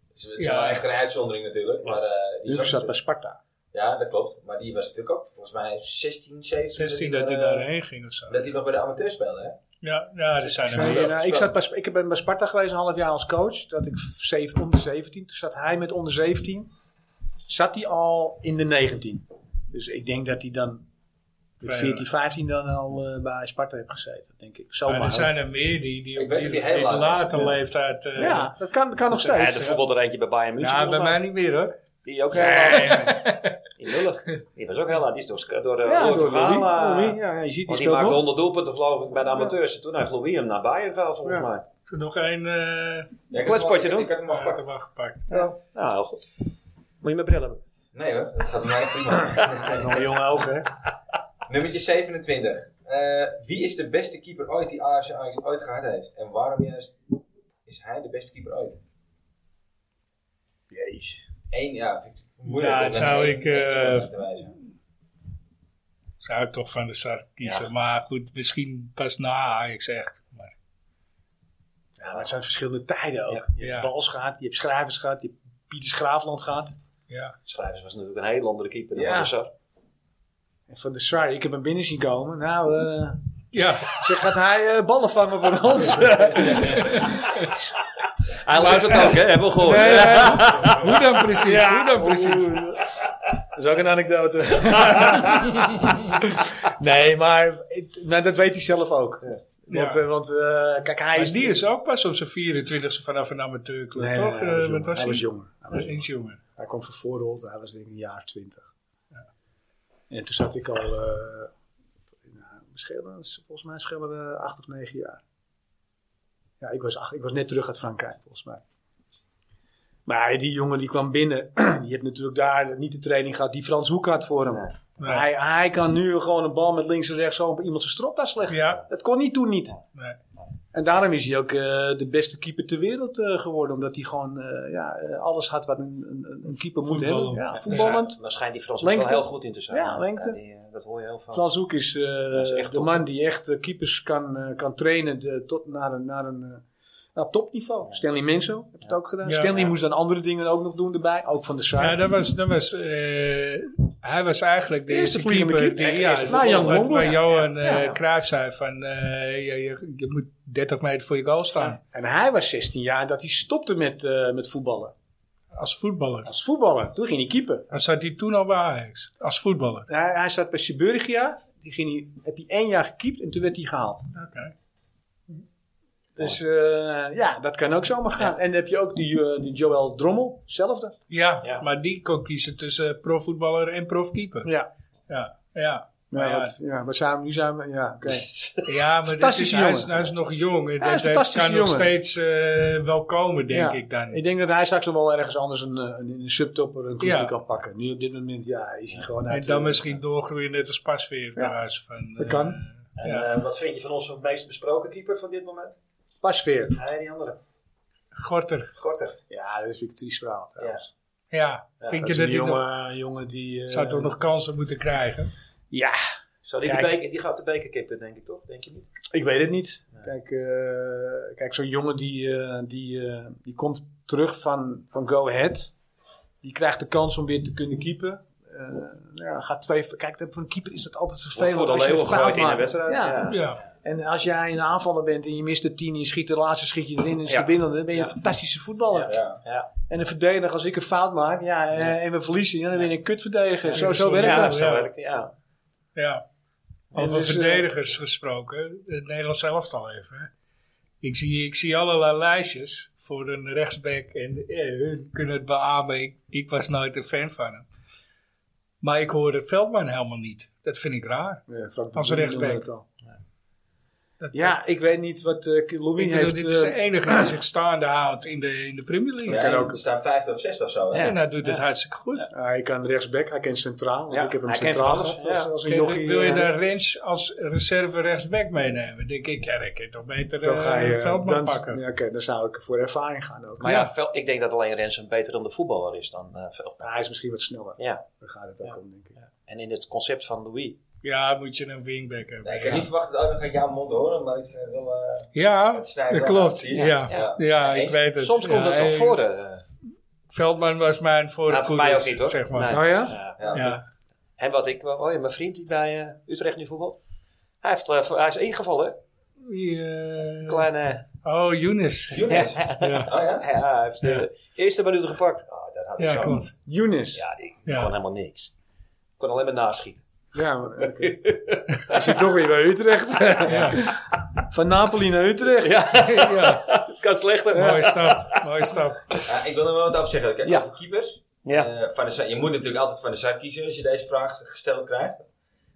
[SPEAKER 5] Het is, het is
[SPEAKER 2] Ja.
[SPEAKER 5] wel echt een uitzondering natuurlijk. Maar, eh, die
[SPEAKER 4] Dus ik
[SPEAKER 5] zat
[SPEAKER 4] zat bij
[SPEAKER 5] natuurlijk-
[SPEAKER 4] Sparta.
[SPEAKER 5] Ja, dat klopt. Maar die was natuurlijk ook volgens mij 16, 17.
[SPEAKER 2] 16 dat hij
[SPEAKER 5] hij
[SPEAKER 2] daarheen ging of zo.
[SPEAKER 5] eh, Dat hij nog bij de amateur speelde, hè?
[SPEAKER 2] Ja, ja er zijn er
[SPEAKER 4] Nee,
[SPEAKER 2] meer.
[SPEAKER 4] nou, ik, zat bij, Sp- ik ben bij Sparta geweest een half jaar als coach. Dat ik zeven, onder 17. Toen zat hij met onder 17. Zat hij al in de 19. Dus ik denk dat hij dan met
[SPEAKER 2] Ja.
[SPEAKER 4] 14, 15 dan al eh, bij Sparta heeft gezeten. Denk ik.
[SPEAKER 2] Maar er
[SPEAKER 4] Zomaar.
[SPEAKER 2] zijn er meer die, die
[SPEAKER 5] Ik
[SPEAKER 2] op
[SPEAKER 5] weet
[SPEAKER 2] die,
[SPEAKER 5] dat die heel
[SPEAKER 2] die
[SPEAKER 5] laat
[SPEAKER 2] late leeftijd... eh,
[SPEAKER 4] ja, dat kan, dat kan nog
[SPEAKER 3] Ja,
[SPEAKER 4] steeds.
[SPEAKER 3] er voetbalt er eentje bij Bayern München.
[SPEAKER 2] ja, bij
[SPEAKER 3] volgens mij.
[SPEAKER 2] mij niet meer hoor.
[SPEAKER 3] Die ook heel laat. (laughs) Die lullig. Die was ook heel laat. Die is door, Sk- door, eh,
[SPEAKER 4] Ja,
[SPEAKER 3] Roy
[SPEAKER 4] door
[SPEAKER 3] van Gaal,
[SPEAKER 4] Louis.
[SPEAKER 3] eh,
[SPEAKER 4] Louis, Ja, je ziet die
[SPEAKER 3] Want die
[SPEAKER 4] speelt
[SPEAKER 3] maakte
[SPEAKER 4] nog.
[SPEAKER 3] 100 doelpunten geloof ik bij de amateurs. En Toen heeft Louis hem naar Bayern gehaald volgens
[SPEAKER 4] Ja.
[SPEAKER 3] mij.
[SPEAKER 2] Ik heb nog één eh
[SPEAKER 5] Ja, ik had
[SPEAKER 3] Kletspotje
[SPEAKER 5] hem al-
[SPEAKER 3] doen.
[SPEAKER 5] Ik had hem al
[SPEAKER 2] apart
[SPEAKER 5] gepakt.
[SPEAKER 2] heb aangepakt.
[SPEAKER 3] Nou, heel goed. Moet je mijn bril hebben.
[SPEAKER 5] Nee hoor, dat gaat bij mij prima.
[SPEAKER 4] Nog een jonge ogen, hè?
[SPEAKER 5] Nummertje 27. Eh, wie is de beste keeper ooit die AFC Ajax ooit gehad heeft? En waarom juist is hij de beste keeper ooit?
[SPEAKER 4] Jeez.
[SPEAKER 5] Eén, ja, vind ik moeilijk.
[SPEAKER 2] Ja,
[SPEAKER 5] om
[SPEAKER 2] het
[SPEAKER 5] dan
[SPEAKER 2] zou
[SPEAKER 5] één
[SPEAKER 2] ik, eh,
[SPEAKER 5] te wijzen.
[SPEAKER 2] Zou ik toch van de start kiezen. Maar goed, misschien pas na Ajax echt. Maar,
[SPEAKER 4] Ja, maar het zijn verschillende tijden ook. Je
[SPEAKER 2] Ja.
[SPEAKER 4] hebt Bals gehad, je hebt Schrijvers gehad, je hebt Pieter Schraafland gehad.
[SPEAKER 2] ja.
[SPEAKER 3] Schrijvers was natuurlijk een heel andere keeper dan
[SPEAKER 4] Ja.
[SPEAKER 3] Van der Sar.
[SPEAKER 4] En van de Sar, ik heb hem binnen zien komen. Nou, eh
[SPEAKER 2] Ja,
[SPEAKER 4] zeg, gaat hij eh, ballen vangen (laughs) voor ons?
[SPEAKER 3] Hij luistert ook, hè? Hebben we gehoord.
[SPEAKER 4] Nee,
[SPEAKER 3] Ja.
[SPEAKER 2] (laughs) hoe dan precies? Hoe dan precies?
[SPEAKER 4] Dat is ook een (laughs) anekdote. nee, maar ik- nou, dat weet hij zelf ook. Want,
[SPEAKER 2] Ja.
[SPEAKER 4] eh, want eh, kijk, hij
[SPEAKER 2] Maar
[SPEAKER 4] is...
[SPEAKER 2] die is ook pas op zijn 24e vanaf een amateurclub,
[SPEAKER 4] Nee, nee,
[SPEAKER 2] toch?
[SPEAKER 4] nee, hij was
[SPEAKER 2] Eh, wat
[SPEAKER 4] jonger.
[SPEAKER 2] was
[SPEAKER 4] Hij was
[SPEAKER 2] hij?
[SPEAKER 4] jonger. Hij was
[SPEAKER 2] Hij is jonger.
[SPEAKER 4] Hij kwam van Voorholt, hij was denk ik een jaar of twintig. En toen zat ik al, eh, nou, schelen, volgens mij schelen we acht of negen jaar. Ja, ik was, acht, ik was net terug uit Frankrijk, volgens mij. Maar die jongen die kwam binnen, (clears throat) die heeft natuurlijk daar niet de training gehad die Frans Hoek had voor hem.
[SPEAKER 2] Nee.
[SPEAKER 4] Hij, hij kan nu gewoon een bal met links en rechts zo op iemand zijn strop slecht.
[SPEAKER 2] Ja.
[SPEAKER 4] Dat kon hij toen niet.
[SPEAKER 2] Nee.
[SPEAKER 4] En daarom is hij ook eh, de beste keeper ter wereld eh, geworden. Omdat hij gewoon eh, ja, eh, alles had wat een, een, een keeper moet hebben.
[SPEAKER 2] Voetballend.
[SPEAKER 4] Ja, voetballend.
[SPEAKER 3] Daar schijnt die Frans
[SPEAKER 4] Lengte.
[SPEAKER 3] wel heel goed in te zijn.
[SPEAKER 4] Ja, lengte.
[SPEAKER 3] die, eh, dat hoor je heel vaak.
[SPEAKER 4] Frans Hoek is, eh,
[SPEAKER 3] is echt
[SPEAKER 4] de
[SPEAKER 3] top.
[SPEAKER 4] man die echt eh, keepers kan, eh, kan trainen de, tot naar een, naar een eh, naar topniveau. Stanley Menzo heeft het ook gedaan.
[SPEAKER 2] Ja.
[SPEAKER 4] Stanley
[SPEAKER 2] Ja.
[SPEAKER 4] moest dan andere dingen ook nog doen erbij. Ook van de Saar.
[SPEAKER 2] Ja, dat was, dat was, eh, hij was eigenlijk de
[SPEAKER 4] De eerste
[SPEAKER 2] eerste
[SPEAKER 4] vliegende
[SPEAKER 2] keeper,
[SPEAKER 4] keeper,
[SPEAKER 2] die,
[SPEAKER 4] echt
[SPEAKER 2] ja,
[SPEAKER 4] eerste voetballer.
[SPEAKER 2] wat-
[SPEAKER 4] Na Jan
[SPEAKER 2] wat waar
[SPEAKER 4] Lombard.
[SPEAKER 2] Johan eh
[SPEAKER 4] Ja, ja.
[SPEAKER 2] Cruijff zei van, eh, je, je, je moet 30 meter voor je goal staan.
[SPEAKER 4] En hij was 16 jaar dat hij stopte met, eh, met voetballen.
[SPEAKER 2] Als voetballer.
[SPEAKER 4] Als voetballer. Toen ging hij keeper.
[SPEAKER 2] Dan zat hij toen al bij Ajax. Als voetballer.
[SPEAKER 4] Hij, hij staat bij Siburgia. Die ging hij, heb hij één jaar gekiept en toen werd hij gehaald.
[SPEAKER 2] Oké.
[SPEAKER 4] Dus eh, ja, dat kan ook zomaar gaan. En dan heb je ook die, eh, die Joel Drommel, hetzelfde.
[SPEAKER 2] Ja,
[SPEAKER 3] Ja.
[SPEAKER 2] maar die kon kiezen tussen profvoetballer en profkeeper.
[SPEAKER 4] Ja.
[SPEAKER 2] Ja, ja.
[SPEAKER 4] Nou,
[SPEAKER 2] Ja.
[SPEAKER 4] wat- ja, we zijn nu zijn we, ja,
[SPEAKER 2] (laughs)
[SPEAKER 4] oké.
[SPEAKER 2] ja maar dit is,
[SPEAKER 4] Fantastische
[SPEAKER 2] hij, is,
[SPEAKER 4] jongen.
[SPEAKER 2] hij is nog jong. en dat-
[SPEAKER 4] hij is een
[SPEAKER 2] dat
[SPEAKER 4] fantastische
[SPEAKER 2] kan nog
[SPEAKER 4] jongen.
[SPEAKER 2] steeds eh, wel komen, denk
[SPEAKER 4] Ja.
[SPEAKER 2] ik dan.
[SPEAKER 4] Ik denk dat hij straks nog wel ergens anders een, eh, een, een subtopper, een clubje
[SPEAKER 2] Ja.
[SPEAKER 4] kan pakken. Nu op dit moment, ja, is hij gewoon
[SPEAKER 2] En
[SPEAKER 4] uit.
[SPEAKER 2] dan
[SPEAKER 4] eh,
[SPEAKER 2] misschien doorgroeien net als Pasveer.
[SPEAKER 4] Ja.
[SPEAKER 2] thuis Van,
[SPEAKER 4] Dat
[SPEAKER 2] eh,
[SPEAKER 4] kan.
[SPEAKER 9] En
[SPEAKER 2] ja.
[SPEAKER 9] eh, wat vind je van onze meest besproken keeper van dit moment?
[SPEAKER 4] Pasveer.
[SPEAKER 9] Hij en die andere.
[SPEAKER 2] eh, Gorter.
[SPEAKER 9] Gorter.
[SPEAKER 4] Ja, dat is natuurlijk een triest verhaal. trouwens.
[SPEAKER 2] Ja, vind
[SPEAKER 4] Dat
[SPEAKER 2] je
[SPEAKER 4] is
[SPEAKER 2] dat
[SPEAKER 4] een
[SPEAKER 2] hij nog,
[SPEAKER 4] jongen, jongen die... eh,
[SPEAKER 2] zou toch nog kansen moeten krijgen?
[SPEAKER 4] Ja,
[SPEAKER 9] Zo, die, de
[SPEAKER 4] Kijk.
[SPEAKER 9] beker- die gaat de beker kippen, denk ik toch? Denk je niet?
[SPEAKER 4] Ik weet het niet. Kijk, eh, kijk zo'n jongen die, eh, die, eh, die komt terug van, van Go Ahead. Die krijgt de kans om weer te kunnen keepen. Eh, ja, gaat twee, kijk, dat- voor een keeper is dat altijd vervelend.
[SPEAKER 3] voor de
[SPEAKER 4] als je
[SPEAKER 3] leeuw
[SPEAKER 4] een fout
[SPEAKER 3] gegooid in een
[SPEAKER 4] maakt.
[SPEAKER 3] wedstrijd.
[SPEAKER 4] Ja.
[SPEAKER 3] Ja.
[SPEAKER 2] Ja,
[SPEAKER 4] En als jij een aanvaller bent en je mist de tien, je schiet de laatste schiet je erin en is de winnende, dan ben je een fantastische voetballer.
[SPEAKER 5] Ja,
[SPEAKER 4] En een verdediger, als ik een fout maak ja, eh, en we verliezen, ja, dan ben je een kutverdediger. zo, zo werkt
[SPEAKER 2] Ja,
[SPEAKER 4] dat.
[SPEAKER 2] ja.
[SPEAKER 3] werkt het, ja.
[SPEAKER 2] ja.
[SPEAKER 4] En
[SPEAKER 2] Over
[SPEAKER 4] dus, eh,
[SPEAKER 2] verdedigers gesproken, het Nederlands elftal even. hè. Ik zie, ik zie allerlei lijstjes voor een rechtsback en eh, hun kunnen het beamen. Ik, ik was nooit een fan van hem. Maar ik hoorde Veldman helemaal niet. Dat vind ik raar.
[SPEAKER 4] Ja, Frank de
[SPEAKER 2] Als
[SPEAKER 4] Boer
[SPEAKER 2] rechtsback.
[SPEAKER 4] noemde het al.
[SPEAKER 2] Dat-
[SPEAKER 4] Ja, ik weet niet wat eh Louis
[SPEAKER 2] Ik bedoel,
[SPEAKER 4] heeft.
[SPEAKER 2] dit is de
[SPEAKER 4] eh,
[SPEAKER 2] enige die zich staande houdt in de, in de Premier League.
[SPEAKER 5] Ja, er staan vijfde of zesde of zo. hè?
[SPEAKER 2] En hij doet het hartstikke goed.
[SPEAKER 4] hij Ah, kan rechtsback, hij kan centraal. want
[SPEAKER 3] Ja,
[SPEAKER 4] ik heb hem
[SPEAKER 3] hij kent
[SPEAKER 4] centraal
[SPEAKER 3] van alles,
[SPEAKER 4] gehad als, als een
[SPEAKER 2] Kijk,
[SPEAKER 4] jochie.
[SPEAKER 2] wil je
[SPEAKER 4] eh,
[SPEAKER 2] dan Rens als reserve rechtsback meenemen? Denk ik, ja, dan kun je toch beter
[SPEAKER 4] dan
[SPEAKER 2] eh,
[SPEAKER 4] ga je
[SPEAKER 2] Veldman
[SPEAKER 4] dan,
[SPEAKER 2] pakken.
[SPEAKER 4] Ja, oké, dan zou ik voor ervaring gaan ook.
[SPEAKER 3] Maar ja, Vel- ik denk dat alleen Rensen beter dan de voetballer is dan eh Veldman.
[SPEAKER 4] hij is misschien wat sneller.
[SPEAKER 3] Ja.
[SPEAKER 4] Daar gaat het ook om, denk ik.
[SPEAKER 3] En in het concept van Louis.
[SPEAKER 2] Ja, moet je een wingback hebben.
[SPEAKER 5] Nee, ik
[SPEAKER 2] ja.
[SPEAKER 5] had niet verwacht dat ook nog uit jouw mond horen, maar ik vind het wel... eh,
[SPEAKER 2] Ja,
[SPEAKER 5] het snijdt
[SPEAKER 2] dat
[SPEAKER 5] wel
[SPEAKER 2] klopt.
[SPEAKER 5] aan, zie
[SPEAKER 2] Ja,
[SPEAKER 5] je.
[SPEAKER 2] ja.
[SPEAKER 5] Ja.
[SPEAKER 2] ik weet het.
[SPEAKER 3] Soms komt
[SPEAKER 2] Ja,
[SPEAKER 3] dat wel
[SPEAKER 2] eh,
[SPEAKER 3] voor. eh.
[SPEAKER 2] Veldman was mijn voorkeur.
[SPEAKER 3] Nou, voor mij ook niet hoor.
[SPEAKER 2] Zeg maar.
[SPEAKER 3] Nee.
[SPEAKER 4] Oh ja?
[SPEAKER 3] Ja.
[SPEAKER 5] ja.
[SPEAKER 2] Ja.
[SPEAKER 3] En wat ik, wel- oh ja, mijn vriend die bij eh, Utrecht nu voetbalt. Hij, heeft, eh, voor- hij is ingevallen. hè?
[SPEAKER 2] Wie, eh,
[SPEAKER 3] Kleine,
[SPEAKER 2] Oh, Younes.
[SPEAKER 5] Younes?
[SPEAKER 2] Ja,
[SPEAKER 5] Oh ja?
[SPEAKER 3] (laughs) ja, hij heeft de eerste minuut gepakt. Ah, dat had ik
[SPEAKER 2] ja
[SPEAKER 3] zo.
[SPEAKER 2] klopt.
[SPEAKER 4] Younes.
[SPEAKER 3] Ja, die
[SPEAKER 2] Ja.
[SPEAKER 3] kon helemaal niks. Kon alleen maar naschieten.
[SPEAKER 4] Ja, maar oké. hij zit toch weer bij (laughs) Utrecht.
[SPEAKER 2] Ja.
[SPEAKER 4] Van Napoli naar Utrecht. (laughs) Ja,
[SPEAKER 2] ja.
[SPEAKER 3] Het kan slechter.
[SPEAKER 2] Mooie stap. Mooie stap.
[SPEAKER 5] Ja, ik wil er wel wat over zeggen. Kijk,
[SPEAKER 3] Ja.
[SPEAKER 5] over keepers.
[SPEAKER 3] Ja.
[SPEAKER 5] Eh, van de Sar- je moet natuurlijk altijd van de Sar kiezen als je deze vraag gesteld krijgt.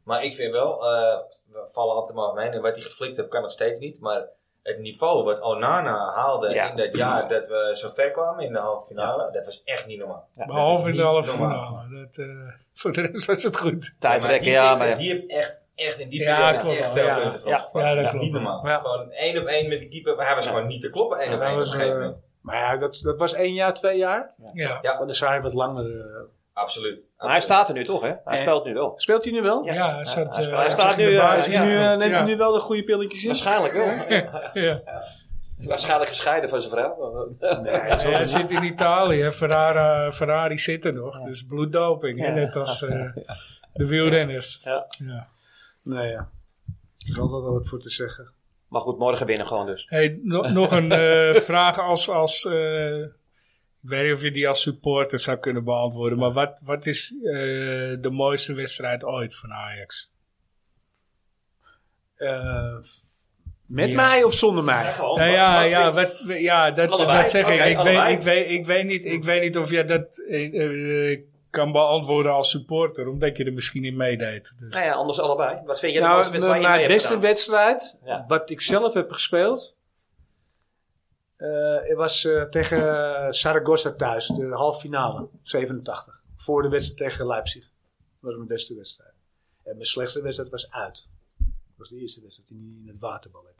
[SPEAKER 5] Maar ik vind wel, eh, we vallen altijd maar omheen. En wat hij geflikt heeft, kan nog steeds niet. Maar het niveau wat Onana haalde
[SPEAKER 3] Ja.
[SPEAKER 5] in dat jaar dat we zo ver kwamen in de halve finale, dat was echt niet normaal.
[SPEAKER 2] Behalve in de
[SPEAKER 5] niet
[SPEAKER 2] halve
[SPEAKER 5] normaal.
[SPEAKER 2] finale. Dat, eh, voor de rest was het goed.
[SPEAKER 3] Tijdrekken, ja, maar
[SPEAKER 5] Die heeft echt, echt in die
[SPEAKER 2] Ja,
[SPEAKER 5] periode
[SPEAKER 2] klopt
[SPEAKER 5] echt
[SPEAKER 2] wel,
[SPEAKER 5] veel
[SPEAKER 2] ja.
[SPEAKER 5] punten van
[SPEAKER 3] Ja.
[SPEAKER 5] ons gepakt.
[SPEAKER 2] Ja, dat
[SPEAKER 5] Ja,
[SPEAKER 2] klopt.
[SPEAKER 5] Niet normaal.
[SPEAKER 4] Ja.
[SPEAKER 5] Gewoon één op één met de keeper. Hij was gewoon niet te kloppen één op
[SPEAKER 4] dat
[SPEAKER 5] één op een
[SPEAKER 4] was,
[SPEAKER 5] gegeven
[SPEAKER 4] eh,
[SPEAKER 5] moment.
[SPEAKER 4] maar ja, dat, dat was één jaar, twee jaar.
[SPEAKER 2] Ja.
[SPEAKER 5] Ja.
[SPEAKER 4] Maar dan zou hij wat langer... eh,
[SPEAKER 5] Absoluut.
[SPEAKER 3] Maar hij staat er nu toch, hè? Hij
[SPEAKER 4] En-
[SPEAKER 3] speelt nu wel.
[SPEAKER 4] Speelt hij nu wel?
[SPEAKER 2] Ja, hij, zat,
[SPEAKER 3] hij
[SPEAKER 2] eh,
[SPEAKER 3] staat
[SPEAKER 2] zat in
[SPEAKER 3] nu,
[SPEAKER 2] de
[SPEAKER 3] eh,
[SPEAKER 2] basis.
[SPEAKER 4] Is nu, eh, neemt
[SPEAKER 2] Ja.
[SPEAKER 4] hij nu wel de goede pilletjes in?
[SPEAKER 3] Waarschijnlijk wel.
[SPEAKER 2] Ja.
[SPEAKER 3] Waarschijnlijk gescheiden van zijn vrouw.
[SPEAKER 2] Ja, hij zit in Italië, Ferrari, Ferrari zit er nog, dus bloeddoping, hè, net als
[SPEAKER 3] (laughs)
[SPEAKER 2] eh, de wielrenners.
[SPEAKER 3] Ja.
[SPEAKER 2] Ja.
[SPEAKER 4] Nee, ja. Er is altijd wel wat voor te zeggen.
[SPEAKER 3] Maar goed, morgen winnen gewoon dus.
[SPEAKER 2] Hey, no-
[SPEAKER 3] (laughs)
[SPEAKER 2] nog een eh, vraag als, als eh, ik weet niet of je die als supporter zou kunnen beantwoorden, maar wat, wat is eh, de mooiste wedstrijd ooit van Ajax?
[SPEAKER 4] Eh, met
[SPEAKER 2] Ja.
[SPEAKER 4] mij of zonder mij?
[SPEAKER 3] Oh,
[SPEAKER 2] Nou ja, ja, wat, ja dat,
[SPEAKER 3] Allebei.
[SPEAKER 2] dat zeg ik.
[SPEAKER 3] Oké,
[SPEAKER 2] ik,
[SPEAKER 3] allebei.
[SPEAKER 2] weet, ik, weet, ik, weet niet, ik weet niet of jij dat eh, eh, kan beantwoorden als supporter, omdat je er misschien in meedeed. Dus.
[SPEAKER 3] Nou ja, anders allebei. Wat vind jij de mooiste
[SPEAKER 4] Nou,
[SPEAKER 3] wedstrijd
[SPEAKER 4] mijn,
[SPEAKER 3] waar je mee hebt
[SPEAKER 4] beste
[SPEAKER 3] gedaan?
[SPEAKER 4] wedstrijd,
[SPEAKER 3] Ja.
[SPEAKER 4] wat ik zelf heb gespeeld, eh, was eh, tegen Saragossa thuis, de halve finale, 87. Voor de wedstrijd tegen Leipzig. Dat was mijn beste wedstrijd. En mijn slechtste wedstrijd was uit. Dat was de eerste wedstrijd in, in het waterballet.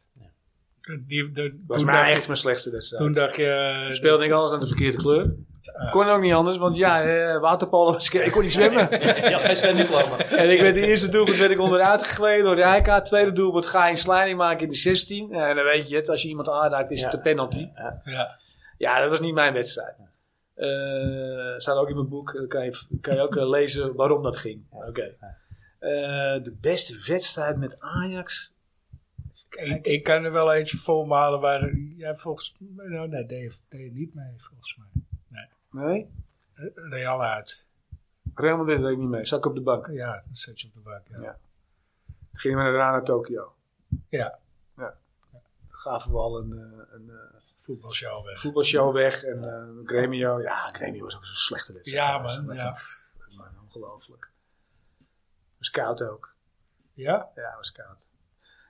[SPEAKER 2] Die, de,
[SPEAKER 4] Dat was
[SPEAKER 2] toen
[SPEAKER 4] maar
[SPEAKER 2] dacht je-
[SPEAKER 4] echt mijn slechtste wedstrijd.
[SPEAKER 2] Toen dacht je... eh,
[SPEAKER 4] speelde ik alles aan de verkeerde kleur.
[SPEAKER 2] Ah.
[SPEAKER 4] Kon ook niet anders, want ja, eh waterpolo was... Ik kon niet zwemmen.
[SPEAKER 2] (laughs)
[SPEAKER 3] Je had geen zwemdiploma.
[SPEAKER 4] En ik werd de eerste doelpunt werd ik onderuit gegleden door Rijka. Tweede doelpunt ga je een sliding maken in de 16. En dan weet je het, als je iemand aanraakt is het een penalty.
[SPEAKER 2] Ja.
[SPEAKER 4] Ja, dat was niet mijn wedstrijd. Eh staat ook in mijn boek, eh, kan je, kan je ook eh, lezen waarom dat ging. Oké. Eh, de beste wedstrijd met Ajax.
[SPEAKER 2] Ik, ik kan er wel eentje voor me halen waar... Ja, volgens mij... Nou, nee, deed je- deed je niet mee, volgens mij.
[SPEAKER 4] Nee?
[SPEAKER 2] Real uit.
[SPEAKER 4] Real Madrid deed ik niet mee. Zat ik op de bank.
[SPEAKER 2] Ja, dan zet je op de bank. Ja.
[SPEAKER 4] Ja. Gingen we daarna naar Tokio.
[SPEAKER 2] Ja.
[SPEAKER 4] ja. Gaven we al een, eh, een eh,
[SPEAKER 2] Voetbalshow weg.
[SPEAKER 4] voetbalshow weg. En eh Gremio, ja, Gremio was ook zo'n slechte wedstrijd.
[SPEAKER 2] Ja,
[SPEAKER 4] Dat was
[SPEAKER 2] man,
[SPEAKER 4] echt
[SPEAKER 2] ja.
[SPEAKER 4] een- pff, man, ongelooflijk. Was koud ook.
[SPEAKER 2] Ja?
[SPEAKER 4] Ja, was koud.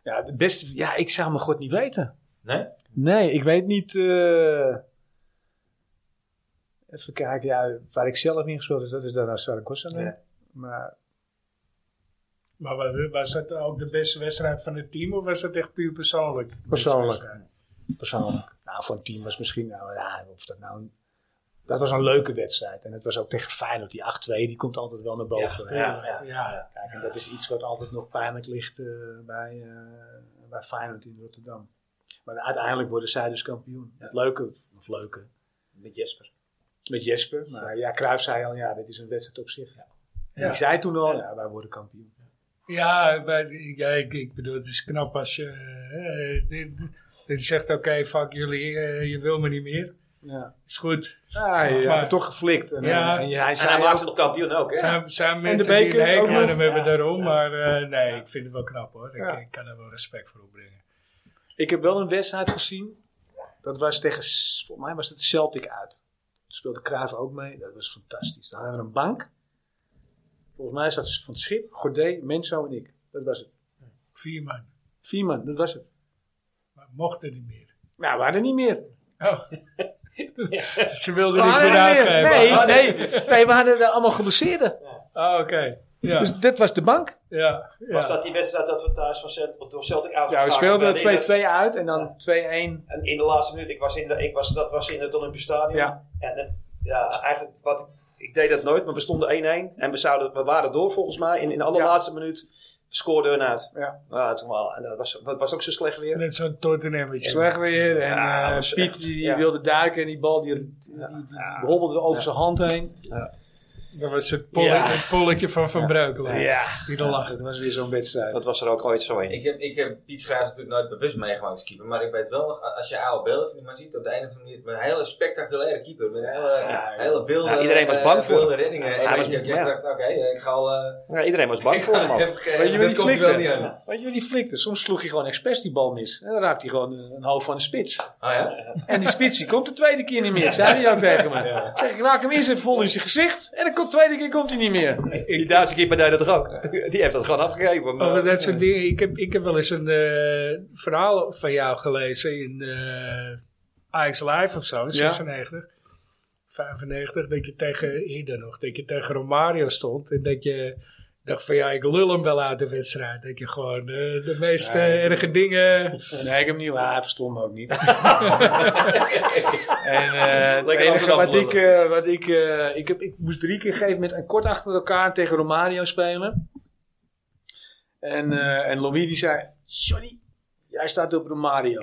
[SPEAKER 4] Ja, de beste, ja, ik zou mijn god niet weten.
[SPEAKER 5] Nee?
[SPEAKER 4] Nee, ik weet niet. eh, even kijken, ja, waar ik zelf in gespeeld heb, dat is daarna Saragossa. nee. Maar
[SPEAKER 2] Maar wa- was dat ook de beste wedstrijd van het team? Of was dat echt puur persoonlijk?
[SPEAKER 4] Persoonlijk.
[SPEAKER 2] Beste wedstrijd?
[SPEAKER 4] persoonlijk, nou, voor een team was misschien, nou ja, of dat nou. een- dat was een leuke wedstrijd. En het was ook tegen Feyenoord, die 8-2, die komt altijd wel naar boven.
[SPEAKER 3] Ja, ja.
[SPEAKER 2] Ja.
[SPEAKER 4] Kijk, en dat is iets wat altijd nog pijnlijk ligt eh, bij, eh bij Feyenoord in Rotterdam. Maar uiteindelijk worden zij dus kampioen. Het leuke, of leuke,
[SPEAKER 3] Met Jesper.
[SPEAKER 4] met Jesper. Maar ja, Cruijff zei al, ja, dit is een wedstrijd op zich. En
[SPEAKER 2] Ja.
[SPEAKER 4] die zei toen al, ja, wij worden kampioen.
[SPEAKER 2] Ja, maar, ja ik, ik bedoel, het is knap als je... eh, dit, dit zegt, oké, fuck jullie, eh, je wil me niet meer.
[SPEAKER 4] Ja,
[SPEAKER 2] Is goed.
[SPEAKER 4] ja,
[SPEAKER 2] Maar-
[SPEAKER 4] ja, maar toch geflikt. En,
[SPEAKER 2] Ja,
[SPEAKER 4] eh, en hij
[SPEAKER 3] En
[SPEAKER 4] zei
[SPEAKER 3] hij maakt
[SPEAKER 4] ook,
[SPEAKER 3] het nog kampioen ook, hè?
[SPEAKER 2] Zijn, zijn
[SPEAKER 4] En de
[SPEAKER 2] mensen die
[SPEAKER 4] beker
[SPEAKER 2] een hekel
[SPEAKER 4] ook
[SPEAKER 2] aan
[SPEAKER 4] nog.
[SPEAKER 2] hem hebben daarom, maar eh, nee, ik vind het wel knap hoor. Ik-
[SPEAKER 4] Ja.
[SPEAKER 2] Ik, kan er wel respect voor opbrengen.
[SPEAKER 4] ik heb wel een wedstrijd gezien. Dat was tegen, volgens mij was het Celtic uit. Toen speelde Cruijff ook mee. Dat was fantastisch. Dan hadden we een bank. Volgens mij zat van het schip, Gordé, Menso en ik. Dat was het.
[SPEAKER 2] Vier man.
[SPEAKER 4] Vier man, dat was het.
[SPEAKER 2] mochten niet meer. Oh.
[SPEAKER 4] Nou, we hadden niet meer. (laughs)
[SPEAKER 2] (laughs) Ze wilden
[SPEAKER 4] We
[SPEAKER 2] niks
[SPEAKER 4] hadden
[SPEAKER 2] meer
[SPEAKER 4] niet Oh, meer.
[SPEAKER 2] uitgeven.
[SPEAKER 4] Nee, nee, nee, we hadden er allemaal geblesseerden.
[SPEAKER 2] Oh, oké. Ja,
[SPEAKER 4] Dus dit was de bank.
[SPEAKER 2] ja, ja.
[SPEAKER 3] Was dat die wedstrijd dat we thuis van Celtic, door Celtic
[SPEAKER 4] Ja, we
[SPEAKER 3] uitgeschakeld werden? In dat-
[SPEAKER 4] speelden 2-2 uit en dan 2-1.
[SPEAKER 3] En in de laatste minuut, ik was in de, ik was, dat was in het Olympisch Stadion.
[SPEAKER 4] Ja.
[SPEAKER 3] En eh, ja, eigenlijk, wat, ik- ik deed dat nooit, maar we stonden 1-1. En we, zouden, we waren door volgens mij. En in de allerlaatste minuut scoorden we een uit.
[SPEAKER 4] Ja.
[SPEAKER 3] Nou, toen wel, en dat was, dat was ook zo slecht weer.
[SPEAKER 2] Net zo'n Tottenhammetje.
[SPEAKER 4] Slecht weer. En
[SPEAKER 3] Ja,
[SPEAKER 4] eh,
[SPEAKER 3] was
[SPEAKER 4] Piet
[SPEAKER 3] echt-
[SPEAKER 4] die
[SPEAKER 3] ja.
[SPEAKER 4] wilde duiken en die bal die, die, die hobbelde over zijn hand heen.
[SPEAKER 2] Dat was het, polle-
[SPEAKER 4] Ja.
[SPEAKER 2] het polletje van Van Breukelen.
[SPEAKER 4] die dan lachen. Dat was weer zo'n wedstrijd.
[SPEAKER 3] Dat was er ook ooit zo in.
[SPEAKER 5] Ik heb, ik heb Piet Schrijvers natuurlijk nooit bewust meegemaakt als keeper. Maar ik weet wel, nog, als je oude beelden van die man ziet, op de een of andere manier, met een hele spectaculaire keeper. Met een hele, hele wilde,
[SPEAKER 3] Ja, iedereen was bang
[SPEAKER 5] eh,
[SPEAKER 3] voor
[SPEAKER 5] wilde
[SPEAKER 3] hem.
[SPEAKER 5] reddingen.
[SPEAKER 3] Hij
[SPEAKER 5] En
[SPEAKER 3] was-
[SPEAKER 5] ik- ik ik
[SPEAKER 3] ja.
[SPEAKER 5] dacht, oké, ik ga al... eh,
[SPEAKER 3] Ja, iedereen was bang
[SPEAKER 5] ik
[SPEAKER 3] voor
[SPEAKER 5] ga
[SPEAKER 3] hem
[SPEAKER 4] (laughs)
[SPEAKER 3] ook.
[SPEAKER 5] even geen-
[SPEAKER 4] Weet je wie
[SPEAKER 5] dat
[SPEAKER 4] die
[SPEAKER 5] komt er wel
[SPEAKER 4] flikte?
[SPEAKER 5] niet aan.
[SPEAKER 4] Weet je wie die flikte? Soms sloeg hij gewoon expres die bal mis. En dan raakte hij gewoon eh, een hoofd van de spits.
[SPEAKER 5] Ah ja?
[SPEAKER 4] En die spits die komt de tweede keer niet meer. Zei hij ook tegen me. Zeg ik raak hem eerst even vol in zijn gezicht. En dan komt de tweede keer komt hij niet meer.
[SPEAKER 3] Die Duitse keeper deed dat toch ook? (laughs) Die heeft dat gewoon afgegeven. eh, maar-
[SPEAKER 2] Over dat soort dingen. Ik heb, ik heb wel eens een eh, verhaal van jou gelezen in eh Ajax Live of zo, in 96, 95, dat je tegen, eerder nog, dat je tegen Romario stond en dat je dacht van ja, ik lul hem wel uit de wedstrijd. Dat je gewoon eh, de meest eh, erge dingen...
[SPEAKER 4] Nee, ik heb hem niet. Maar hij verstond me ook niet. en eh, het
[SPEAKER 3] Lekker
[SPEAKER 4] enige
[SPEAKER 3] Amsterdam
[SPEAKER 4] wat ik, eh, wat ik, eh, ik, heb, ik moest drie keer geven met een kort achter elkaar tegen Romario spelen. En, eh, en Louis die zei, Johnny, jij staat op Romario.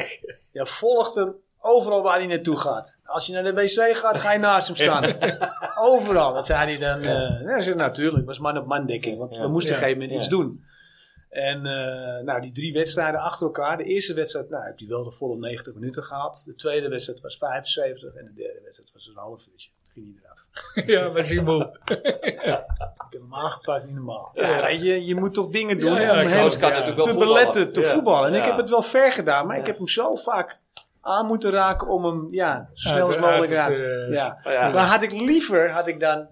[SPEAKER 4] Jij volgt hem overal waar hij naartoe gaat. Als je naar de wc gaat, ga je naast hem staan. overal. Dat zei hij dan. eh ja, ik zei, natuurlijk, het was man op man dekking. Want we moesten op een gegeven moment iets doen. En eh, nou, die drie wedstrijden achter elkaar. De eerste wedstrijd nou, heb hij wel de volle 90 minuten gehad. De tweede wedstrijd was 75. En de derde wedstrijd was een half uurtje. Toen ging hij eraf.
[SPEAKER 2] (laughs) ja, was hij moe.
[SPEAKER 4] Ik heb hem aangepakt, niet normaal. Ja, weet je, je moet toch dingen doen
[SPEAKER 2] Ja, ja,
[SPEAKER 4] om
[SPEAKER 2] ik
[SPEAKER 4] hem
[SPEAKER 2] geloof-
[SPEAKER 3] Roos kan natuurlijk wel
[SPEAKER 4] te
[SPEAKER 3] voetballen.
[SPEAKER 4] beletten, te
[SPEAKER 3] Ja.
[SPEAKER 4] voetballen. En ik
[SPEAKER 3] Ja.
[SPEAKER 4] heb het wel ver gedaan. Maar ik heb hem zo vaak aan moeten raken om hem ja, zo snel als
[SPEAKER 2] Uit-
[SPEAKER 4] mogelijk
[SPEAKER 2] uit
[SPEAKER 4] raak.
[SPEAKER 2] het, eh,
[SPEAKER 4] Ja.
[SPEAKER 3] Oh ja.
[SPEAKER 4] Maar had ik liever had ik dan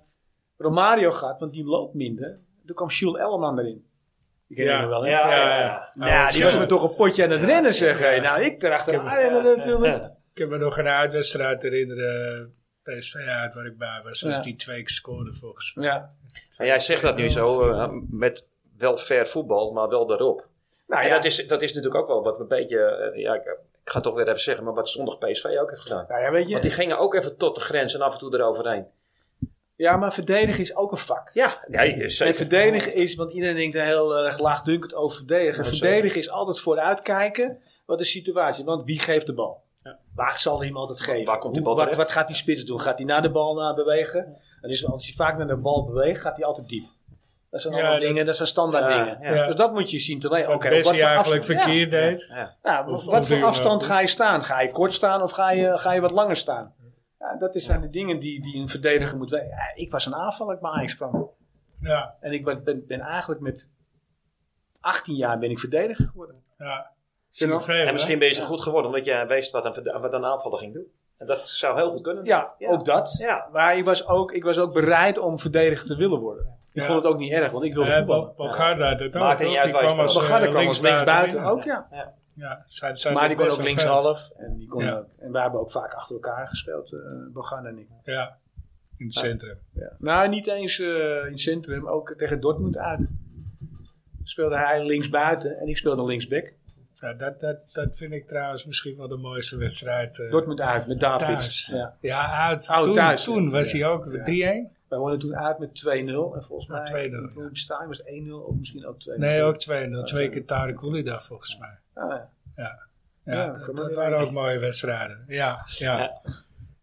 [SPEAKER 4] Romario gehad, want die loopt minder. Toen kwam Jules Elleman erin. Ik ken
[SPEAKER 2] Ja.
[SPEAKER 4] je nog wel, hè?
[SPEAKER 3] Ja, ja,
[SPEAKER 4] Nou, die was me toch een potje aan het rennen, zeg. hé. Nou, ik erachteraan rennen natuurlijk.
[SPEAKER 2] Ik heb me nog een uitwedstrijd herinneren, eh, PSV uit waar ik bij was,
[SPEAKER 4] Ja.
[SPEAKER 2] dat die twee keer scoorde volgens mij.
[SPEAKER 4] Ja.
[SPEAKER 1] En jij zegt dat nu zo eh, met wel ver voetbal, maar wel daarop.
[SPEAKER 4] Nou
[SPEAKER 1] en
[SPEAKER 4] ja,
[SPEAKER 1] dat, is, dat is natuurlijk ook wel wat een beetje, eh, ja, ik, ik ga het toch weer even zeggen, maar wat zondag PSV ook heeft gedaan.
[SPEAKER 4] nou ja, weet
[SPEAKER 1] Want die
[SPEAKER 4] je.
[SPEAKER 1] gingen ook even tot de grens en af en toe eroverheen.
[SPEAKER 4] Ja, maar verdedigen is ook een vak.
[SPEAKER 1] Ja, nee,
[SPEAKER 4] En
[SPEAKER 1] zeker.
[SPEAKER 4] verdedigen is, want iedereen denkt er heel erg laagdunkend over verdedigen. verdedigen is altijd vooruitkijken wat de situatie Want wie geeft de bal? Waar zal iemand het geven?
[SPEAKER 1] Waar komt die
[SPEAKER 4] Hoe-
[SPEAKER 1] bal
[SPEAKER 4] wat,
[SPEAKER 1] terecht?
[SPEAKER 4] wat gaat die spits doen? Gaat hij naar de bal naar bewegen? En dus als hij vaak naar de bal beweegt, gaat hij altijd diep. Dat zijn
[SPEAKER 2] Ja,
[SPEAKER 4] allemaal
[SPEAKER 2] dat-
[SPEAKER 4] dingen, dat zijn standaard
[SPEAKER 3] Ja,
[SPEAKER 4] dingen.
[SPEAKER 2] ja.
[SPEAKER 4] Dus dat moet je zien te leren.
[SPEAKER 2] Oké,
[SPEAKER 4] Oké, op
[SPEAKER 2] wat
[SPEAKER 4] wat
[SPEAKER 2] hij
[SPEAKER 4] voor
[SPEAKER 2] eigenlijk
[SPEAKER 4] afstand-
[SPEAKER 2] verkeerd deed.
[SPEAKER 4] Ja,
[SPEAKER 2] Of- eh,
[SPEAKER 4] wat
[SPEAKER 2] of
[SPEAKER 4] voor
[SPEAKER 2] duwen.
[SPEAKER 4] afstand ga je staan? Ga je kort staan of ga je, ga je wat langer staan? Ja, dat is- zijn de dingen die, die een verdediger moet weten. Ja, ik was een aanvaller, ik bij Ajax kwam.
[SPEAKER 2] Ja,
[SPEAKER 4] En ik ben, ben, ben eigenlijk met 18 jaar ben ik verdediger geworden.
[SPEAKER 2] ja.
[SPEAKER 4] Zie je
[SPEAKER 2] Veel, hè?
[SPEAKER 1] En misschien ben je zo goed geworden omdat je wist wat een, verd- wat een aanvaller ging doen. En dat zou heel goed kunnen.
[SPEAKER 4] Ja,
[SPEAKER 1] Ja.
[SPEAKER 4] ook dat.
[SPEAKER 1] Ja.
[SPEAKER 4] Maar ik was ook, ik was ook bereid om verdediger te willen worden. Ik
[SPEAKER 2] Ja.
[SPEAKER 4] vond het ook niet erg, want ik wilde
[SPEAKER 2] Ja,
[SPEAKER 4] voetballen.
[SPEAKER 2] Bob Garda had het ook.
[SPEAKER 1] Maakt
[SPEAKER 2] toch?
[SPEAKER 1] niet uit
[SPEAKER 2] Die
[SPEAKER 1] waar je
[SPEAKER 2] kwam als,
[SPEAKER 1] speelt.
[SPEAKER 4] Bogarde
[SPEAKER 2] eh,
[SPEAKER 4] kwam als linksbuiten
[SPEAKER 2] binnen.
[SPEAKER 4] ook, ja.
[SPEAKER 2] Ja, zijn, zijn
[SPEAKER 4] Maar die kon
[SPEAKER 2] best
[SPEAKER 4] ook
[SPEAKER 2] wel
[SPEAKER 4] linkshalf. En, die kon
[SPEAKER 2] Ja.
[SPEAKER 4] ook- en wij hebben ook vaak achter elkaar gespeeld, eh Bogarde en ik.
[SPEAKER 2] ver. Ja, in het centrum.
[SPEAKER 4] Ja. Nou, niet eens eh, in het centrum, ook tegen Dortmund uit. Speelde hij linksbuiten en ik speelde linksback.
[SPEAKER 2] Ja, dat, dat, dat vind ik trouwens misschien wel de mooiste wedstrijd. eh,
[SPEAKER 4] Dortmund uit met
[SPEAKER 2] thuis.
[SPEAKER 4] Davids. Ja.
[SPEAKER 2] Ja, uit.
[SPEAKER 4] Oh,
[SPEAKER 2] toen,
[SPEAKER 4] thuis, ja.
[SPEAKER 2] toen was hij ook 3-1.
[SPEAKER 4] Wij wonnen toen uit met 2-0. En volgens
[SPEAKER 2] Ja,
[SPEAKER 4] mij
[SPEAKER 2] 2-0,
[SPEAKER 4] in het
[SPEAKER 2] ja.
[SPEAKER 4] Olympisch Stadion was het 1-0 of misschien ook 2-0.
[SPEAKER 2] Nee, ook 2-0. Twee
[SPEAKER 4] 2-0.
[SPEAKER 2] keer Tarek Houlida volgens mij.
[SPEAKER 4] Ah, ja.
[SPEAKER 2] Ja,
[SPEAKER 4] Ja,
[SPEAKER 2] dat,
[SPEAKER 4] kan
[SPEAKER 2] dat
[SPEAKER 4] maar
[SPEAKER 2] waren ook mooie wedstrijden. Ja, ja.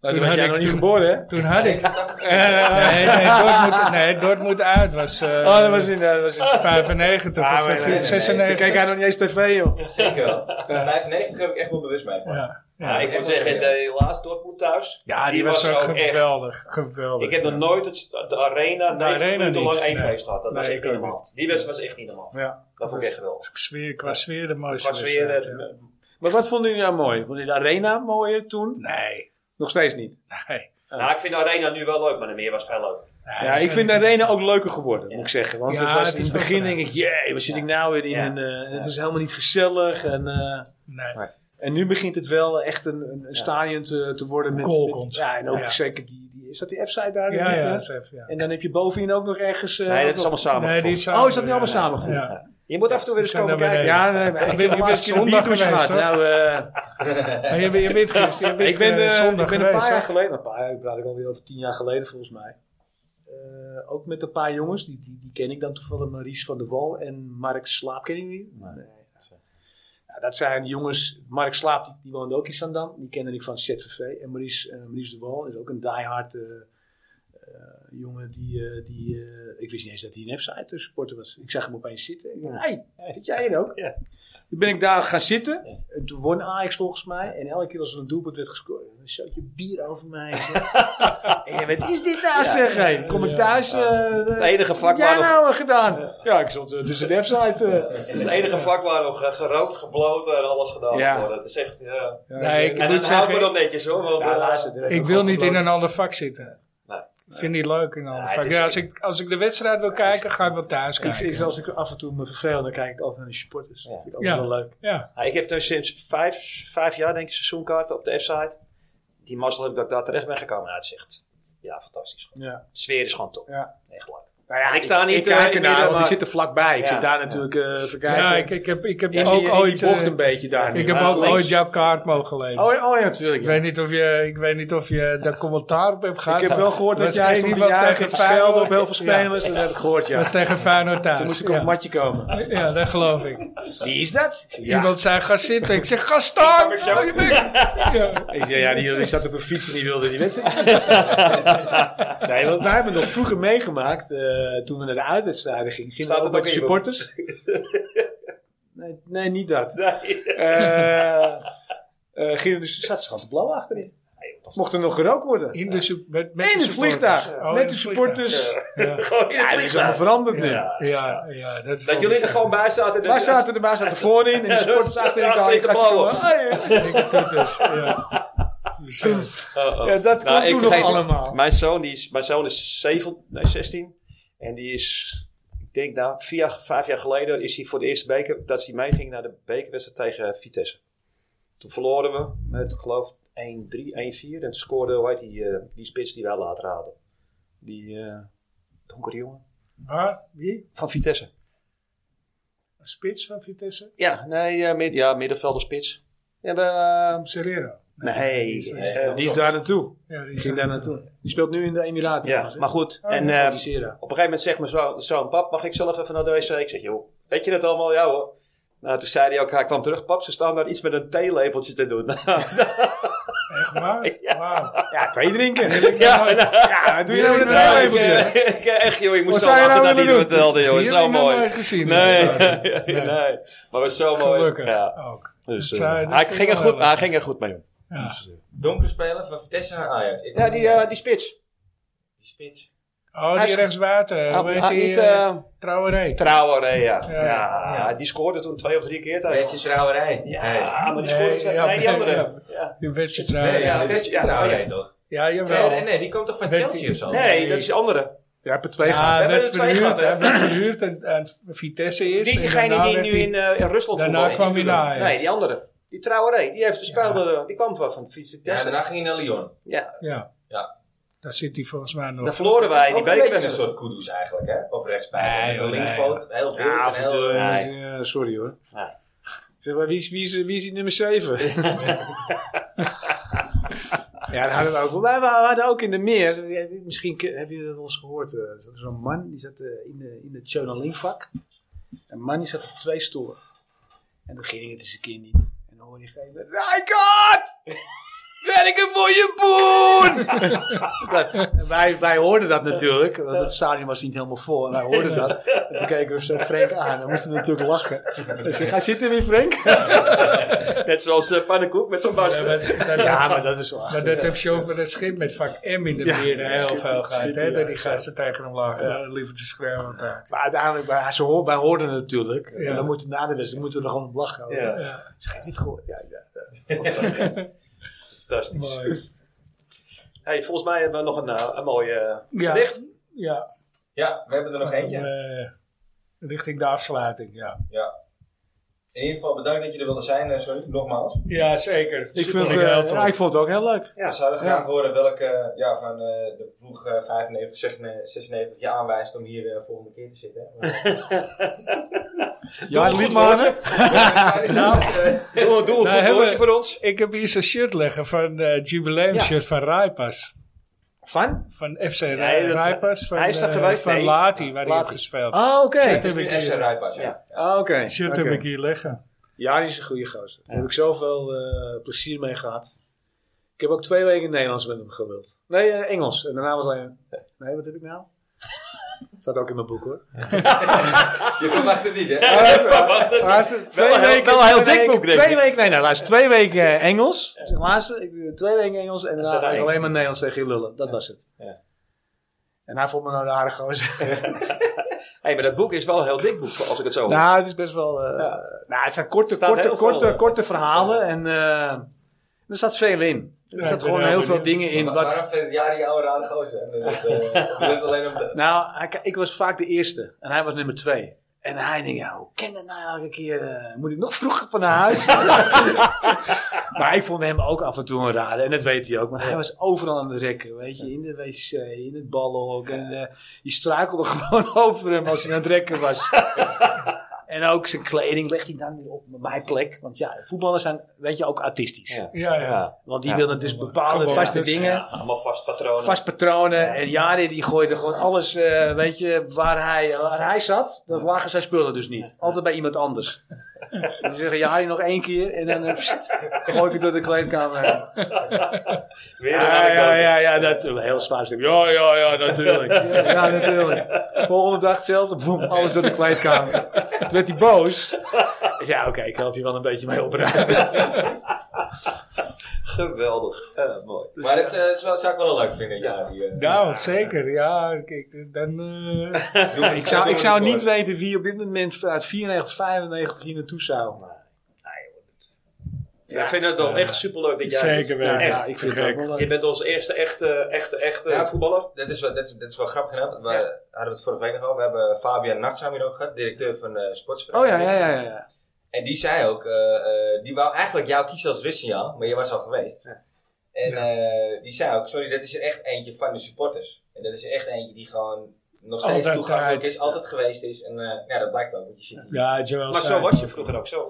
[SPEAKER 4] Nou,
[SPEAKER 2] Toen
[SPEAKER 4] toen was
[SPEAKER 2] had
[SPEAKER 4] jij
[SPEAKER 2] ik
[SPEAKER 4] nog niet
[SPEAKER 2] toen-
[SPEAKER 4] geboren, hè?
[SPEAKER 2] Toen had ik... nee, nee, Dortmund, nee, Dortmund uit was... eh,
[SPEAKER 4] Oh, dat was in... eh, dat was in-
[SPEAKER 2] 95
[SPEAKER 4] Ah,
[SPEAKER 2] of
[SPEAKER 4] nee, nee, nee, nee.
[SPEAKER 2] 96.
[SPEAKER 4] Toen keek hij nog niet eens tv, joh.
[SPEAKER 5] Zeker wel. 95 heb ik echt wel bewust meegemaakt.
[SPEAKER 2] Ja,
[SPEAKER 3] Ja,
[SPEAKER 2] ja.
[SPEAKER 3] ik moet zeggen, de laatste Dortmund thuis.
[SPEAKER 2] Ja, die, was, ook
[SPEAKER 3] echt-
[SPEAKER 2] geweldig. geweldig.
[SPEAKER 3] Ik heb nog nooit het, de arena
[SPEAKER 2] De
[SPEAKER 3] 90
[SPEAKER 2] arena
[SPEAKER 3] minuten lang
[SPEAKER 2] niet,
[SPEAKER 3] één
[SPEAKER 2] nee.
[SPEAKER 3] feest gehad. Dat was
[SPEAKER 2] Nee,
[SPEAKER 3] echt
[SPEAKER 2] ik
[SPEAKER 3] niet
[SPEAKER 2] ook
[SPEAKER 3] normaal. Die wedstrijd was echt niet normaal.
[SPEAKER 4] Ja.
[SPEAKER 3] Dat vond ik echt geweldig.
[SPEAKER 2] sfeer, qua sfeer de
[SPEAKER 3] Het
[SPEAKER 2] mooiste
[SPEAKER 3] was weer...
[SPEAKER 2] wedstrijd,
[SPEAKER 3] eh,
[SPEAKER 2] ja.
[SPEAKER 4] Maar wat vonden jullie nou mooi? Vonden jullie de arena mooier toen?
[SPEAKER 2] Nee,
[SPEAKER 4] Nog steeds niet.
[SPEAKER 2] nee.
[SPEAKER 3] Nou, ik vind de arena nu wel leuk, maar de meer was het wel leuk.
[SPEAKER 4] Ja, ik vind de arena ook leuker geworden, moet ik zeggen. Want
[SPEAKER 2] Ja,
[SPEAKER 4] het was
[SPEAKER 2] het
[SPEAKER 4] in
[SPEAKER 2] is
[SPEAKER 4] het
[SPEAKER 2] wel
[SPEAKER 4] begin
[SPEAKER 2] fijn.
[SPEAKER 4] denk ik, jee, waar zit ik nou weer in?
[SPEAKER 3] Ja.
[SPEAKER 4] En, eh, het is helemaal niet gezellig. En, eh,
[SPEAKER 2] Nee.
[SPEAKER 4] En nu begint het wel echt een, een, een stadion te, te worden. Met,
[SPEAKER 2] Goal
[SPEAKER 4] met-
[SPEAKER 2] komt.
[SPEAKER 4] Ja, en ook
[SPEAKER 2] Ja.
[SPEAKER 4] zeker die, die... Is dat die F-site daar?
[SPEAKER 2] Ja, ja,
[SPEAKER 4] Ja.
[SPEAKER 2] dat is even, ja.
[SPEAKER 4] En dan heb je bovenin ook nog ergens... eh,
[SPEAKER 3] Nee,
[SPEAKER 4] ook
[SPEAKER 3] dat is
[SPEAKER 4] nog-
[SPEAKER 3] allemaal samen.
[SPEAKER 2] Nee, die
[SPEAKER 4] Oh, is dat nu
[SPEAKER 2] ja.
[SPEAKER 4] allemaal samengevoegd?
[SPEAKER 2] Ja.
[SPEAKER 3] Je moet af en toe weer eens
[SPEAKER 2] Zijn
[SPEAKER 3] komen
[SPEAKER 2] daar
[SPEAKER 3] kijken.
[SPEAKER 2] beneden.
[SPEAKER 4] Ja, nee, maar
[SPEAKER 2] Je
[SPEAKER 4] ik
[SPEAKER 2] bent-
[SPEAKER 4] heb
[SPEAKER 2] je
[SPEAKER 4] een
[SPEAKER 2] bent
[SPEAKER 4] laatst keer een
[SPEAKER 2] zondag
[SPEAKER 4] bierdouche
[SPEAKER 2] geweest,
[SPEAKER 4] gehad. Nou, eh,
[SPEAKER 2] Maar je, bent- je bent gisteren. Je bent,
[SPEAKER 4] ik ben,
[SPEAKER 2] eh,
[SPEAKER 4] eh,
[SPEAKER 2] zondag
[SPEAKER 4] ik ben een
[SPEAKER 2] geweest,
[SPEAKER 4] paar
[SPEAKER 2] hè?
[SPEAKER 4] jaar geleden, een paar jaar, ik praat ik alweer over tien jaar geleden volgens mij. Eh, ook met een paar jongens, die, die, die ken ik dan toevallig, Maries van der Wal en Mark Slaap, ken je die? Nee. Nou, dat zijn jongens, Mark Slaap, die, die woonde ook in Zandam, die kende ik van ZVV. En Maries, eh Maries de Wal is ook een diehard eh, eh, jongen die, eh, die eh, ik wist niet eens dat hij een F-site supporter was. Ik zag hem opeens zitten. Ik dacht, hey, zit jij hier ook? Toen ben ik daar gaan zitten. En toen won Ajax volgens mij. En elke keer als er een doelpunt werd gescoord, dan zat je bier over mij.
[SPEAKER 1] (laughs)
[SPEAKER 4] zeg. en je wat is dit nou zeg? hé? Kom ik thuis? eh dat
[SPEAKER 1] Het enige vak
[SPEAKER 4] jij
[SPEAKER 1] waar nog,
[SPEAKER 4] nou gedaan? Ja, ik stond eh, tussen de website. eh.
[SPEAKER 1] het is het enige vak waar nog eh, gerookt, gebloten en alles gedaan
[SPEAKER 4] Ja.
[SPEAKER 1] wordt. Dat is echt, ja.
[SPEAKER 2] Nee, ik
[SPEAKER 1] En
[SPEAKER 2] moet
[SPEAKER 1] dat houdt me
[SPEAKER 2] zeggen,
[SPEAKER 1] dan netjes hoor. Want,
[SPEAKER 4] Ja,
[SPEAKER 1] eh,
[SPEAKER 4] luister, er werd
[SPEAKER 2] ik
[SPEAKER 4] ook
[SPEAKER 2] wil niet in
[SPEAKER 4] gebloten.
[SPEAKER 2] een ander vak zitten.
[SPEAKER 1] Nee,
[SPEAKER 2] Ik vind het niet leuk in een ander
[SPEAKER 1] Nee,
[SPEAKER 2] vak.
[SPEAKER 1] het is-
[SPEAKER 2] Ja, als, ik, als ik de wedstrijd wil kijken, ga ik wel thuis
[SPEAKER 4] Ik, ik,
[SPEAKER 2] kijken.
[SPEAKER 4] als ik af en toe me verveel, dan kijk ik altijd naar de supporters. Dat vind ik altijd
[SPEAKER 2] Ja.
[SPEAKER 4] wel leuk.
[SPEAKER 2] Ja,
[SPEAKER 1] Nou, ik heb nu sinds vijf, vijf jaar denk ik seizoenkaart op de F-site. Die mazzel heb ik dat ik daar terecht ben gekomen. Nou, het is echt, ja, fantastisch.
[SPEAKER 4] Ja.
[SPEAKER 1] De sfeer is gewoon top.
[SPEAKER 4] Ja.
[SPEAKER 1] Echt leuk.
[SPEAKER 4] Nou ja,
[SPEAKER 1] Ik sta niet,
[SPEAKER 4] Ik
[SPEAKER 1] eh,
[SPEAKER 4] kijk
[SPEAKER 1] in
[SPEAKER 4] ernaar,
[SPEAKER 1] midden,
[SPEAKER 4] want ik
[SPEAKER 1] maar-
[SPEAKER 4] zit er vlakbij. Ik
[SPEAKER 1] Ja.
[SPEAKER 4] zit daar natuurlijk eh even kijken.
[SPEAKER 2] ja ik, ik heb, ik heb
[SPEAKER 4] En
[SPEAKER 2] ook
[SPEAKER 4] die- die
[SPEAKER 2] ooit... eh,
[SPEAKER 4] bocht een beetje daar. nu.
[SPEAKER 2] ik heb
[SPEAKER 4] Ja,
[SPEAKER 2] ook
[SPEAKER 4] links.
[SPEAKER 2] ooit jouw kaart mogen lenen.
[SPEAKER 4] Oh, ja, oh ja, natuurlijk.
[SPEAKER 2] Ik
[SPEAKER 4] ja.
[SPEAKER 2] weet niet of je, ik weet niet of je daar commentaar op hebt
[SPEAKER 4] Ik
[SPEAKER 2] gehad.
[SPEAKER 4] heb wel gehoord
[SPEAKER 2] Er
[SPEAKER 4] dat
[SPEAKER 2] was
[SPEAKER 4] jij
[SPEAKER 2] één
[SPEAKER 4] stond te
[SPEAKER 2] iemand
[SPEAKER 4] juichen
[SPEAKER 2] tegen
[SPEAKER 4] verschuilde
[SPEAKER 2] Feyenoord.
[SPEAKER 4] op heel veel
[SPEAKER 2] Ja.
[SPEAKER 4] spelers. Dat heb ik gehoord, ja.
[SPEAKER 2] Dat is tegen Feyenoord thuis.
[SPEAKER 4] Dan moest ik op
[SPEAKER 2] ja.
[SPEAKER 4] het matje komen.
[SPEAKER 2] Ja, dat geloof ik.
[SPEAKER 4] Wie is dat? Ja.
[SPEAKER 2] Iemand zei, ga zitten. Ik zeg, ga staan! Hou je bek! Ja.
[SPEAKER 4] Ik zei, ja, die, die zat op een fiets en die wilde die wedstrijd. nee, want wij hebben nog vroeger meegemaakt, eh, toen we naar de uitwedstrijden gingen. Gingen
[SPEAKER 1] Staat
[SPEAKER 4] we
[SPEAKER 1] het
[SPEAKER 4] ook met
[SPEAKER 1] ook in
[SPEAKER 4] de
[SPEAKER 1] je boek?
[SPEAKER 4] supporters? nee, nee, niet dat.
[SPEAKER 1] Nee.
[SPEAKER 4] Eh, eh, gingen dus, zat ze gewoon te blauw achterin. Mocht er nog gerookt worden.
[SPEAKER 2] In, de, sup- met, met
[SPEAKER 4] in
[SPEAKER 2] de
[SPEAKER 4] het
[SPEAKER 2] supporters.
[SPEAKER 4] vliegtuig.
[SPEAKER 2] Oh, in
[SPEAKER 4] met de
[SPEAKER 2] het
[SPEAKER 4] supporters.
[SPEAKER 2] vliegtuig.
[SPEAKER 1] Gewoon in het
[SPEAKER 4] Ja, dat is allemaal
[SPEAKER 1] vliegtuig.
[SPEAKER 4] veranderd nu.
[SPEAKER 2] Ja, ja, ja, dat is
[SPEAKER 1] Dat
[SPEAKER 2] wel
[SPEAKER 1] jullie er
[SPEAKER 2] bizar.
[SPEAKER 1] gewoon bij zaten.
[SPEAKER 3] dus-
[SPEAKER 4] Wij zaten er,
[SPEAKER 1] (laughs)
[SPEAKER 4] wij zaten voorin en de supporters achterin.
[SPEAKER 1] Achterin
[SPEAKER 4] Ik
[SPEAKER 1] te
[SPEAKER 4] had zo
[SPEAKER 1] blauwen.
[SPEAKER 4] van, "Hey,
[SPEAKER 2] Dikke toeters, ja.
[SPEAKER 1] (laughs)
[SPEAKER 2] Bizar.
[SPEAKER 1] Oh, oh.
[SPEAKER 4] Ja, dat
[SPEAKER 1] Nou,
[SPEAKER 4] kwam
[SPEAKER 1] ik
[SPEAKER 4] toen nog
[SPEAKER 1] vergeet-
[SPEAKER 4] allemaal.
[SPEAKER 1] Mijn zoon, die is, mijn zoon is 7, nee, 16. En die is, ik denk nou, vier, jaar- vijf jaar geleden is hij voor de eerste beker, dat hij meeging naar de bekerwedstrijd tegen Vitesse. Toen verloren we met, ik geloof 1-3, 1-4. En toen scoorde, hoe heet die, eh, die spits die wij later hadden. Die eh donkere jongen.
[SPEAKER 2] Maar, wie?
[SPEAKER 1] Van Vitesse.
[SPEAKER 2] Een Spits van Vitesse?
[SPEAKER 1] Ja, nee, eh, mid- ja, middenvelder spits. Ja, we, eh,
[SPEAKER 2] Serrero.
[SPEAKER 1] nee.
[SPEAKER 2] Nee.
[SPEAKER 1] eh,
[SPEAKER 4] Die is daar naartoe.
[SPEAKER 2] Ja, die
[SPEAKER 4] Die
[SPEAKER 2] zijn
[SPEAKER 4] ging daar naartoe. Die speelt nu in de Emiraten.
[SPEAKER 1] ja, maar goed.
[SPEAKER 2] Oh,
[SPEAKER 1] en
[SPEAKER 2] die
[SPEAKER 1] eh,
[SPEAKER 4] Sera.
[SPEAKER 1] Op een gegeven moment zegt mijn zoon, zoon, pap, mag ik zelf even naar de wc? Ik zeg, joh, weet je dat allemaal? Ja hoor. Nou, toen zei hij ook, hij kwam terug, pap, ze staan daar iets met een theelepeltje te doen. (laughs)
[SPEAKER 2] Echt waar? Wauw.
[SPEAKER 4] Ja, thee drinken.
[SPEAKER 2] Ja,
[SPEAKER 4] Ja, doe je nou met een theelepeltje?
[SPEAKER 1] Ik, ik- eh, echt joh, ik moest
[SPEAKER 4] Wat
[SPEAKER 1] zo
[SPEAKER 4] zou je
[SPEAKER 1] lachen
[SPEAKER 4] nou
[SPEAKER 1] dat hij dat
[SPEAKER 4] willen doen?
[SPEAKER 1] vertelde, joh. Is
[SPEAKER 2] Die
[SPEAKER 1] zo
[SPEAKER 2] heb ik nog
[SPEAKER 1] mooi.
[SPEAKER 2] nooit gezien.
[SPEAKER 1] Nee. (laughs)
[SPEAKER 2] Sorry.
[SPEAKER 1] nee, maar het is zo mooi.
[SPEAKER 2] Gelukkig
[SPEAKER 1] Ja,
[SPEAKER 2] ook.
[SPEAKER 1] dus,
[SPEAKER 2] Dat
[SPEAKER 1] eh,
[SPEAKER 2] zou- dat
[SPEAKER 1] hij,
[SPEAKER 2] vind
[SPEAKER 1] ging
[SPEAKER 2] ik
[SPEAKER 1] er
[SPEAKER 2] wel
[SPEAKER 1] goed,
[SPEAKER 2] leuk.
[SPEAKER 1] hij ging er goed mee om.
[SPEAKER 2] Ja.
[SPEAKER 5] Donkere speler van Vitesse naar Ajax. Ik
[SPEAKER 1] Ja, die, eh, die spits.
[SPEAKER 5] die spits.
[SPEAKER 2] Oh,
[SPEAKER 1] Hij
[SPEAKER 2] die
[SPEAKER 1] is-
[SPEAKER 2] rechtsbuiten.
[SPEAKER 1] Ah,
[SPEAKER 2] Hoe heet
[SPEAKER 1] ah,
[SPEAKER 2] die?
[SPEAKER 1] niet
[SPEAKER 2] eh,
[SPEAKER 1] eh
[SPEAKER 2] Traoré.
[SPEAKER 1] Trouweré, ja.
[SPEAKER 2] Ja,
[SPEAKER 1] Ja,
[SPEAKER 2] ja.
[SPEAKER 1] Die scoorde toen twee of drie keer tegen. Ah,
[SPEAKER 5] Beetje trouwerij.
[SPEAKER 1] Ja, maar die
[SPEAKER 2] Nee,
[SPEAKER 1] scoorde twee.
[SPEAKER 2] ja,
[SPEAKER 1] Nee, die andere.
[SPEAKER 2] ja. Die wedstrijd Traoré.
[SPEAKER 5] Nee, ja,
[SPEAKER 1] ja,
[SPEAKER 5] beetje
[SPEAKER 1] ja,
[SPEAKER 5] trouwerij
[SPEAKER 1] ja.
[SPEAKER 5] toch?
[SPEAKER 2] Ja,
[SPEAKER 5] Nee,
[SPEAKER 2] jawel.
[SPEAKER 1] E
[SPEAKER 5] nee, nee, die komt toch van
[SPEAKER 2] Beetje-
[SPEAKER 5] Chelsea of zo?
[SPEAKER 1] Nee, dat is die andere.
[SPEAKER 4] Ja, heb er twee gehad.
[SPEAKER 2] Ja,
[SPEAKER 1] We
[SPEAKER 2] hij
[SPEAKER 1] hebben
[SPEAKER 2] werd
[SPEAKER 1] er twee
[SPEAKER 2] verhuurd,
[SPEAKER 1] gehad, hè?
[SPEAKER 2] hij werd verhuurd en, en Vitesse is.
[SPEAKER 1] Niet
[SPEAKER 2] en
[SPEAKER 1] degene
[SPEAKER 2] daarna
[SPEAKER 1] die
[SPEAKER 2] werd
[SPEAKER 1] nu
[SPEAKER 2] hij-
[SPEAKER 1] in, eh, in Rusland
[SPEAKER 2] daarna
[SPEAKER 1] voetbalde.
[SPEAKER 2] kwam hij naar Ajax.
[SPEAKER 1] Nee, die andere. Die Traoré, die heeft de speelde, die kwam van van
[SPEAKER 5] Ja,
[SPEAKER 1] Vitesse.
[SPEAKER 5] daarna ging hij naar Lyon.
[SPEAKER 1] Ja,
[SPEAKER 2] Ja.
[SPEAKER 5] Ja.
[SPEAKER 2] Daar zit hij volgens mij nog.
[SPEAKER 1] dan verloren wij die
[SPEAKER 5] Ook een beetje een
[SPEAKER 1] bekerwedstrijd.
[SPEAKER 5] soort kudoes eigenlijk, hè? Op rechtsbij.
[SPEAKER 2] Nee,
[SPEAKER 5] Nee,
[SPEAKER 2] joh,
[SPEAKER 5] een
[SPEAKER 2] nee,
[SPEAKER 5] linkspoot, heel wild
[SPEAKER 4] Ja,
[SPEAKER 5] en
[SPEAKER 4] af en toe,
[SPEAKER 5] heel...
[SPEAKER 4] eh,
[SPEAKER 1] Nee.
[SPEAKER 4] is, eh, sorry hoor.
[SPEAKER 1] Nee.
[SPEAKER 4] Ik Zeg maar, wie is, wie is, wie is die nummer 7? ja, dat hadden we ook wel. We hadden- we hadden ook in de meer, eh, misschien ke- heb je dat wel eens gehoord, eh, zat er zo'n man, die zat eh, in, de, in het Chonaling vak. Een man die zat op twee stoelen. En dan ging het eens een keer niet. En dan hoorde je geven, Rijkaard! Werken voor je boer! dat, (laughs) wij, wij hoorden dat natuurlijk, want het stadion was niet helemaal vol. En wij hoorden dat. (laughs) En toen keken we zo Frank aan. Dan moesten we natuurlijk lachen. Ik zeg, ga zitten weer Frank.
[SPEAKER 1] Net zoals eh, pannenkoek met zo'n
[SPEAKER 2] Ja,
[SPEAKER 1] (laughs) barst.
[SPEAKER 2] maar, dat-
[SPEAKER 4] (laughs) Ja, maar dat is wel
[SPEAKER 2] maar dat heb je over het schip met vak M in de
[SPEAKER 4] Ja.
[SPEAKER 2] meer heel veel gehad.
[SPEAKER 4] schip,
[SPEAKER 2] hè,
[SPEAKER 4] ja.
[SPEAKER 2] Dat die gasten tegen hem lagen. eh, Liever te schreeuwen dan uit.
[SPEAKER 4] Maar uiteindelijk, wij, ze hoor- wij hoorden het natuurlijk.
[SPEAKER 2] Ja.
[SPEAKER 4] En dan moeten we na de wedstrijd moeten we er gewoon op lachen.
[SPEAKER 1] Ja,
[SPEAKER 2] Ja,
[SPEAKER 4] Ze heeft niet gehoord. Ja, ja.
[SPEAKER 1] fantastisch. (laughs)
[SPEAKER 2] mooi.
[SPEAKER 1] Hey, volgens mij hebben we nog een, eh, een mooie... eh,
[SPEAKER 2] Ja,
[SPEAKER 1] Dicht?
[SPEAKER 2] Ja,
[SPEAKER 5] Ja, we hebben er nog eentje.
[SPEAKER 2] eh, richting de afsluiting, ja.
[SPEAKER 5] In ieder geval bedankt dat je er wilde zijn, eh, Sonny, nogmaals.
[SPEAKER 2] Ja, zeker.
[SPEAKER 4] Ik, vind,
[SPEAKER 2] het
[SPEAKER 4] eh,
[SPEAKER 2] heel tof.
[SPEAKER 4] ja, ik vond het ook heel leuk.
[SPEAKER 5] We zouden graag horen welke ja, van eh, de ploeg eh, 95, 96 je aanwijst om hier de volgende keer te
[SPEAKER 3] (laughs)
[SPEAKER 5] zitten. hè. Want-
[SPEAKER 4] Ja, liet maar.
[SPEAKER 3] Doe, doe
[SPEAKER 2] Nou,
[SPEAKER 3] een goed
[SPEAKER 2] hebben-
[SPEAKER 3] woordje voor ons.
[SPEAKER 2] Ik heb hier zo'n shirt leggen van eh Jubileum shirt van Rijpas.
[SPEAKER 3] Van?
[SPEAKER 2] Van FC
[SPEAKER 3] dat-
[SPEAKER 2] Rijpas. Van,
[SPEAKER 3] hij is daar
[SPEAKER 2] eh,
[SPEAKER 3] geweest,
[SPEAKER 2] Van
[SPEAKER 3] nee.
[SPEAKER 2] Lati, waar hij heeft
[SPEAKER 3] Lati.
[SPEAKER 2] gespeeld.
[SPEAKER 4] Ah, oké.
[SPEAKER 2] Dat
[SPEAKER 5] Het
[SPEAKER 2] heb
[SPEAKER 5] is
[SPEAKER 2] ik
[SPEAKER 5] nu FC
[SPEAKER 2] hier,
[SPEAKER 5] Rijpas, ja.
[SPEAKER 4] Ah, oké.
[SPEAKER 2] shirt
[SPEAKER 4] Oké.
[SPEAKER 2] heb ik hier liggen.
[SPEAKER 4] Ja, die is een goede gozer. Daar heb ik zoveel eh, plezier mee gehad. Ik heb ook twee weken Nederlands met hem gewild. Nee, eh, Engels. En daarna was alleen... Nee, wat heb ik nou? (laughs) Staat ook in mijn boek hoor.
[SPEAKER 5] Je verwacht het niet, hè?
[SPEAKER 3] (laughs)
[SPEAKER 4] Ah, ze- twee
[SPEAKER 3] heel-
[SPEAKER 4] weken,
[SPEAKER 3] wel een heel
[SPEAKER 4] twee
[SPEAKER 3] dik
[SPEAKER 4] weken-
[SPEAKER 3] boek, denk
[SPEAKER 4] Twee
[SPEAKER 3] ik.
[SPEAKER 4] weken, nee, nou luister, twee weken eh, Engels. Zeg, luister, ik, doe twee weken Engels en daarna ga ik alleen maar Nederlands tegen je lullen. Dat was het. En hij vond me nou de aardige gozer.
[SPEAKER 3] Hé, maar dat boek is wel een heel dik boek, als ik het zo hoor.
[SPEAKER 4] nou, het is best wel... eh, nou, het zijn korte,
[SPEAKER 3] Staat
[SPEAKER 4] korte,
[SPEAKER 3] heel veel,
[SPEAKER 4] korte,
[SPEAKER 3] eh,
[SPEAKER 4] korte verhalen en eh, er staat veel in. Er
[SPEAKER 2] Ja, ik
[SPEAKER 4] staat
[SPEAKER 2] ben
[SPEAKER 4] gewoon
[SPEAKER 2] heel
[SPEAKER 4] heel veel
[SPEAKER 2] benieuwd.
[SPEAKER 4] dingen in.
[SPEAKER 5] Wa-
[SPEAKER 4] Wat,
[SPEAKER 5] Waarom vindt het jaar die oude rare gozer? hè? Dat, eh,
[SPEAKER 3] (laughs)
[SPEAKER 5] je bent alleen op de...
[SPEAKER 4] Nou, hij- ik was vaak de eerste en hij was nummer twee. En hij denkt, ja, hoe ken dat nou elke keer? eh, moet ik nog vroeg van naar huis? maar ik vond hem ook af en toe een rare. En dat weet hij ook. Maar hij was overal aan het rekken. Weet je, in de wc, in het ballenhok. En eh, je struikelde (laughs) gewoon over hem als hij aan het rekken was. en ook zijn kleding legt hij dan weer op mijn plek. Want ja, voetballers zijn, weet je, ook artistisch.
[SPEAKER 2] Ja, ja.
[SPEAKER 4] Want die willen dus bepaalde
[SPEAKER 2] Gewoon,
[SPEAKER 4] vaste
[SPEAKER 2] dus,
[SPEAKER 4] dingen.
[SPEAKER 10] Allemaal vast patronen.
[SPEAKER 4] Vast patronen. En Jari die gooide gewoon alles, eh, weet je, waar hij, waar hij zat, dat lagen zijn spullen dus niet. Altijd bij iemand
[SPEAKER 10] (laughs)
[SPEAKER 4] anders. Ze zeggen Jari nog één keer en dan eh, pst, gooi ik het door de kleedkamer heen.
[SPEAKER 10] (laughs) Weer een
[SPEAKER 4] Ja,
[SPEAKER 10] anekdote.
[SPEAKER 4] ja, ja, ja, natuurlijk. Heel zwaar stuk. Ja, ja, ja,
[SPEAKER 10] (laughs)
[SPEAKER 4] natuurlijk. Ja, ja, natuurlijk. Volgende dag hetzelfde, boem, alles door de kleedkamer. Toen werd hij boos. Ik zei, ja, oké, ik help je wel een beetje mee opruimen.
[SPEAKER 3] Geweldig. Eh, mooi.
[SPEAKER 5] Maar dat eh, is wel, zou ik wel leuk vinden, ja. Die, eh,
[SPEAKER 2] Nou, zeker. Ja, kijk, dan... eh,
[SPEAKER 5] doe-
[SPEAKER 4] Ik zou,
[SPEAKER 5] doe
[SPEAKER 4] ik zou
[SPEAKER 5] het
[SPEAKER 4] niet
[SPEAKER 5] voor.
[SPEAKER 4] weten wie op dit moment uit 94, 95 hier naartoe zou.
[SPEAKER 3] Ik vind het wel echt superleuk dat jij...
[SPEAKER 2] zeker weten.
[SPEAKER 4] Ja, ik vind het ook wel leuk.
[SPEAKER 3] Je bent onze eerste echte, echte, echte
[SPEAKER 5] Ja.
[SPEAKER 3] voetballer.
[SPEAKER 5] Dat is, wel, dat, is, dat is wel grappig gedaan. We hadden het vorige week nog over. We hebben Fabian Nachtsam hier ook gehad, directeur van eh
[SPEAKER 4] Oh ja,
[SPEAKER 5] Sportsvereniging.
[SPEAKER 4] ja, ja. ja.
[SPEAKER 5] En die zei ook, eh, eh, die wou eigenlijk jou kiezen als wissignaal, maar je was al geweest. En eh, die zei ook, sorry, dat is er echt eentje van de supporters. En dat is er echt eentje die gewoon nog steeds
[SPEAKER 2] Altijd
[SPEAKER 5] toegankelijk
[SPEAKER 2] draait.
[SPEAKER 5] is, altijd geweest is. En eh, ja, dat blijkt ook, want je ziet hier.
[SPEAKER 2] Ja, Joel
[SPEAKER 3] Maar zo
[SPEAKER 2] zei-
[SPEAKER 3] was je vroeger ook zo.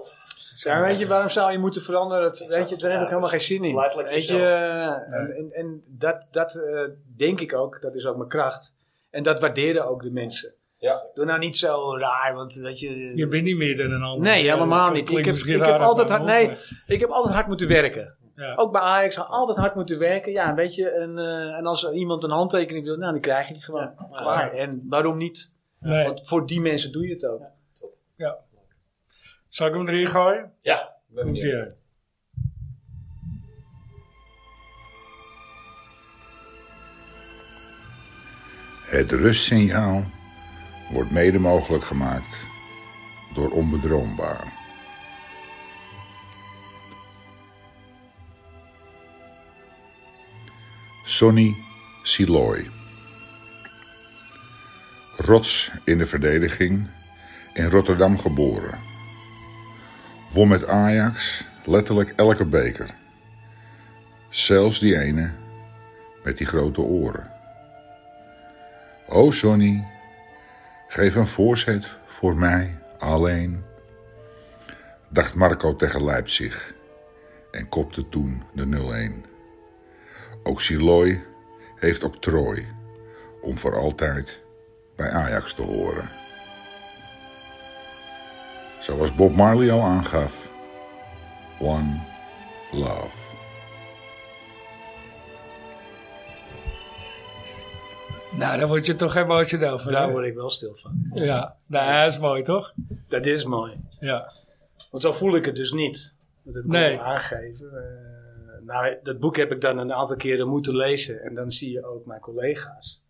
[SPEAKER 4] Ja, weet je, waarom zou je moeten veranderen? Dat, weet je, daar heb ik helemaal geen zin in.
[SPEAKER 3] Blijf lekker
[SPEAKER 4] weet je, eh, en, en, en dat, dat eh, denk ik ook, dat is ook mijn kracht. En dat waarderen ook de mensen.
[SPEAKER 5] Ja.
[SPEAKER 4] Doe nou niet zo raar, want weet je...
[SPEAKER 2] Je bent niet meer dan een ander.
[SPEAKER 4] Nee, helemaal
[SPEAKER 2] Dat
[SPEAKER 4] niet.
[SPEAKER 2] klinkt
[SPEAKER 4] Ik heb-
[SPEAKER 2] misschien
[SPEAKER 4] ik heb
[SPEAKER 2] raar uit
[SPEAKER 4] altijd
[SPEAKER 2] mijn
[SPEAKER 4] hard-
[SPEAKER 2] mond,
[SPEAKER 4] nee.
[SPEAKER 2] maar-
[SPEAKER 4] Ik heb altijd hard moeten werken.
[SPEAKER 2] Ja.
[SPEAKER 4] Ook bij Ajax had altijd hard moeten werken. Ja, weet je, en, eh, en als er iemand een handtekening wil, nou, dan krijg je die gewoon. Klaar. En waarom niet?
[SPEAKER 2] Nee.
[SPEAKER 4] Want voor die mensen doe je het ook.
[SPEAKER 2] Zal ik hem erin gooien?
[SPEAKER 5] Ik ben
[SPEAKER 2] Komt
[SPEAKER 5] benieuwd.
[SPEAKER 2] ie aan.
[SPEAKER 8] Het rustsignaal wordt mede mogelijk gemaakt door onbedroombaar. Sonny Siloy. Rots in de verdediging, in Rotterdam geboren. Won met Ajax letterlijk elke beker. Zelfs die ene met die grote oren. O Sonny, geef een voorzet voor mij alleen. Dacht Marco tegen Leipzig en kopte toen de 0-1. Ook Siloy heeft octrooi om voor altijd bij Ajax te horen. Zoals Bob Marley al aangaf, One Love.
[SPEAKER 2] Nou, daar word je toch emotioneel van.
[SPEAKER 4] Daar
[SPEAKER 2] hè?
[SPEAKER 4] word ik wel stil van.
[SPEAKER 2] Ja, nou, dat is mooi toch?
[SPEAKER 4] Dat is mooi.
[SPEAKER 2] Ja.
[SPEAKER 4] Want zo voel ik het dus niet. Dat heb ik
[SPEAKER 2] Nee.
[SPEAKER 4] ook al aangegeven. Eh, nou, dat boek heb ik dan een aantal keren moeten lezen. En dan zie je ook mijn collega's.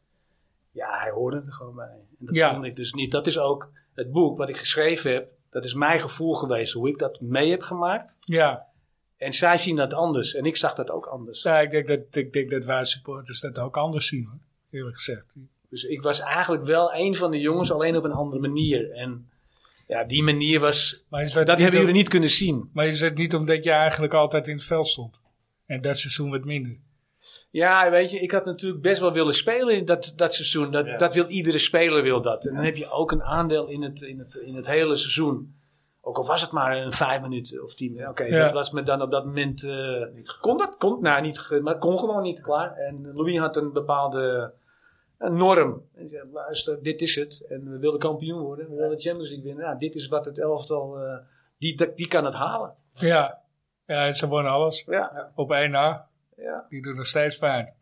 [SPEAKER 4] Ja, hij hoorde er gewoon bij. En dat
[SPEAKER 2] Ja.
[SPEAKER 4] vond ik dus niet. Dat is ook het boek wat ik geschreven heb. Dat is mijn gevoel geweest. Hoe ik dat mee heb gemaakt.
[SPEAKER 2] Ja,
[SPEAKER 4] En zij zien dat anders. En ik zag dat ook anders.
[SPEAKER 2] ja ik, denk dat, ik denk dat wij supporters dat ook anders zien hoor. Eerlijk gezegd.
[SPEAKER 4] Dus ik was eigenlijk wel een van de jongens. Alleen op een andere manier. En Ja, die manier was...
[SPEAKER 2] Maar is
[SPEAKER 4] Dat
[SPEAKER 2] niet
[SPEAKER 4] hebben
[SPEAKER 2] om-
[SPEAKER 4] jullie niet kunnen zien.
[SPEAKER 2] Maar is het niet omdat je eigenlijk altijd in het veld stond? En dat seizoen wat minder.
[SPEAKER 4] Ja, weet je, ik had natuurlijk best wel willen spelen in dat, dat seizoen. Dat, dat wil iedere speler wil dat. En dan heb je ook een aandeel in het, in het, in het hele seizoen. Ook al was het maar een vijf minuten of tien minuten. Oké,
[SPEAKER 2] Ja.
[SPEAKER 4] dat was me dan op dat moment... eh, kon dat? Kon, nou, niet, ge- maar kon gewoon niet klaar. En Louis had een bepaalde een norm. Hij zei, luister, dit is het. En we willen kampioen worden. We willen de Champions League winnen. Nou, dit is wat het elftal... eh, die, die kan het halen.
[SPEAKER 2] Ja. Ja, en ze wonnen alles.
[SPEAKER 4] Ja.
[SPEAKER 2] Op 1 na.
[SPEAKER 4] Ja.
[SPEAKER 2] Die doet nog steeds pijn.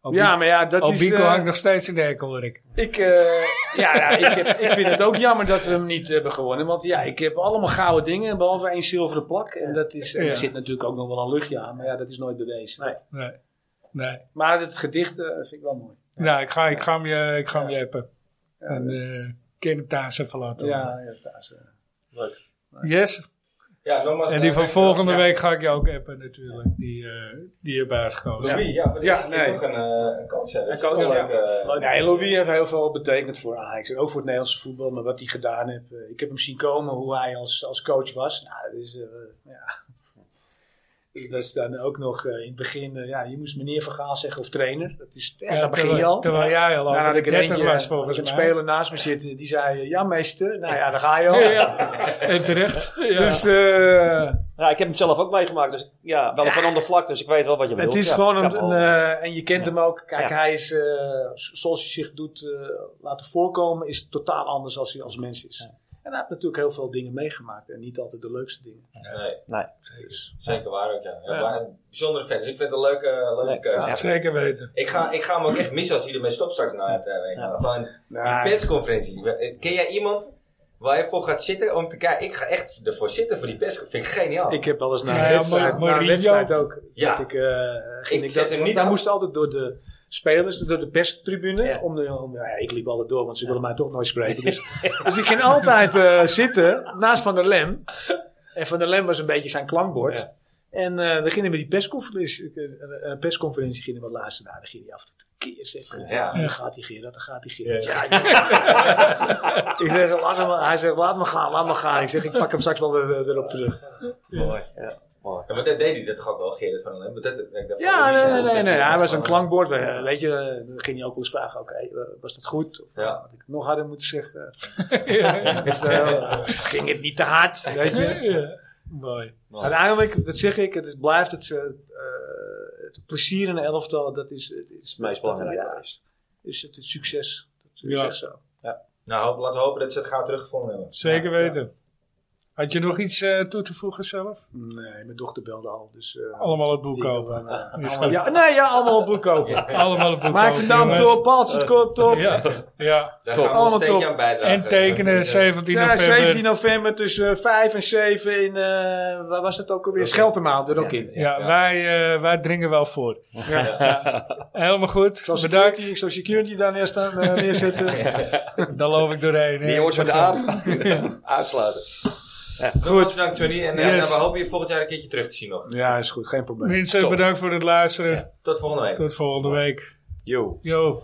[SPEAKER 2] Albi-
[SPEAKER 4] Ja, maar ja, dat is...
[SPEAKER 2] Albico
[SPEAKER 4] eh,
[SPEAKER 2] hangt nog steeds in de hek, hoor ik.
[SPEAKER 4] Ik, eh, ja, ja, ik, heb, ik vind het ook jammer dat we hem niet hebben gewonnen. Want ja, ik heb allemaal gouden dingen, behalve één zilveren plak. En dat is, en
[SPEAKER 2] Ja.
[SPEAKER 4] er zit natuurlijk ook nog wel een luchtje aan, maar ja, dat is nooit bewezen.
[SPEAKER 2] Nee. Nee.
[SPEAKER 4] Maar het gedicht eh, vind ik wel mooi.
[SPEAKER 2] Nou, ik ga, ik ga hem je, ik ga hem je appen.
[SPEAKER 4] Ja,
[SPEAKER 2] En eh ken hem thuis even laten.
[SPEAKER 4] ja, ja, dat is, eh,
[SPEAKER 2] Yes.
[SPEAKER 5] Ja, nogmaals.
[SPEAKER 2] En die
[SPEAKER 5] eh,
[SPEAKER 2] van
[SPEAKER 5] eh,
[SPEAKER 2] volgende
[SPEAKER 5] ja.
[SPEAKER 2] week ga ik je ook appen natuurlijk. Die, eh, die heb uitgekozen.
[SPEAKER 5] Louis, ja, voor de
[SPEAKER 4] Ja,
[SPEAKER 5] eerste keer
[SPEAKER 4] nee.
[SPEAKER 5] toch een, eh, een coach. Een
[SPEAKER 4] coach, ja.
[SPEAKER 1] eh.
[SPEAKER 5] ja.
[SPEAKER 4] Nee, Louis heeft heel veel betekend voor Ajax. En ook voor het Nederlandse voetbal. Maar wat hij gedaan heeft. eh, Ik heb hem zien komen hoe hij als, als coach was. Nou, dat is... eh, ja. Dus Dat is dan ook nog eh, in het begin... eh, ja, je moest meneer Vergaal zeggen of trainer. Dat is... Ja, daar begin je
[SPEAKER 2] terwijl,
[SPEAKER 4] al.
[SPEAKER 2] terwijl jij al
[SPEAKER 4] Nou,
[SPEAKER 2] over
[SPEAKER 4] had
[SPEAKER 2] de
[SPEAKER 4] ik er
[SPEAKER 2] 30
[SPEAKER 4] eentje,
[SPEAKER 2] was
[SPEAKER 4] had ik
[SPEAKER 2] volgens
[SPEAKER 4] een
[SPEAKER 2] mij.
[SPEAKER 4] speler naast me zitten. Die zei, eh, ja meester. Nou ja, daar ga
[SPEAKER 2] (laughs)
[SPEAKER 4] je al.
[SPEAKER 2] En terecht. Ja.
[SPEAKER 4] Dus eh,
[SPEAKER 3] Ja, ik heb hem zelf ook meegemaakt, dus ja, wel op een ander vlak, dus ik weet wel wat je bedoelt.
[SPEAKER 4] het is
[SPEAKER 3] Ja,
[SPEAKER 4] gewoon
[SPEAKER 3] ik
[SPEAKER 4] een...
[SPEAKER 3] heb
[SPEAKER 4] een,
[SPEAKER 3] al-
[SPEAKER 4] eh, en je kent hem ook. Kijk, hij is... eh, zoals hij zich doet eh, laten voorkomen... is totaal anders als hij als mens is. En hij heeft natuurlijk heel veel dingen meegemaakt. En niet altijd de leukste dingen.
[SPEAKER 5] Nee,
[SPEAKER 4] Dus,
[SPEAKER 5] zeker waar ook, ja. ja,
[SPEAKER 4] Ja.
[SPEAKER 5] maar een bijzondere fans. Ik vind het een leuke, eh, leuke keuze.
[SPEAKER 2] Zeker
[SPEAKER 4] (laughs)
[SPEAKER 2] weten.
[SPEAKER 5] Ik ga, ik ga hem ook echt missen als hij ermee stopt straks na het eh, WK. Gewoon een persconferentie. eh, Ken jij iemand waar je voor gaat zitten om te kijken? Ik ga echt ervoor zitten voor die persconferentie. Vind ik geniaal.
[SPEAKER 4] ik heb wel eens naar
[SPEAKER 2] Ja,
[SPEAKER 4] een wedstrijd,
[SPEAKER 2] Mor-
[SPEAKER 4] naar een
[SPEAKER 2] Mourinho.
[SPEAKER 4] wedstrijd ook.
[SPEAKER 5] Ja.
[SPEAKER 4] zat Ik, eh, ging
[SPEAKER 5] Ik
[SPEAKER 4] ik,
[SPEAKER 5] zet
[SPEAKER 4] dat,
[SPEAKER 5] hem
[SPEAKER 4] want
[SPEAKER 5] niet
[SPEAKER 4] daar
[SPEAKER 5] af.
[SPEAKER 4] moest altijd door de spelers, door de perstribune. Om de, om, ja, ik liep altijd door, want ze wilden mij toch nooit
[SPEAKER 5] (laughs)
[SPEAKER 4] spreken. Dus, dus ik ging altijd eh, zitten naast Van der Lem. En Van der Lem was een beetje zijn klankbord. En eh dan gingen we die persconferentie, eh, eh, persconferentie gingen we wat laatste daar. Dan ging hij af en toe keer zeggen.
[SPEAKER 5] Ja.
[SPEAKER 4] Dan gaat hij Gerard, dan gaat hij Gerard. Ja, ik- ik zeg, (laughs) laat hem, hij zegt, laat me gaan, laat me gaan. Ik zeg, ik pak hem straks wel er- erop terug.
[SPEAKER 5] Ja, maar dat deed hij dat toch ook wel, Gerrit van den Lem? Dat- ik
[SPEAKER 4] Oh,
[SPEAKER 5] dacht
[SPEAKER 4] Ja,
[SPEAKER 5] van,
[SPEAKER 4] nee,
[SPEAKER 5] die-
[SPEAKER 4] nee, nee, nee.
[SPEAKER 5] dat-
[SPEAKER 4] Hij was een
[SPEAKER 5] dat-
[SPEAKER 4] klankbord. We- eh, Weet je, eh, dan ging je ook wel eens vragen: oké, eh, was dat goed? Of eh,
[SPEAKER 5] Ja.
[SPEAKER 4] had ik het nog harder moeten (laughs) zeggen? Of, eh, ging het niet te hard? Weet (laughs) je?
[SPEAKER 2] Ja. Mooi.
[SPEAKER 4] Uiteindelijk, dat zeg ik, het is- blijft het, eh, eh, het plezier in een elftal. Dat is, het is het meest belangrijke. is. Dus het is succes. Dat is
[SPEAKER 2] Ja.
[SPEAKER 4] echt zo.
[SPEAKER 5] Nou, hoop- laten we hopen dat ze het gauw teruggevonden hebben.
[SPEAKER 2] Zeker weten. Had je nog iets eh, toe te voegen zelf?
[SPEAKER 4] Nee, mijn dochter belde al. Dus, eh,
[SPEAKER 2] Allemaal het boek
[SPEAKER 4] die wil
[SPEAKER 2] kopen. (laughs)
[SPEAKER 4] dan, eh,
[SPEAKER 2] Is
[SPEAKER 4] allemaal-
[SPEAKER 2] goed.
[SPEAKER 4] ja, nee, ja, allemaal het boek kopen.
[SPEAKER 2] Allemaal het boek
[SPEAKER 4] Maak
[SPEAKER 2] kopen,
[SPEAKER 4] vandaan
[SPEAKER 2] jongens.
[SPEAKER 4] top, paaltje top, top.
[SPEAKER 2] Ja. ja.
[SPEAKER 5] Daar gaan we ons
[SPEAKER 4] Allemaal
[SPEAKER 5] steentje
[SPEAKER 4] top.
[SPEAKER 5] aan bijdragen.
[SPEAKER 2] En tekenen 17
[SPEAKER 4] Ja,
[SPEAKER 2] november.
[SPEAKER 4] 17 november tussen eh, 5 en 7 in, eh, waar was dat ook alweer? Scheltemaal, er ook in.
[SPEAKER 2] Ja, Wij, eh, wij dringen wel voor. Ja. Helemaal goed.
[SPEAKER 4] Zoals
[SPEAKER 2] Bedankt.
[SPEAKER 4] security, zoals security daar neer staan, eh, neerzetten.
[SPEAKER 2] (laughs) Dan loop ik doorheen. hè.
[SPEAKER 11] Die jongens van de
[SPEAKER 4] (laughs)
[SPEAKER 11] aap. Uitsluiten.
[SPEAKER 5] Goed. Bedankt, Johnny. En eh,
[SPEAKER 2] Yes.
[SPEAKER 5] we hopen je volgend jaar een keertje terug te zien nog.
[SPEAKER 4] Ja, is goed, geen probleem.
[SPEAKER 2] Mensen, bedankt voor het luisteren.
[SPEAKER 5] Tot volgende week.
[SPEAKER 2] Tot volgende week.
[SPEAKER 11] Yo.
[SPEAKER 2] Yo.